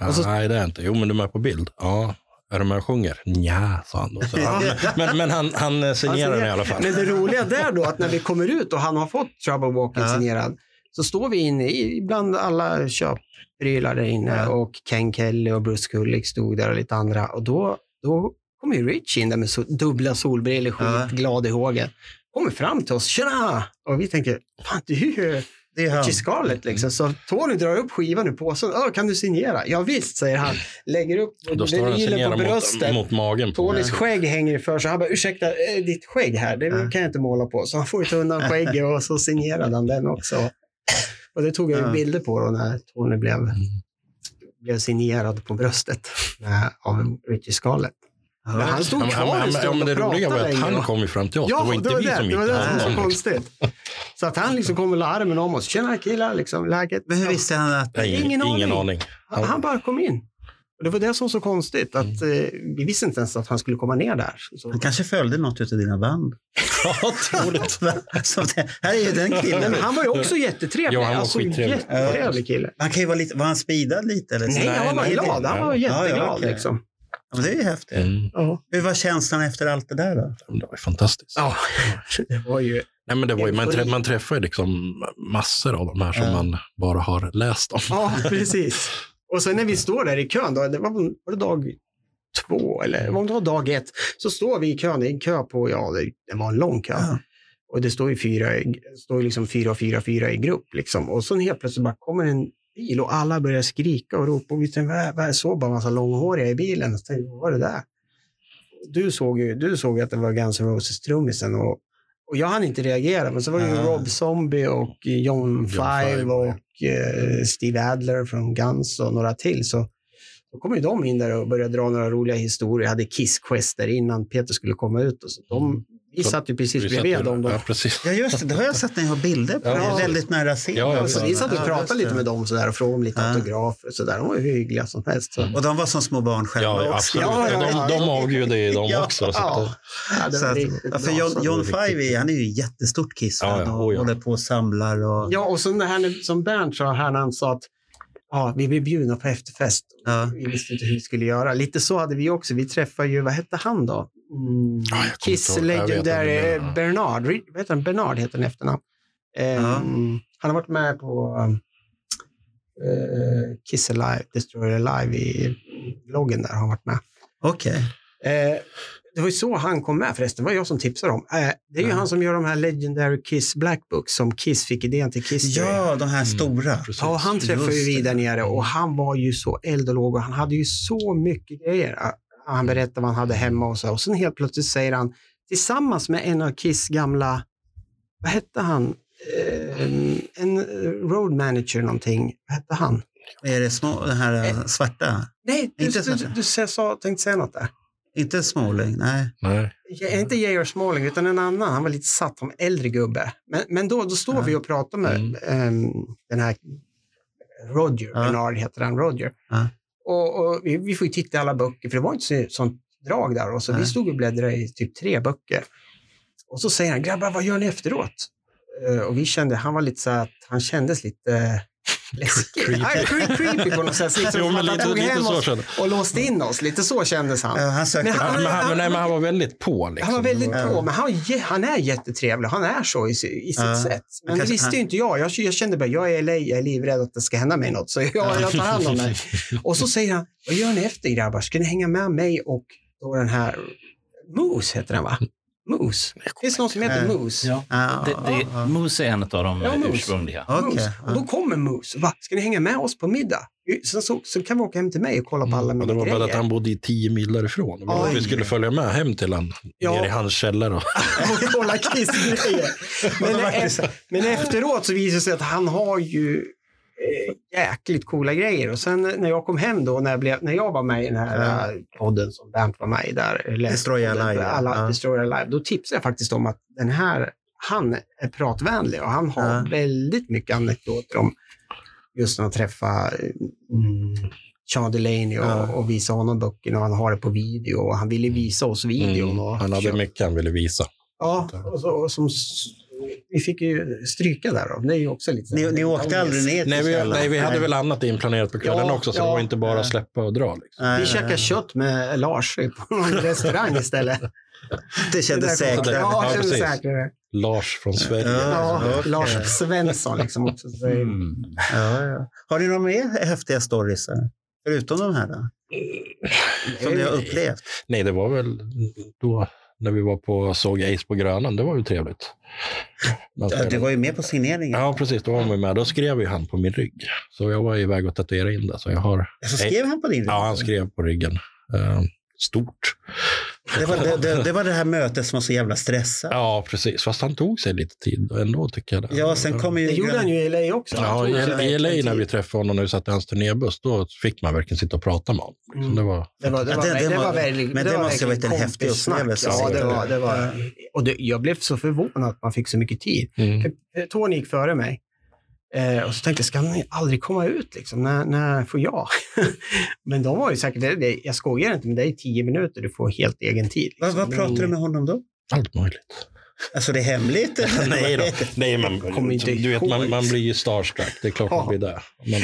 Ja,
Och så-
Nej, det är jag inte. Jo, men du är med på bild. Ja. Är du med och sjunger? Nja, sa han då. Så han, men men han, han eh, signerar den i alla fall.
Men det roliga där då, att när vi kommer ut och han har fått Trouble Walking
Ja.
signerad, så står vi inne i, bland alla köpprylar där inne
Ja.
och Ken Kelly och Bruce Kulick stod där och lite andra. Och då, då kommer ju Rich in där med so dubbla solbrillor,
Ja.
skitglad i hågen. Kommer fram till oss, tjena! Och vi tänker, fan du är ju
Det är han.
Richie Scarlett liksom. Så Tony drar upp skivan ur påsen. "Åh, kan du signera? Ja visst, säger han. Lägger upp
Då står han och
vinylen
signerar
på bröstet.
mot, mot magen. På.
Tonys skägg hänger för sig. Han bara, ursäkta, eh, ditt skägg här, det
Ja.
kan jag inte måla på. Så han får ju ta undan skägget och så signerade han den också. Och det tog jag
Ja.
ju bilder på då när Tony blev,
Mm.
blev signerad på bröstet eh, av Richie Scarlett. Men han
Ja,
stod
men, ja,
kvar en
men, ja,
stund
men det
och
roliga var
pratade
att han
länge.
kom ju fram till oss.
Ja,
det var inte vi
det,
som
det
gick
var det som
honom,
var så
liksom.
konstigt. Så att han liksom kom med armen om oss. Tjena killar, liksom, läget?
Men hur visste han att...
Nej, Ingen,
Ingen
ingen, aning.
aning. Han, han bara kom in. Och det var det som var så konstigt. Att,
Mm.
eh, vi visste inte ens att han skulle komma ner där. Så,
Han kanske följde något av dina band.
Ja, troligt.
Som det, här är ju den
Nej,
killen.
men han var ju också jättetrevlig.
Ja, han var
alltså,
skittrevlig.
jättetrevlig kille.
Han kan ju vara lite, var han speedad lite? Eller så?
Nej, han var bara
nej,
glad.
nej.
Han var
ja,
jätteglad.
okej.
liksom.
Ja, men det är ju häftigt.
Mm.
ja.
Hur var känslan efter allt det där då?
Det var ju fantastiskt.
Ja, det var ju...
Nej, men det var ju, man, trä,
Eufori.
man träffar ju liksom massor av de här som
Ja.
man bara har läst om.
Ja, precis. Och sen när vi står där i kön, då, det var, var det dag två eller om det var dag ett, så står vi i kön. Det är en kö på, ja, det, det var en lång kö.
Ja.
Och det står ju fyra, i- står ju liksom fyra och fyra, fyra i grupp. Liksom. Och sen helt plötsligt bara kommer en bil och alla börjar skrika och ropa. Och vi tänkte, vad, är- vad är så bara en massa långhåriga i bilen. Så tänkte, vi, vad var det där? Du såg ju du såg ju att det var Guns N' Roses-trummisen. Och, och jag hann inte reagera, men så var det ju
Ah.
Rob Zombie och John Five
Five,
och
ja.
eh, Steve Adler från Guns och några till. Så då kom ju de in där och började dra några roliga historier. Jag hade Kiss-gester innan Peter skulle komma ut. Och så. De, vi
Så-
satt ju
Vi
precis
satt ju-
bredvid dem. Då.
Ja, precis.
Ja, just det. Det har jag sett när jag har bilder på
Ja,
dig.
ja.
Väldigt nära scenen.
Ja, ja,
och
Så
sådana.
Alltså, vi satt och
Ja,
pratade
just
lite
det.
med dem sådär och frågade om lite
Ja.
autografer. och Sådär. De var ju hyggliga som helst. Så.
Och de var som små barn själva
Ja, ja,
också.
absolut.
Ja, ja, ja.
De, de avgudar ju dem
Ja,
också. Så att,
Ja,
det-
ja, det
Så
var
att,
riktigt
ja, för
bra.
John, John
riktigt.
Five, är- han är ju jättestort Kiss.
Ja, ja.
Han och
Oh, ja.
håller på och samlar. Och,
Ja, och sen det här när- som Bernt sa här när han sa att ja, vi blev bjudna på efterfest.
ja.
Vi visste inte hur vi skulle göra. Lite så hade vi också. Vi träffade ju, vad hette han då? Mm,
Ja, Ah, jag kommer
Kiss
inte ihåg. Jag vet
Legendary
inte vem det var.
Bernard. Ri- Vad heter han? Bernard heter han i efternamn. Ehm,
Ja.
Han har varit med på um, eh, Kiss Alive, Destroyer Alive i vloggen där har han varit med.
Okej.
Eh, det var ju så han kom med förresten. Det var jag som tipsade om. Eh, det är ju
Ja.
han som gör de här Legendary Kiss Black Books som Kiss fick idén till Kiss.
Ja, de
Mm.
här stora.
precis.
Ja, han träffade ju
Just det.
vi där nere och han var ju så eld och låg och han hade ju så mycket grejer. Ah, Han berättade vad han hade hemma och så. Och sen helt plötsligt säger han, tillsammans med en av Kiss gamla, vad hette han? Eh, en road manager någonting. Vad hette han?
Är det små, den här eh, svarta?
Nej, du,
Inte
du,
Sasha.
du, du sa, tänkte säga något där.
Inte Småling, nej.
Nej.
Ja, inte J.R. Smalling, utan en annan. Han var lite satt, han var äldre gubbe. Men, men då, då står
Ja.
vi och pratar med
Mm.
ehm, den här Roger,
Ja.
Bernard heter han, Roger.
Ja.
Och, och vi, vi får ju titta i alla böcker, för det var inte så, sånt drag där. Och så
Nej.
vi stod och bläddrade i typ tre böcker. Och så säger han, grabbar, vad gör ni efteråt? Eh, och vi kände, han var lite så att han kändes lite eh, läskig.
Creepy.
Ja, cre- creepy på något sätt. Lite som
Jo, men
att han
lite,
tog
lite
hem
så
oss
kände
och låste in oss. Lite så kändes han.
Ja, Eh, han sökte
Men
Ja, men han, men nej, men han var väldigt på. Liksom.
Han var väldigt
Ja.
på, men han, är jä- han är jättetrevlig. Han är så i, si- i sitt
Ja.
sätt. Men det
Kanske-
visste
han-
ju inte jag. jag. Jag kände bara, jag är i LA, jag är livrädd att det ska hända mig något. Så jag, jag tar hand om mig. Och så säger han, vad gör ni efter grabbar? Ska ni hänga med mig och då den här Moose heter den va? Moose. Finns det någon som heter
Ja.
Moose?
Ja.
Ja,
Det, det,
ja,
Moose är en av de
Ja, Moose.
ursprungliga.
ja. Okej.
Moose. Och då kommer Moose. Va? Ska ni hänga med oss på middag? Sen så, så kan vi åka hem till mig och kolla på alla
Mm.
mina
Ja, det var bara att
grejer.
han bodde i tio mil därifrån. Och
Oj.
vi skulle följa med hem till han,
Ja.
ner i hans källare.
och kolla Kiss-grejer. Men, e- men efteråt så visade det sig att han har ju eh, jäkligt coola grejer. Och sen när jag kom hem då, när jag, blev, när jag var med i den här eh, podden som Bernt var med i där, eller
Destroy
podden,
Alive,
alla,
ja.
Destroy Alive, då tipsade jag faktiskt om att den här, han är pratvänlig och han har
Ja.
väldigt mycket anekdoter om just när han träffade eh, mm, Sean Delaney och,
Ja.
och visade honom böckerna och han har det på video och han ville visa oss videon.
Mm.
Och
Han hade mycket han ville visa.
Ja, och, så, och som s- vi fick ju stryka där då. Det är ju också lite...
Ni, ni åkte aldrig ner till
Nej vi,
källaren?
nej, vi hade väl annat inplanerat på kvällen
Ja,
också, så
ja.
det var inte bara släppa och dra. Liksom.
Nej,
Vi
nej,
käkade
nej.
kött med Lars på någon restaurang istället.
Det kändes
Det där-
säkrare.
Ja,
Ja,
det kändes
precis.
säkrare.
Lars från Sverige.
Ja,
Ja, okej.
Lars Svensson liksom också. Så det är-
Mm.
Mm.
Ja, ja. Har ni några mer häftiga stories? eh, Förutom de här? Då? Som ni har upplevt?
Nej, det var väl då när vi var på såg Ace på Grönan. Det var ju trevligt. Eh,
Ja, du var ju med på signeringen.
Ja, precis. Då var man med. Då skrev ju han på min rygg. Så jag var iväg och tatuerade in det. Så jag har...
Så skrev han på din
Ja, han skrev på ryggen. Eh, stort.
det, var, det, det, det var det här mötet som var så jävla stressat.
Ja, precis. Fast han tog sig lite tid ändå tycker jag. det.
Ja, sen kom ju...
Det gjorde han ju i LA också.
Ja, i, i LA när vi träffade honom nu satt i hans turnébuss, då fick man verkligen sitta och prata med honom. Så det var,
Det var, det
Ja,
var,
det- det
det
var-
var väldigt,
men det
var
måste ha varit en
verkligen
häftig
kompissnack.
upplevelse.
Ja, det var, det
Ja.
var, och det, jag blev så förvånad att man fick så mycket tid.
mm.
Tony Eh, gick före mig. Eh, och så tänkte jag, ska ni aldrig komma ut liksom? När, när får jag? men de var ju säkert, det, det, jag skojar inte, men det är tio minuter, du får helt egen tid. liksom. Mm.
Vad, vad pratade du med honom då?
Allt möjligt.
Alltså det är hemligt?
Nej, då. Nej man,
Kommer inte
du vet, man,
ihåg.
man blir ju starstruck. Det är klart man
Ja.
blir det.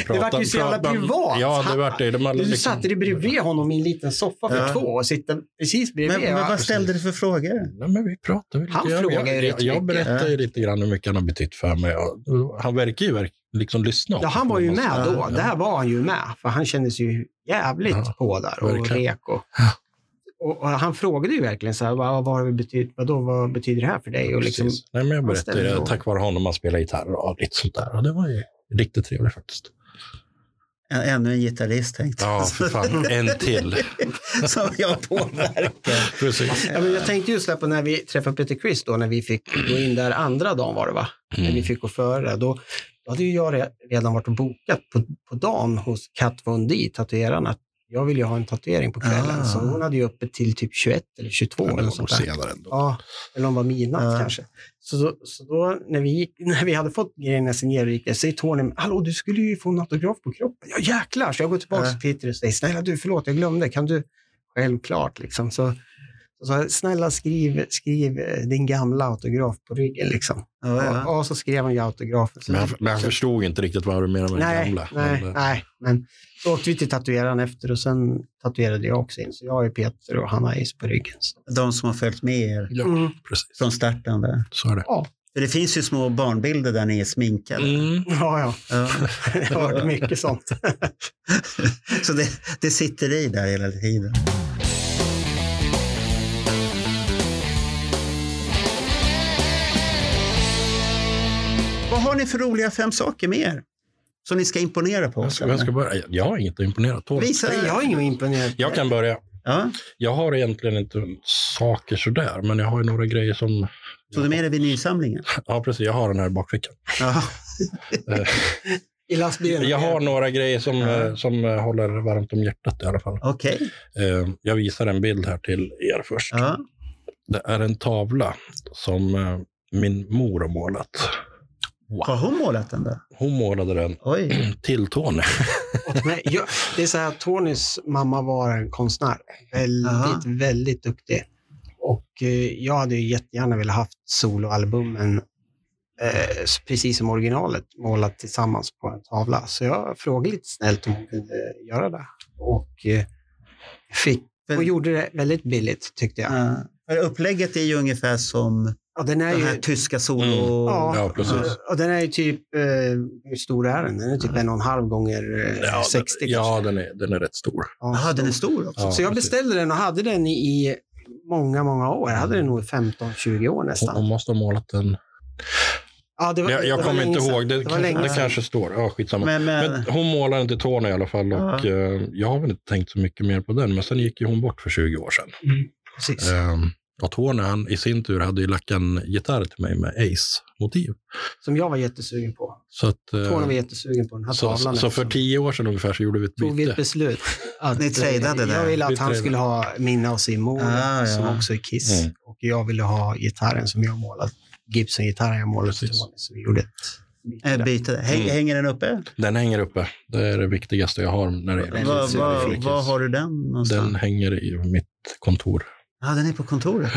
Man
vart ju så jävla
pratar-
privat.
Ja, det vart det. De hade
Du
liksom-
satte dig bredvid honom i en liten soffa för
Ja.
två och sitter precis bredvid.
Men, men
va?
vad ställde du för frågor?
Nej, men vi pratade väl lite.
Han
Jag-
frågar ju
jag,
rätt
jag, jag
mycket.
berättar ju lite grann hur mycket han har betytt för mig. Och Han verkar ju verk, liksom lyssna.
Ja, han var ju med då.
Ja.
Där var han ju med. För han kändes ju jävligt
Ja,
på där och
verkligen.
rek. Och, och, och han frågade ju verkligen så här, vad, vad, har det betyder, vadå, vad betyder det här för dig? Och liksom,
Precis. Nej, men jag
han
berättade
ställde
ju det.
frågor.
Tack vare honom man spelar gitarr och lite sånt där. Och det var ju riktigt trevligt faktiskt.
Än- Ännu en gitarrist tänkte
Ja, för fan. En till.
jag. Som jag påverkar.
Precis.
ja, men jag tänkte just där på när vi träffade Peter Chris då, när vi fick gå in där andra dagen var det va? När vi
Mm.
fick gå före. Då, då hade ju jag re- redan varit och bokat på, på dagen hos Kat Von D, tatueraren, att jag ville ju ha en tatuering på kvällen.
Ah.
Så hon hade ju öppet till typ 21 eller 22.
Det var
eller något
nog
sånt där.
senare ändå.
Ja, eller om det var midnatt
Ja.
kanske. Så, då- så då när vi, gick, när vi hade fått grejerna signerade gick jag, säger Tony, "Men hallå du skulle ju få en autograf på kroppen. Ja jäklar, så jag går tillbaka
Ja.
till Peter och säger, snälla du förlåt jag glömde, kan du? Självklart liksom. Så, så, sa jag, snälla skriv, skriv eh, din gamla autograf på ryggen liksom.
Ja, ja.
Och, och så skrev han ju autografen. Så
Men han, men han förstod inte riktigt vad du menade med den
nej,
gamla.
nej,
Men, eh,
nej, men så åkte vi till tatueraren efter och sen tatuerade jag också in. Så jag har ju Peter och han har Ace på ryggen. Så.
De som har följt med er
Ja,
Mm.
precis.
från starten. Där.
Så är det.
För det finns ju små barnbilder där ni är sminkade.
Mm.
Ja, ja.
Ja.
Det har varit mycket sånt.
Så det, det sitter i där hela tiden. Vad har ni för roliga fem saker med er? Som ni ska imponera på
Jag,
oss?
ska, jag, ska börja. jag har inget att imponera. Tål.
Visa
Nej, jag har ingen imponerad.
Jag kan börja.
Ja,
Jag har egentligen inte saker sådär, men jag har ju några grejer som...
tog du med dig vinylsamlingen?
Ja, precis. Jag har den här i bakfickan.
Ja.
I lastbilen.
Jag har några grejer som,
Ja.
eh, som eh, håller varmt om hjärtat i alla fall.
Okej.
Eh, Jag visar en bild här till er först.
Ja.
Det är en tavla som eh, min mor har målat.
Har hon målat den då?
Hon målade den
Oj.
till Tony.
Nej, jag, det är så här att Tonys mamma var en konstnär. Väldigt,
Aha.
väldigt duktig. Och eh, jag hade ju jättegärna velat haft soloalbumen eh, s- precis som originalet målat tillsammans på en tavla. Så jag frågade lite snällt om hon kunde göra det. Och eh, fick.
Men-
Hon gjorde det väldigt billigt tyckte jag.
Ja. För Upplägget är ju ungefär som
Ja, den är
de här
ju
tyska solo...
Ja.
Ja, precis.
Och den är ju typ, eh, hur stor är den? Den är typ en och en halv gånger eh,
Ja,
60
den, ja den, är, den är rätt stor.
kanske.
Jaha, den är stor också.
Ja,
Så jag
precis.
beställde den och hade den i många, många år. Jag hade den nog i 15-20 år
Hon, hon
nästan.
måste ha målat den.
Ja, det var,
Jag,
det
jag
var
kommer
länge
inte
sedan.
ihåg. Det,
Det var
kanske-
länge
det
sedan. eh,
kanske står. Ja, skitsamma.
Men, eh, men,
Men hon målade den till Tony i alla fall och
Ja.
eh, jag har väl inte tänkt så mycket mer på den. Men sen gick ju hon bort för 20 år sedan.
Precis.
Eh, och Tony han i sin tur hade ju lackat en gitarr till mig med Ace-motiv.
Som jag var jättesugen på.
Så, att, eh,
Tony var jättesugen på den här
så,
tavlan.
så för
eftersom-
tio år sedan ungefär så gjorde vi ett
tog vi ett
byte.
beslut. Att,
Ni tradeade
eh,
där.
Jag ville
Vi
att han
tradeade.
skulle ha mina och Simon,
Ah, ja.
som också är Kiss.
Mm.
Och jag ville ha gitarren som jag målat. Gibson-gitarren jag målade till
Precis.
Tony. Så vi gjorde ett byte
äh,
där.
byte. Häng,
Mm.
Hänger den uppe?
Den hänger uppe. Det är det viktigaste jag har när det
Var,
gäller
var,
musik.
var, har du den någonstans?
Den hänger i mitt kontor.
Ja, den är på kontoret.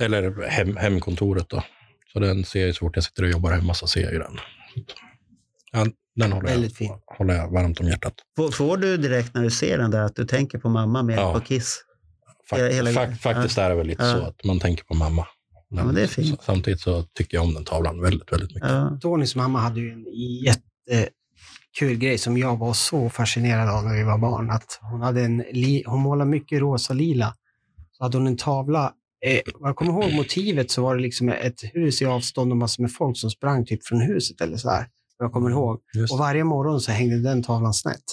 Eller hem, hemkontoret då. Så den ser jag ju så fort jag sitter och jobbar hemma så ser jag ju den. Ja, den håller jag,
Väldigt fin.
håller jag varmt om hjärtat.
Får, får du direkt när du ser den där att du tänker på mamma mer
Ja.
än på Kiss?
Fak,
Hela- hela-
fak, faktiskt är det väl lite
Ja.
så att man tänker på mamma.
Ja, men det är fint.
s- Samtidigt så tycker jag om den tavlan väldigt, väldigt mycket.
Ja.
Tonys mamma hade ju en jättekul grej som jag var så fascinerad av när vi var barn. Att hon, hade en li- hon målade mycket rosa och lila. Så hade hon en tavla. Eh, vad jag kommer ihåg motivet så var det liksom ett hus i avstånd och massor med folk som sprang typ från huset eller så här. Vad Jag kommer ihåg.
Just.
Och varje morgon så hängde den tavlan snett.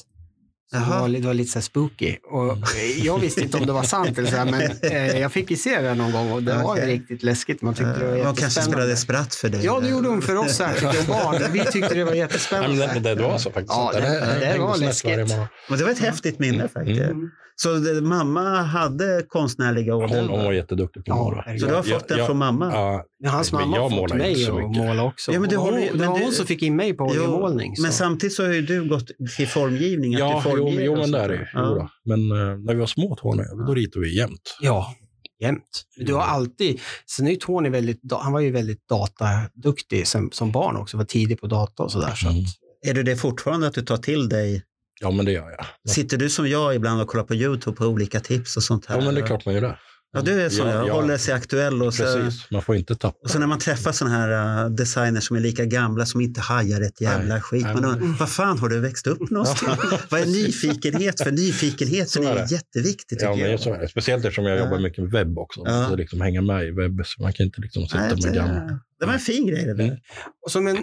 Så det,
Jaha.
var, li- det var lite så här spooky. Och
Mm.
eh, jag visste inte om det var sant, eller så här, men eh, jag fick ju se det någon gång och det var
Okej.
riktigt läskigt. Man tyckte det var
Eh, Hon kanske spelade
jättespännande.
spratt för dig.
Ja, det gjorde hon för oss särskilt, och barn. Vi tyckte det var
Nej,
jättespännande.
men det, det var så faktiskt.
Ja,
Den
det-
är-
det
hängde
var
snett
läskigt.
varje morgon.
Men det var ett häftigt minne faktiskt.
Mm.
Så det, mamma hade konstnärliga
Hon, hon var
ådror?
jätteduktig på att
Ja,
måla.
herregud.
Så du har fått
Jag-
den
jag-
från mamma?
Ja,
Men Hans
Men
mamma
jag
har fått
målar inte
mig
så
att
mycket.
måla också.
Ja, men du
Och
har
hon,
ju-
det
men
var
du-
hon som fick in mig på
Jo,
oljemålning. så.
Men samtidigt så har ju du gått till formgivning. att
Ja,
du
jo,
formger
jo
och
men
sånt
det är det ju. Jo då. Men eh, när vi var små Tony, då ritade vi jämt.
Ja, jämt. Du har alltid... Sen är ju Tony väldigt... da- Han var ju väldigt dataduktig som, som barn också. Var tidig på data och sådär. Så att,
Mm.
Är det det fortfarande att du tar till dig?
Ja, men det gör jag.
Sitter du som jag ibland och kollar på YouTube på olika tips och sånt här?
Ja, men det är klart man gör det.
Ja, du är som
Ja,
jag,
ja.
håller sig aktuell. Och så,
Precis, man får inte tappa.
och så när man träffar sådana här äh, designers som är lika gamla som inte hajar ett jävla
Nej.
skit.
Nej,
Man
men-
undrar, vad fan har du växt upp någonstans? vad är nyfikenhet? För nyfikenheten
Så är
är,
det.
jätteviktig tycker
Ja, men
jag.
så är det. Speciellt eftersom jag
Ja.
jobbar mycket med webb också. Man
Ja.
måste liksom hänga med i webb, så man kan inte liksom sitta
Nej,
med gamla.
det, det var en fin grej det där.
Mm.
Och som en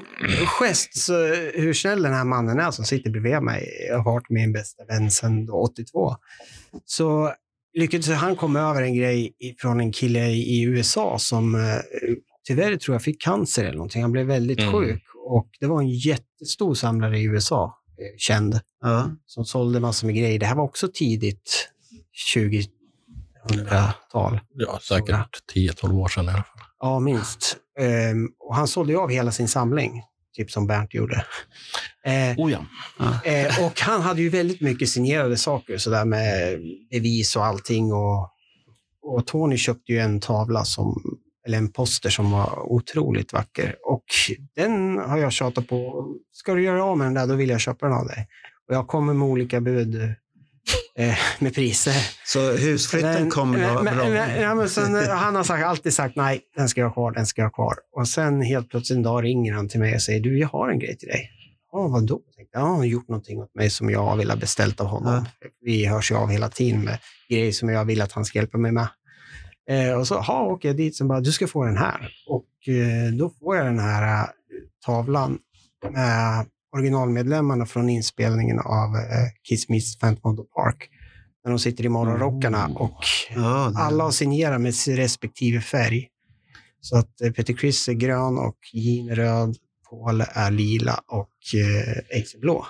gest, så hur snäll den här mannen är som sitter bredvid mig. Jag har varit min bästa vän sedan då 82. Så lyckades han komma över en grej från en kille i i USA som eh, tyvärr tror jag fick cancer eller någonting. Han blev väldigt
Mm.
sjuk och det var en jättestor samlare i USA, eh, känd,
Ja.
som sålde massor med grejer. Det här var också tidigt 2000-tal.
Ja, säkert 10-12 år sedan i alla fall.
Ja, minst. Ehm, och han sålde ju av hela sin samling, typ som Bernt gjorde. Eh,
Oh ja.
eh, och han hade ju väldigt mycket signerade saker, sådär med bevis och allting. Och, och Tony köpte ju en tavla, som, eller en poster, som var otroligt vacker. Och den har jag tjatat på. Ska du göra av med den där, då vill jag köpa den av dig. Och jag kommer med olika bud eh, med priser.
Så husflytten
Men-
kom bra.
men,
bra.
Men, ja, men sen, eh, han har sagt, alltid sagt nej, den ska jag ha kvar, den ska jag ha kvar. Och sen helt plötsligt en dag ringer han till mig och säger, du, jag har en grej till dig. Ja, vadå? Tänkte, jag, ja, han har gjort någonting åt mig som jag vill ha beställt av honom. Vi hörs ju av hela tiden med grejer som jag vill att han ska hjälpa mig med. Eh, och så ha, åker jag dit och bara, du ska få den här. Och eh, då får jag den här eh, tavlan med originalmedlemmarna från inspelningen av eh, Kiss Miss Phantom of the Park. När de sitter i morgonrockarna
Mm.
och
Ja, det-
alla har signerat med sin respektive färg. Så att eh, Peter Criss är grön och Jean är röd, Paul är lila och eh, Ace är blå.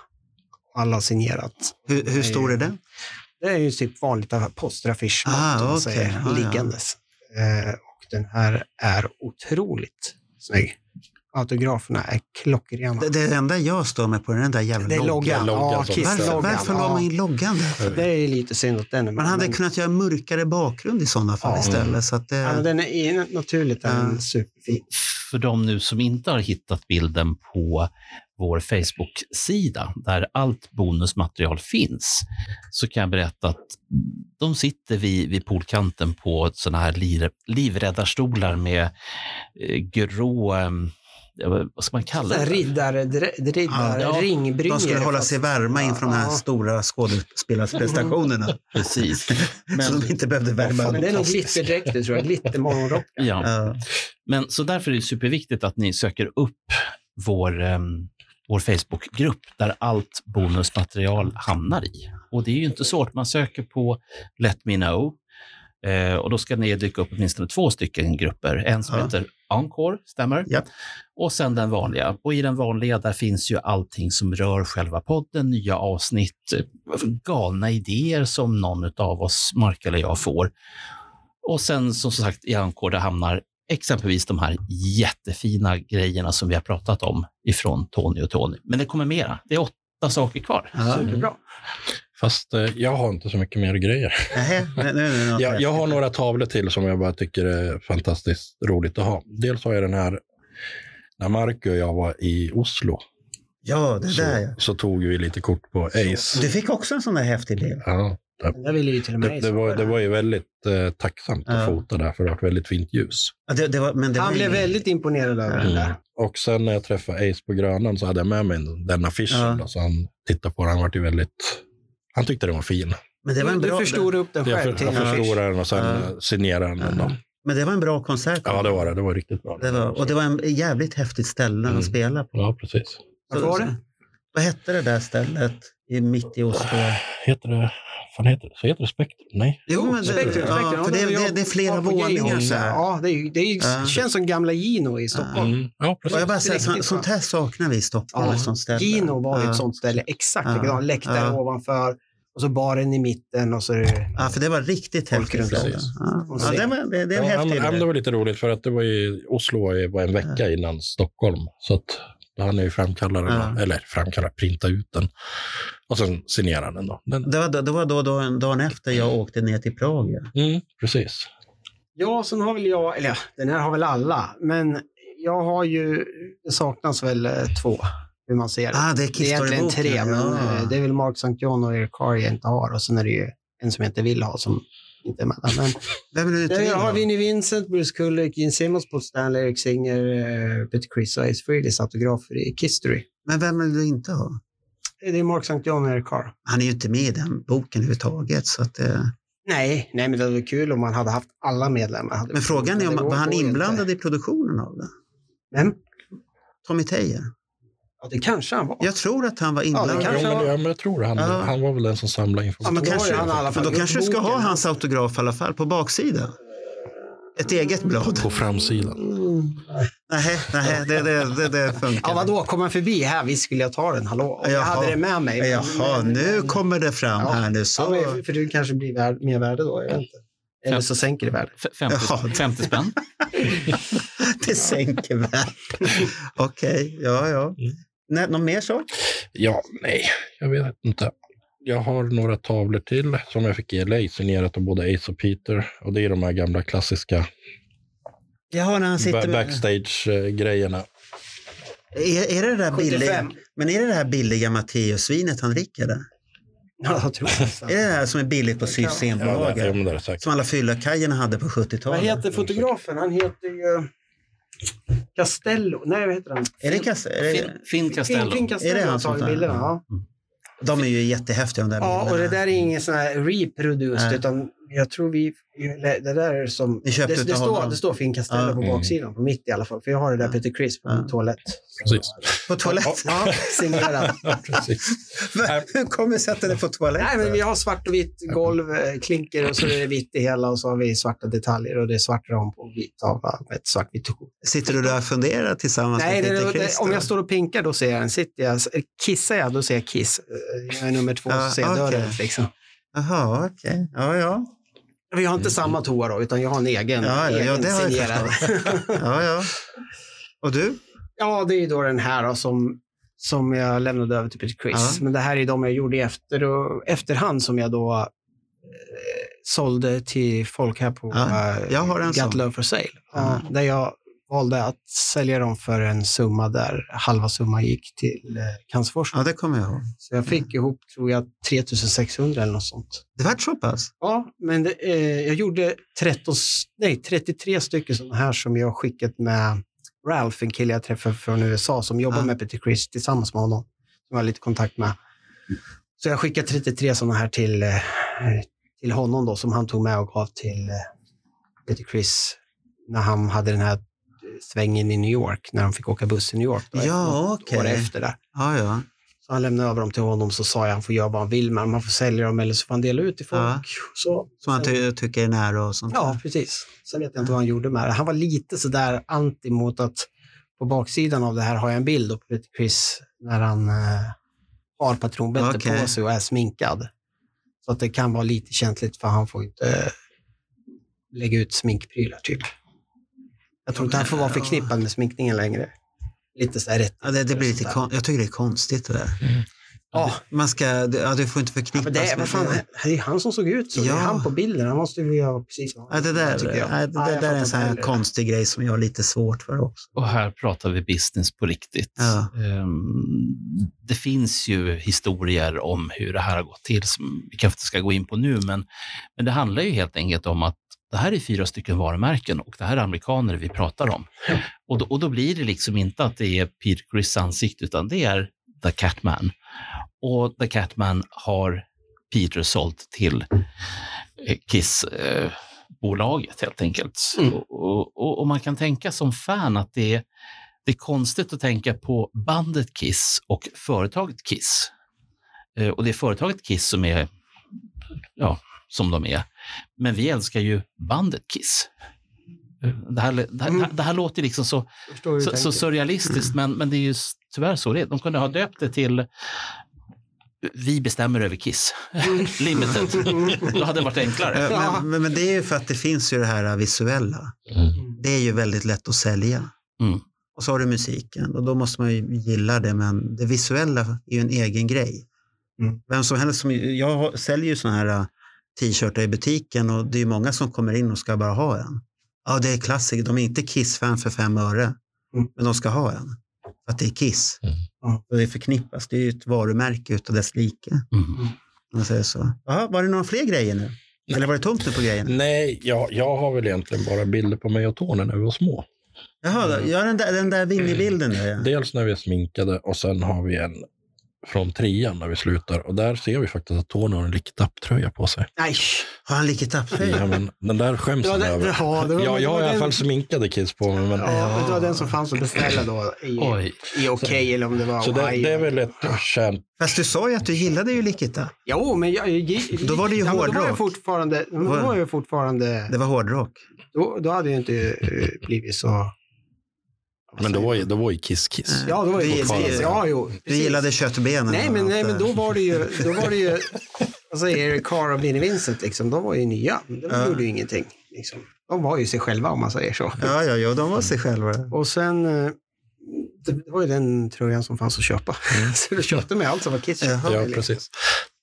Alla har signerat.
hur, hur stor är den?
Det är ju typ vanligt postaffischmått,
Ah,
om man
okej.
säger,
Ah, ja.
liggandes. Eh, och den här är otroligt snygg. Autograferna är klockrena.
Det, det enda jag står med på är den där jävla
Det är loggan.
loggan
Ja,
som-
Kiss-loggan.
Varför, varför la man in loggan där?
Ja, Det är lite synd att den är
Man hade kunnat göra en mörkare bakgrund i sådana fall
Ja.
istället. Så att eh, det,
Ja, den är naturligt den är
Ja.
superfin.
För de nu som inte har hittat bilden på vår Facebook-sida där allt bonusmaterial finns, så kan jag berätta att de sitter vid, vid poolkanten på såna här lir, livräddarstolar med eh, grå, eh, vad ska man kalla det?
Riddare, riddare,
Ja,
ringbrynjor.
de skulle hålla sig varma inför de här
Ja.
stora skådespelarprestationerna.
Precis.
så de inte behövde värma
Men
upp.
det är nog glitterdräkter tror jag, glittermorgonrock.
Ja.
Ja.
Men så därför är det superviktigt att ni söker upp vår, eh, vår Facebookgrupp där allt bonusmaterial hamnar i. Och det är ju inte svårt. Man söker på Let Me Know eh, och då ska det dyka upp åtminstone två stycken grupper. En som
Ja.
heter Encore, stämmer?
Japp.
Och sen den vanliga. Och i den vanliga där finns ju allting som rör själva podden, nya avsnitt, eh, galna idéer som någon av oss, Mark eller jag, får. Och sen som sagt i Encore, där hamnar exempelvis de här jättefina grejerna som vi har pratat om ifrån Tony och Tony. Men det kommer mera. Det är åtta saker kvar.
Ja.
Superbra.
Fast eh, jag har inte så mycket mer grejer.
Nähä, nu- nu är det något
Jag, jag
där.
har några tavlor till som jag bara tycker är fantastiskt roligt att ha. Dels har jag den här När Marco och jag var i Oslo
Ja, det där
så,
ja.
så tog vi lite kort på Ace.
Du fick också en sån där häftig bild.
Ja,
Jag ville ju till och med
det, det, var, det var ju väldigt eh, tacksamt att
Ja.
fota där för det var ett väldigt fint ljus.
Ja, det, det var, men det
Han
var
blev
ingen-
väldigt imponerad över
Mm.
den där.
Och sen när jag träffade Ace på Grönan så hade jag med mig den- den affischen.
Ja.
Då, så han tittade på den. Han, var ju väldigt, han tyckte den var fin.
Men det var en
du
bra,
förstod upp den
Jag,
själv
för,
till
jag
en affisch.
förstorade den och sen
Ja.
eh, signerade den.
Ja.
Då.
Men det var en bra konsert.
Ja, det var det. Det var riktigt bra.
Det var, och det var en jävligt häftigt ställe han
Mm.
spelade på.
Ja, precis.
Vad var det?
Vad hette det där stället i, mitt i Oslo?
Heter det, fan heter det, så heter det Spektrum? Nej.
Jo, men det,
Spektrum, Spektrum.
Ja, för det, det, det är flera
Ja, på
våningar
Gayholmen.
så här.
Ja, det, är, ju- det är, ju-
Ja.
känns som gamla Gino i Stockholm.
Mm. Ja,
Och
precis.
jag bara säger,
Riktigt
sånt, sånt här saknar vi i Stockholm.
Ja,
ett sånt ställe.
Gino var ju
Ja.
ett sånt ställe, exakt
Ja.
likadant. Läktare
Ja.
ovanför och så baren i mitten och så är det
Ja, för det var riktigt
Folk
häftigt.
runt
ställe.
oss.
Ja. Ja, det, var, det, det är en
ja,
häftig
men, men det
idé.
var lite roligt för att det var ju, Oslo var ju bara en vecka innan Stockholm. Så att han är ju framkallaren,
Ja.
eller framkallaren, printa ut den. Och sen signera den då. Den,
Det var, då- det var då, då en dagen efter jag åkte ner till Prag. ja.
mm, precis.
Ja, sen har väl jag, eller ja, den här har väl alla, men jag har ju, det saknas väl eh, två, hur man ser det.
Ah, det är
det är egentligen
Kiss-storyboken.
tre, men eh, det är väl Mark St. John och Eric Carr jag inte har och sen är det ju en som jag inte vill ha som inte är med. där, Men
Vem är det du
där jag har
till?
Vinnie Vincent, Bruce Kulick, Gene Simmons, Paul Stanley, Eric Singer, eh, Peter Criss och Ace Frehleys autografer i Kistory.
Men vem vill du inte ha?
Det är Mark St. John och Eric Carr.
Han är ju inte med i den boken överhuvudtaget. Så att, eh,
Nej, nej, men det hade varit kul om man hade haft alla medlemmar. Hade-
men frågan är om
det går-
var han
går ju inte.
inblandad i produktionen av den?
Vem?
Tommy Teijer.
Ja, det kanske han var.
Jag tror att han var
Ja,
inblandad.
det
Ja,
kanske
men,
var-
ja, men jag tror han,
Ja.
han var väl den som samlade
Ja,
information.
men
Då har
kanske-
ju han i alla
Men
fall
då
gjort
kanske du ska ha
boken.
hans autograf i alla fall på baksidan. Ett eget blad.
På framsidan.
Mm.
Nej, nej det, det, det, det funkar.
Ja, vadå, kom han förbi här? Visst skulle jag ta den, hallå? Och Jag
Jaha.
hade det med mig. men-
Jaha,
men-
nu kommer det fram
Ja.
här nu. Så.
Ja, men för det kanske blir vär- mer värde då, jag vet inte. Eller så sänker det värdet.
F- 50,
Jaha.
50 spänn.
Det sänker värdet. Okej, ja,
Mm.
ja. Nej, någon mer sak?
Ja, nej, jag vet inte. Jag har några tavlor till som jag fick i LA signerat av både Ace och Peter. Och det är de här gamla klassiska
Jaha, när han sitter
ba-
med...
backstage-grejerna.
Är, är det det där billiga, men är det det här billiga Matteus-vinet han dricker? Där?
Ja, jag tror
Är det det
det.
här som är billigt på Syds
Ja, det, ja,
Systembolaget?
men det är det säkert.
Som alla fyllakajerna hade på
Vad
70-talet?
heter fotografen? Han heter ju... eh, Castello. Nej, vad heter han?
Är det, kass- är det,
Finn, Finn
Finn-
Castello.
Finn Castello
Är det han
har
som
tagit
tar-
bilderna. Ja.
de är ju jättehäftiga de där
ja, och det där är ingen sån här reproduced,
Nej.
utan jag tror vi... eller Det där är som...
Ni köpte
Det, det,
utav
står,
honom.
det står Finn Castello
Ja.
på
Mm.
baksidan, på mitt i alla fall. För jag har det där Peter Criss på
Ja.
min toalett.
Precis.
På toaletten?
Ja, signerat.
Ja, precis.
Hur kommer det sig att den är på
Nej,
toaletten?
men vi har svart och vitt golv, eh, klinker och så är det vitt i hela och så har vi svarta detaljer och det är svart ram på vit tavla med ett svartvitt hot.
Sitter du där och funderar tillsammans
Nej,
med
det,
Peter
det,
Criss?
om
då?
jag står och pinkar då ser jag den. Sitter jag, kissar jag då ser jag kiss. Eh, Jag är nummer två
Ja,
så ser jag
okej.
dörren. Liksom.
Jaha, okej. Ja, ja.
Vi har inte samma toa då, utan jag har en egen,
Ja, ja,
egen
ja, det har jag
signerad.
förstått. Ja, ja. Och du?
Ja, det är ju då den här då, som, som jag lämnade över till Peter Criss.
Ja.
Men det här är de jag gjorde i efter och, efterhand som jag då eh, sålde till folk här på
Ja,
eh,
jag har en
Got
sån.
Love for Sale.
Ja.
Ja, där jag valde att sälja dem för en summa där halva summan gick till eh, cancerforskning.
Ja, det kommer jag ihåg.
Så jag fick ihop, tror jag, 3600 eller något sånt.
Det var så pass?
Ja, men det, eh, jag gjorde 13, nej, 33 stycken sådana här som jag skickat med Ralph, en kille jag träffade från USA som jobbar
Ja.
med Peter Criss tillsammans med honom, som jag har lite kontakt med. Så jag skickade 33 sådana här till, eh, till honom då, som han tog med och gav till eh, Peter Criss när han hade den här eh, svängen i New York, när de fick åka buss i New York. Då,
Ja,
ett år
okej.
efter där.
Ja, ja.
Så han lämnade över dem till honom så sa jag han får göra vad han vill med dem. Han får sälja dem eller så får han dela ut till folk.
Ja.
Så,
Som han ty- tycker är nära och sånt.
ja, precis. Sen vet jag inte vad han gjorde med det. Han var lite sådär anti mot att på baksidan av det här har jag en bild då på Peter Criss när han eh, har patronbälte
Okej.
på sig och är sminkad. Så att det kan vara lite känsligt för han får inte eh, lägga ut sminkprylar typ. Jag tror inte han får vara förknippad med sminkningen längre. Lite så här rätt.
Ja, det, det blir lite kon- jag tycker det är konstigt det där. Ja, man ska, det- ja, du får inte
Ja, men
förknippas
det, är- vad fan, det är han som såg ut så. Det
Ja.
är han på bilden. Han måste ju göra precis vad han
Ja, det där,
tycker jag.
ja, det,
Ja, jag
det där är
fattar
en sån här
inte heller.
konstig grej som jag har lite svårt för också.
Och här pratar vi business på riktigt.
Ja.
Ehm, Det finns ju historier om hur det här har gått till som vi kanske inte ska gå in på nu, men, men det handlar ju helt enkelt om att det här är fyra stycken varumärken och det här är amerikaner vi pratar om. Och då, och då blir det liksom inte att det är Peter Criss ansikte, utan det är The Catman. Och The Catman har Peter sålt till eh, Kiss. Eh, bolaget helt enkelt.
Mm.
Och, och, och man kan tänka som fan att det är, det är konstigt att tänka på bandet Kiss och företaget Kiss. Eh, Och det är företaget Kiss som är ja, som de är. Men vi älskar ju bandet Kiss. Eh, Det här, det här,
Mm.
det här låter liksom så,
Jag förstår hur du
så, så
tänker.
surrealistiskt, men, men det är ju s- tyvärr så det är. De kunde ha döpt det till Vi bestämmer över Kiss.
Mm.
Limited. Då hade det varit enklare.
Eh,
Ja.
Men, men, men det är ju för att det finns ju det här visuella.
Mm.
Det är ju väldigt lätt att sälja.
Mm.
Och så har du musiken och då måste man ju gilla det, men det visuella är ju en egen grej.
Mm.
Vem som helst, som, jag har- säljer ju såna här eh, t-shirtar i butiken och det är ju många som kommer in och ska bara ha en. Ja, det är klassiker. De är inte Kiss-fan för fem öre,
Mm.
men de ska ha en. För att det är Kiss.
Mm.
Ja.
Och det förknippas. Det är ju ett varumärke utav dess like.
Mm.
Om man säger så. Jaha, var det några fler grejer nu? Eller var det tomt nu på grejerna?
Nej, jag, jag har väl egentligen bara bilder på mig och Tony när vi var små.
Jaha,
Mm.
då, ja, den där, den där Winnie-bilden där ja.
Dels när vi är sminkade och sen har vi en från trean när vi slutar. Och där ser vi faktiskt att Tony har en licktapp-tröja på sig.
Nej!
Har han likat upp sig?
Ja, men den där skäms
Ja,
han
det,
över.
ja, det var,
Ja,
det
jag
var
har i alla
den-
fall sminkade kids på mig. Men,
Ja, men det var den som fanns att beställa då i,
Oj.
i okej eller om det var
Så det,
Ohio.
det är väl ett känt...
Fast du sa ju att du gillade ju Lick It Up.
Jo, men jag, jag,
Då var det ju
ja, men Då var jag
hårdrock.
fortfarande... men Då,
Var-
var jag fortfarande
Det var hårdrock.
då, då hade jag inte eh, blivit så...
Men det var ju, det var ju Kiss Kiss.
Ja, då var
Du-
jag
du-
precis. Ja, jo. Precis.
Du gillade köttbenen.
Nej,
och
men,
allt
nej,
det
men
där.
då var det ju... Då var det ju alltså Eric Carr och Vinnie Vincent, liksom, de var ju nya. De
Ja.
gjorde ju ingenting. Liksom. De var ju sig själva, om man säger så.
Ja, ja, ja, de var sig själva.
Och sen... eh, Det det var ju den tröjan som fanns att köpa.
Mm.
Så du köpte med allt som var Kiss.
Jaha.
Ja,
Liksom.
precis.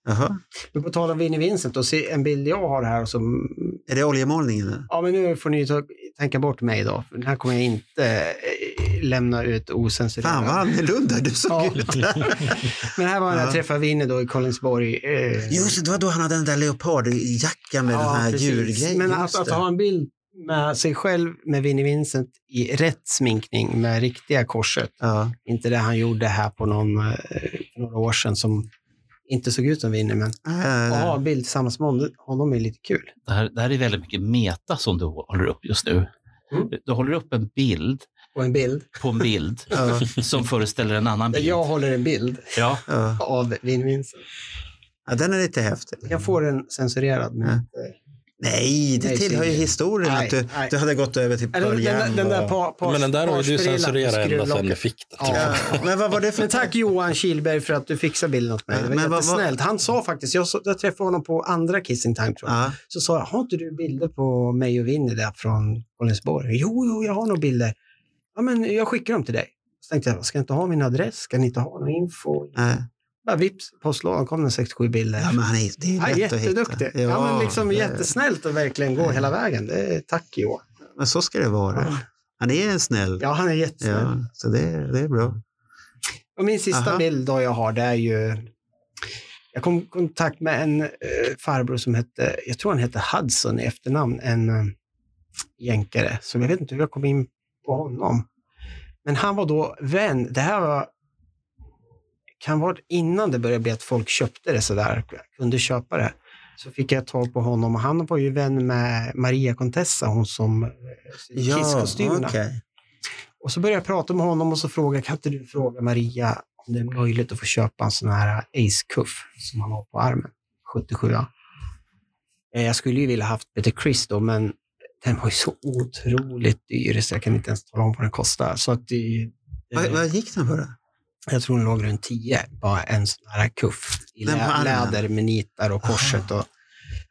Jaha.
Men på tal om Vinnie Vincent, och se en bild jag har här som...
Är det oljemålningen nu?
Ja, men nu får ni ta, tänka bort mig då, för den här kommer jag inte eh, lämna ut ocensurerad.
Fan vad annorlunda du såg
Ja.
ut.
Men här var när
Ja.
jag träffade Vinnie då i Collinsborg. Eh,
Just det, det var då han hade den där leopardjackan med den här
precis.
djurgrejen.
Men
Just
att, att
det.
ha en bild med sig själv med Vinnie Vincent i rätt sminkning med riktiga korset.
ja.
Inte det han gjorde här på någon, eh, för några år sedan som inte såg ut som Vinnie, men
Äh,
att ha en bild tillsammans med honom är lite kul.
det här, det här är väldigt mycket meta som du håller upp just nu.
Mm.
Du, du håller upp en bild
Och en bild.
på en bild
ja,
som föreställer en annan
Mm.
Där
bild.
jag håller en bild
Ja.
ja.
av Vinnie Vincent.
ja, den är lite häftig.
Jag får den censurerad. Men,
Ja.
eh,
Nej, det
Nej,
tillhör ju
Sigrid.
historien
Nej,
att du,
nej.
du hade gått över till
eller den,
Pearl
den, den där
och-
par, par,
Men den där har ju du
parsprillan med
censurerat ända sedan
skruvlocket.
du fick den. tror jag.
Ja. Men vad var det för...
Men tack Johan Kilberg för att du fixade bilden åt mig. Det var
Men vad- vad-
jättesnällt. Han sa faktiskt, jag, så- jag träffade honom på andra Kissing Time tror jag.
Ja.
Så sa jag, har inte du bilder på mig och Winnie där från Collinsborg? Jo, jo, jag har nog bilder. Ja, men jag skickar dem till dig. Så tänkte jag, ska jag inte ha min adress? Ska ni inte ha någon info?
Nej.
Bara vips, postlådan kom den 67 bilder.
Ja, men han är, det är
Ja,
lätt att
jätteduktig.
hitta.
Ja, men liksom
det-
jättesnällt att verkligen gå hela vägen. Det är, tack Johan.
Men så ska det vara. Han är snäll.
Ja, han är jättesnäll.
Ja, så det, det är bra.
Och min sista
Aha.
bild då jag har, det är ju... Jag kom i kontakt med en eh, farbror som hette, jag tror han hette Hudson i efternamn, en eh, jänkare. Så jag vet inte hur jag kom in på honom. Men han var då vän, det här var, kan vara innan det började bli att folk köpte det sådär, kunde köpa det. Så fick jag tag på honom och han var ju vän med Maria Contessa, hon som eh, sydde Kiss-kostymerna.
okej.
Och så började jag prata med honom och så frågade jag, kan inte du fråga Maria om det är möjligt att få köpa en sån här Ace-kuff som han har på armen, 77 Eh, Jag skulle ju vilja haft Peter Chris då, men den var ju så otroligt dyr så jag kan inte ens tala om vad den kostar. Så att det,
Vad,
eh,
vad gick den för då?
jag tror den låg runt 10, bara en sån här kuff i
Den på
lä-
armen?
läder med nitar och korset. Och,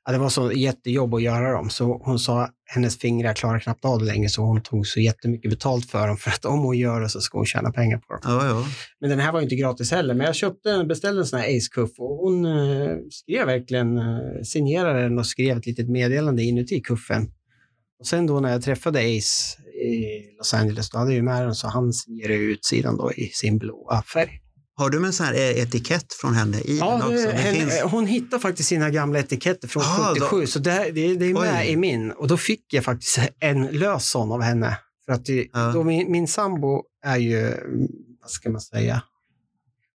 Ja, det var så jättejobb att göra dem, så hon sa hennes fingrar klarar knappt av det längre, så hon tog så jättemycket betalt för dem, för att om hon gör det så ska hon tjäna pengar på dem.
Ja, ja.
Men den här var ju inte gratis heller, men jag köpte den, beställde en sån här Ace-kuff och hon eh, skrev verkligen, eh, signerade den och skrev ett litet meddelande inuti kuffen. Och sen då när jag träffade Ace i Los Angeles, då hade jag ju med den, så han signerade ju utsidan då i sin blåa färg.
Har du med en sån här eh, etikett från henne i den
Ja,
också?
det,
Det
henne,
finns...
Hon hittar faktiskt sina gamla etiketter från
Ah, då-
77, så det, här- det, det är med
Oj.
i min. Och då fick jag faktiskt en lös sån av henne. För att det,
Ja.
då min, min sambo är ju, mm, vad ska man säga,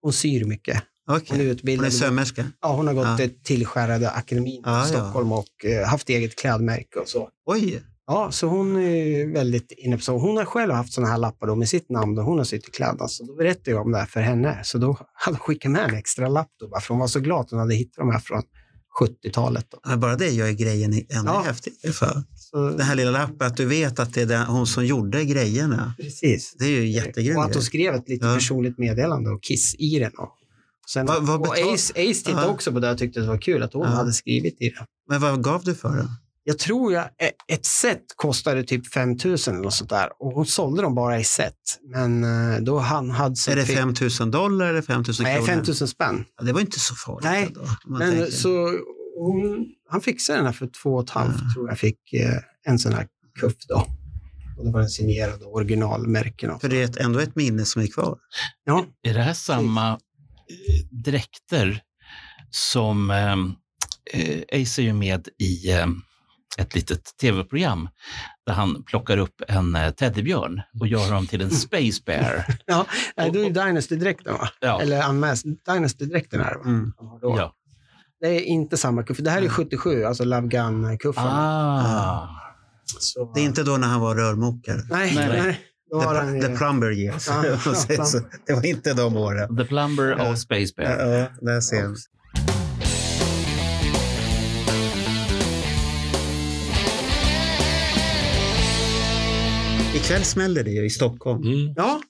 hon syr mycket.
Okej.
Hon är
Hon är
utbildad.
sömmerska.
ja, hon har gått
Ja.
till Tillskärade akademin
Ja, ja.
i Stockholm och eh, haft eget klädmärke och så.
Oj,
Ja, så hon är väldigt inne på så. Hon har själv haft sådana här lappar då med sitt namn och hon har suttit i kläderna. Så då berättade jag om det här för henne. Så då hade hon skickat med en extra lapp då, bara, för hon var så glad att hon hade hittat de här från 70-talet. Då.
men bara det gör ju grejen i- ännu
Ja.
häftigare. För.
Så,
Den här lilla lappen, att du vet att det är den, hon som gjorde grejerna.
precis.
Det är ju jättegrymt.
Och att hon skrev ett lite
Ja.
personligt meddelande och kiss i den. Och, sen,
Vad- vad
och
betal-
Ace, Ace tittade
Aha. grej.
också på det och tyckte det var kul att hon
Ja.
hade skrivit i den.
Men vad gav du för den?
Jag tror jag, e- ett set kostade typ 5 000 eller något sånt där. Och hon sålde dem bara i set. Men eh, då han hade... så
Är det
fick-
5 000 dollar eller 5 000
Nej,
kronor?
5 000 spänn.
Ja, det var inte så farligt
Nej,
ändå. om man
Men
tänker.
så hon, han fixade den här för två och ett halvt,
Ja.
tror jag, fick eh, en sån här kuff då. Och då var den signerad och originalmärken. Och
För det är ett, ändå ett minne som är kvar.
ja,
Är det här samma eh, dräkter som ehm, eh, Ace är ju med i ehm, ett litet tv-program där han plockar upp en eh, teddybjörn och gör honom till en space bear.
nej, då är ju Dynasty-dräkten va?
Ja,
Eller Unmasked Dynasty-dräkten här va? Han har då.
ja.
Det är inte samma kuff. Det här är 77, alltså Love Gun-kuffen.
Ah.
Så-
Det är inte då när han var rörmokare.
Nej,
Nej.
nej. Då har han
The,
ju...
the plumber years.
Ja, ja,
Och sen så- det var inte de åren.
The Plumber
Ja.
och Space
Ja,
Bear.
ja, där ser jag. Ikväll smäller det ju i Stockholm.
Mm.
Ja,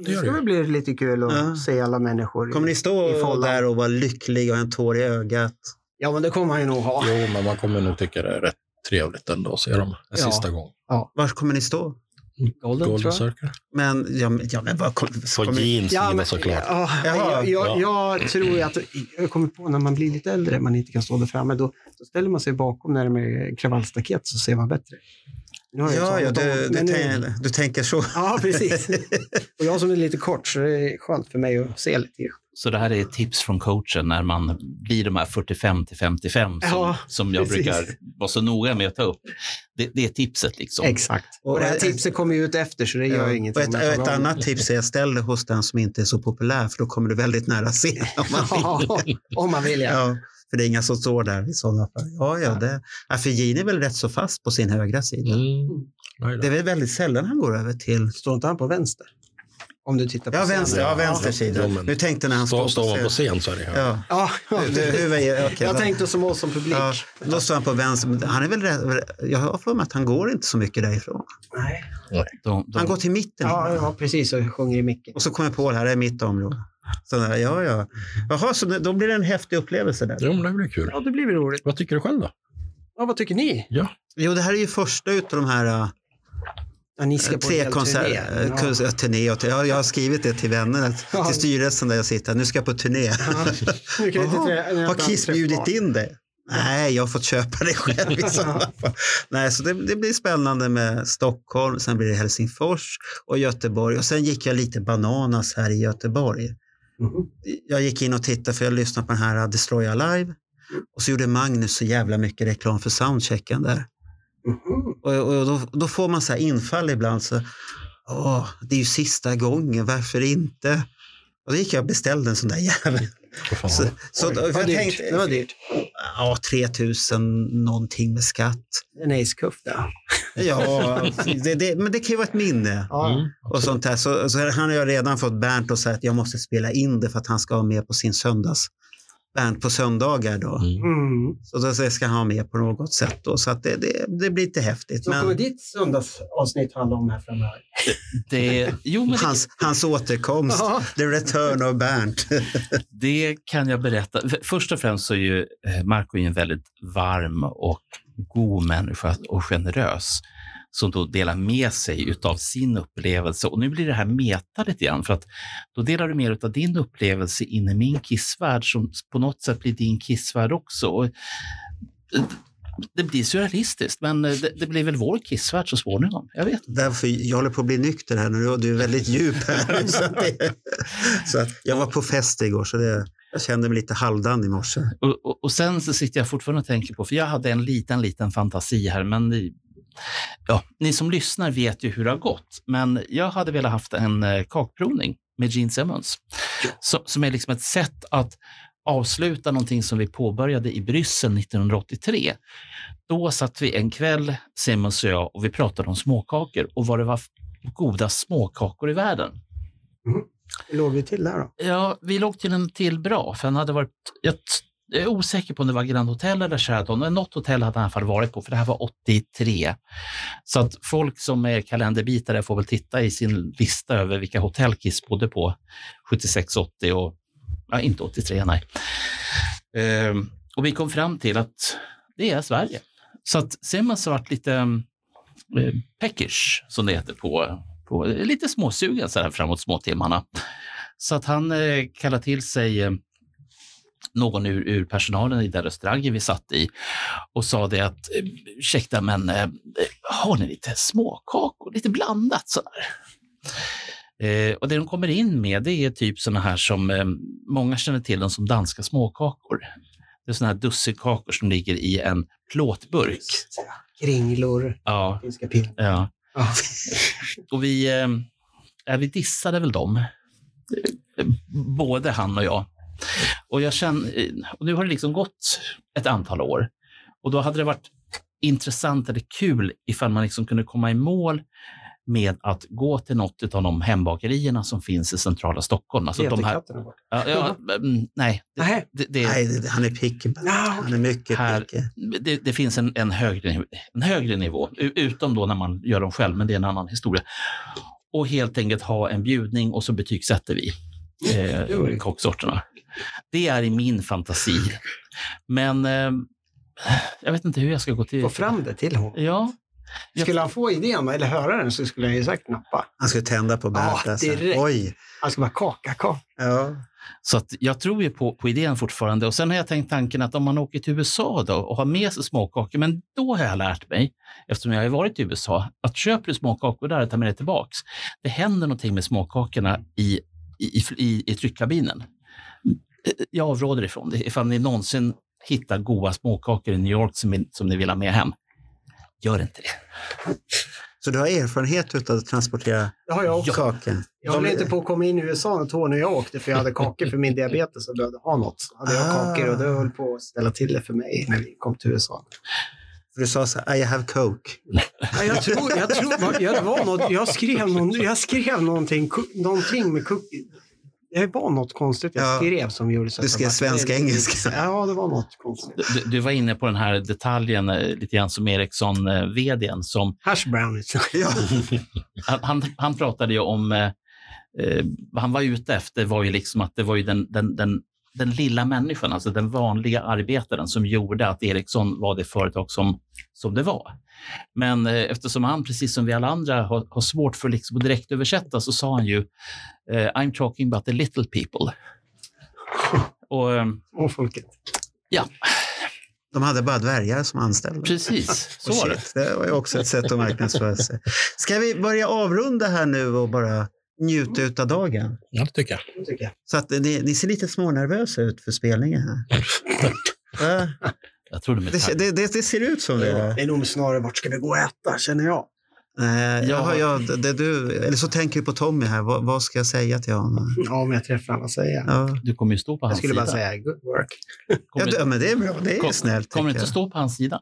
Det
det
gör
ska
det.
väl bli lite kul att
Ja.
se alla människor. i-
Kommer ni
i
stå
fållan.
där och vara lycklig och ha en tår i ögat?
Ja, men det kommer han ju nog ha.
Jo, men man kommer nog tycka det är rätt trevligt ändå att se dem en
Ja.
sista gång.
Var kommer ni stå?
Golden,
Golden
tror jag.
Circle.
Men, ja, men- ja, men vad kom,
På
kommer,
jeans
Ja,
sida
men-
såklart.
Ja,
Jaha.
jag, jag, jag tror ju att, jag kommer på när man blir lite äldre, man inte kan stå där framme, då, då ställer man sig bakom när det är kravallstaket så ser man bättre. Nu har jag
ja,
talat
ja,
om-
du, du,
men nu-
tän, du tänker så.
Ja, precis. Och jag som är lite kort, så det är skönt för mig att se lite. grann.
Så det här är tips från coachen när man blir de här 45 till 55 som,
Ja,
som jag
precis.
brukar vara så noga med att ta upp. Det, det är tipset liksom.
Exakt. Och, det här tipset kommer ju ut efter, så det gör
Ja,
ju
och
ingenting.
ett,
om jag tar
ett
av mig.
annat tips är att ställ dig hos den som inte är så populär, för då kommer du väldigt nära se. Om man vill.
Ja, om man vill, ja.
Ja, för det är inga som står där i sådana fall. Ja, ja, det, ja, för Gene är väl rätt så fast på sin högra sida.
Mm. Nej då.
Det är väl väldigt sällan han går över till...
Står inte han på vänster? Om du tittar på
Ja,
scenen.
vänster, ja, vänster sida.
Jo, men-
Nu tänkte när han står
Står, står man
på
på
scen.
scen så är det här.
Ja.
Ja,
Du, du, hur är, okej,
jag
då-
tänkte som oss som publik.
Ja, då står han på vänster. men Han är väl rätt, jag har för mig att han går inte så mycket därifrån.
Nej.
De, de,
Han går till mitten.
Ja, ja, precis. Och sjunger i micken.
Och så kommer jag på, här är mitt område. Så där, ja, ja. Jaha, så då blir det en häftig upplevelse där.
Jo, men det blir kul.
Ja, det blir väl roligt.
Vad tycker du själv då?
Ja, vad tycker ni?
Jo, det här är ju första utav de här äh,
Ja, ni ska på en
tre eh,
hel turné. Ja.
konserterna. Ja. Ja, äh, jag har skrivit det till vännerna,
Ja.
till styrelsen där jag sitter. Nu ska jag på turné.
Ja. Nu kan jag inte
Jaha,
trä- när jag
Har
inte
Kiss
har
bjudit
träffat
in dig? Nej, jag har fått köpa det själv i sådana fall. Nej, så det, det blir spännande med Stockholm, sen blir det Helsingfors och Göteborg. Och sen gick jag lite bananas här i Göteborg.
barn. Mhm.
jag gick in och tittade för jag lyssnade på den här uh, Destroy Alive. Och så gjorde Magnus så jävla mycket reklam för soundchecken där.
Mhm.
Och, och då, då får man så här infall ibland. Så, Åh, det är ju sista gången, varför inte? Och då gick jag och beställde en sån där jävel.
Vad fan?
Så, så,
Oj,
för
vad
jag
dyrt.
tänkte,
Det var dyrt.
ja, 3000 någonting med skatt.
En ace-kuff där.
Ja, det, det, men det kan ju vara ett minne.
Ja.
Mm.
Och sånt här. Så, så han har jag redan fått Bernt att säga att jag måste spela in det för att han ska ha med på sin söndags band på söndagar då.
Mm.
Mm.
Så då ska han med på något sätt då. Så att det, det, det blir lite häftigt.
Så kommer
Men
ditt söndagsavsnitt handla om här framöver?
Det, jo, men det,
hans, hans återkomst,
Ja.
the return of Bernt.
det kan jag berätta. F- Först och främst så är ju eh, Marco är ju en väldigt varm och god människa och generös som då delar med sig utav sin upplevelse. Och nu blir det här meta lite grann, för att då delar du mer utav din upplevelse in i min kissvärld som på något sätt blir din kissvärld också. Och eh, det blir surrealistiskt, men eh, det, det blir väl vår kissvärld så småningom. Jag vet.
Därför, jag håller på att bli nykter här nu och du är väldigt djup här. Så att det, så att jag var på fest igår så det, jag kände mig lite halvdan i morse.
Och, och, och sen så sitter jag fortfarande och tänker på, för jag hade en liten, liten fantasi här, men ni, ja, ni som lyssnar vet ju hur det har gått. Men jag hade velat haft en eh, kakprovning med Gene Simmons, som, som är liksom ett sätt att avsluta någonting som vi påbörjade i Bryssel 1983. Då satt vi en kväll, Simmons och jag, och vi pratade om småkakor och vad det var f- goda småkakor i världen.
Hur låg vi till där då?
Ja, vi låg till en till bra, för han hade varit... Jag t- jag är osäker på om det var Grand Hotel eller Sheraton, men något hotell hade han i alla fall varit på, för det här var 83. Så att folk som är kalenderbitare får väl titta i sin lista över vilka hotell Kiss bodde på 76, 80 och... Ja, inte 83, nej. Ehm, och vi kom fram till att det är Sverige. Så att Simmons har varit lite um, peckish, som det heter på... på lite småsugen så här framåt småtimmarna. Så att han eh, kallade till sig eh, någon ur, ur personalen i den restaurangen vi satt i och sa det att eh, ursäkta, men eh, har ni lite småkakor, lite blandat sådär? Eh, och det de kommer in med det är typ såna här som eh, många känner till dem som danska småkakor. Det är såna här dussinkakor som ligger i en plåtburk.
Kringlor,
Ja,
finska pinnar.
ja.
Ja.
Och vi, eh, ja, vi dissade väl dem, Eh, både han och jag. Och, jag känner, eh, och nu har det liksom gått ett antal år. Och då hade det varit intressant eller kul ifall man liksom kunde komma i mål med att gå till något av de hembakerierna som finns i centrala Stockholm. Alltså de här,
Teterkatterna bort.
ja, ja, mm, nej,
Nej.
det, det, det,
Nej, det- han är picky. Bernt.
Ja,
Han är mycket
Här-
picky.
det, det finns en, en, högre, niv- en högre nivå, u- utom då när man gör dem själv, men det är en annan historia. Och helt enkelt ha en bjudning och så betygsätter vi eh, kocksorterna. Det är i min fantasi. Men eh, jag vet inte hur jag ska gå till...
Få fram det till honom.
Ja, Jag-
Skulle han få idén eller höra den så skulle han ju säkert nappa.
Han skulle tända på Bernt.
Ja,
alltså.
direkt.
Oj.
Han skulle bara kaka, kaka.
Ja.
så att jag tror ju på, på idén fortfarande. Och sen har jag tänkt tanken att om man åker till USA då och har med sig småkakor, men då har jag lärt mig, eftersom jag har varit i USA, att köper du småkakor där och tar med det tillbaks, det händer någonting med småkakorna i, i, i, i, i tryckkabinen. Jag avråder ifrån det. Ifall ni någonsin hittar goda småkakor i New York som, ni- som ni vill ha med hem, gör inte det.
Så du har erfarenhet av att transportera
Det har jag också.
kakor?
Jag höll inte på att komma in i USA ett år när jag åkte för jag hade kakor för min diabetes och behövde ha något. Så hade jag
Ah.
kakor och det höll på att ställa till det för mig när vi kom till USA.
För du sa så här, I have coke.
Ja, jag tror, jag tror, jag, det var något, jag, skrev någon, jag skrev någonting, ku- någonting med cookie. Det var något konstigt jag
Ja.
skrev som gjorde så
Du
att jag
skrev
bara-
svenska, engelska.
Ja, det var något konstigt.
Du, du var inne på den här detaljen eh, lite grann som Ericsson, eh, vdn, som
Hash brownies.
Ja.
han, han, han pratade ju om, eh, eh, vad han var ute efter var ju liksom att det var ju den, den, den, den lilla människan, alltså den vanliga arbetaren som gjorde att Ericsson var det företag som, som det var. Men eh, eftersom han, precis som vi alla andra, har, har svårt för liksom att direkt översätta så sa han ju eh, I'm talking about the little people. Och, eh,
Och folket.
De hade bara dvärgar som anställda.
precis, så
Och
var det.
shit, det var ju också ett sätt att marknadsföra sig. Ska vi börja avrunda här nu och bara
Mm.
njuta av dagen?
Ja, det tycker jag.
Det tycker jag.
Så att ni, ni ser lite smånervösa ut för spelningen här. Va?
Jag trodde med
Det, det, det, det ser ut som det.
Det är nog snarare vart ska vi gå och äta, känner jag.
Nej,
Jag har-
jaha, ja, det, du, eller så tänker du på Tommy här. Vad, vad ska jag säga till honom?
Ja, om jag träffar honom, vad säger jag?
Ja,
du kommer ju stå på
Jag
hans
skulle
sida.
bara säga good work.
ja,
Kommer-
du- ja men det är bra. Det är
kom-
snällt.
Kommer du
tycker
inte
jag.
stå på hans sida?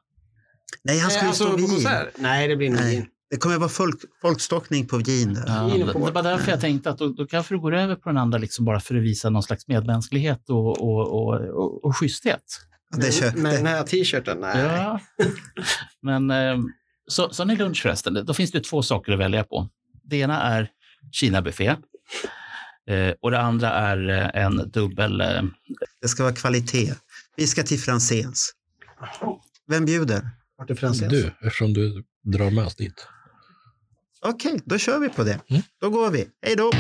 Nej, han ska ju stå vid.
Nej, det blir nog
Nej.
vin.
Det kommer vara folk, folkstockning på Wien. där.
Ja,
Inne
det det
på vårt-
var därför jag tänkte att då, då kanske du går över på den andra liksom bara för att visa någon slags medmänsklighet och, och, och, och, och schyssthet.
Ja, det kör,
men, Mm. men
det,
den här t-shirten, nej.
Ja. Men eh, så, så när lunch förresten, då finns det två saker att välja på. Det ena är Kina-buffé eh, och det andra är eh, en dubbel... Eh,
det ska vara kvalitet. Vi ska till Franzéns. Vem bjuder?
Vart är Franzéns?
Du, eftersom du drar med oss dit.
Okej, då kör vi på det.
Mm.
Då går vi. Hej då!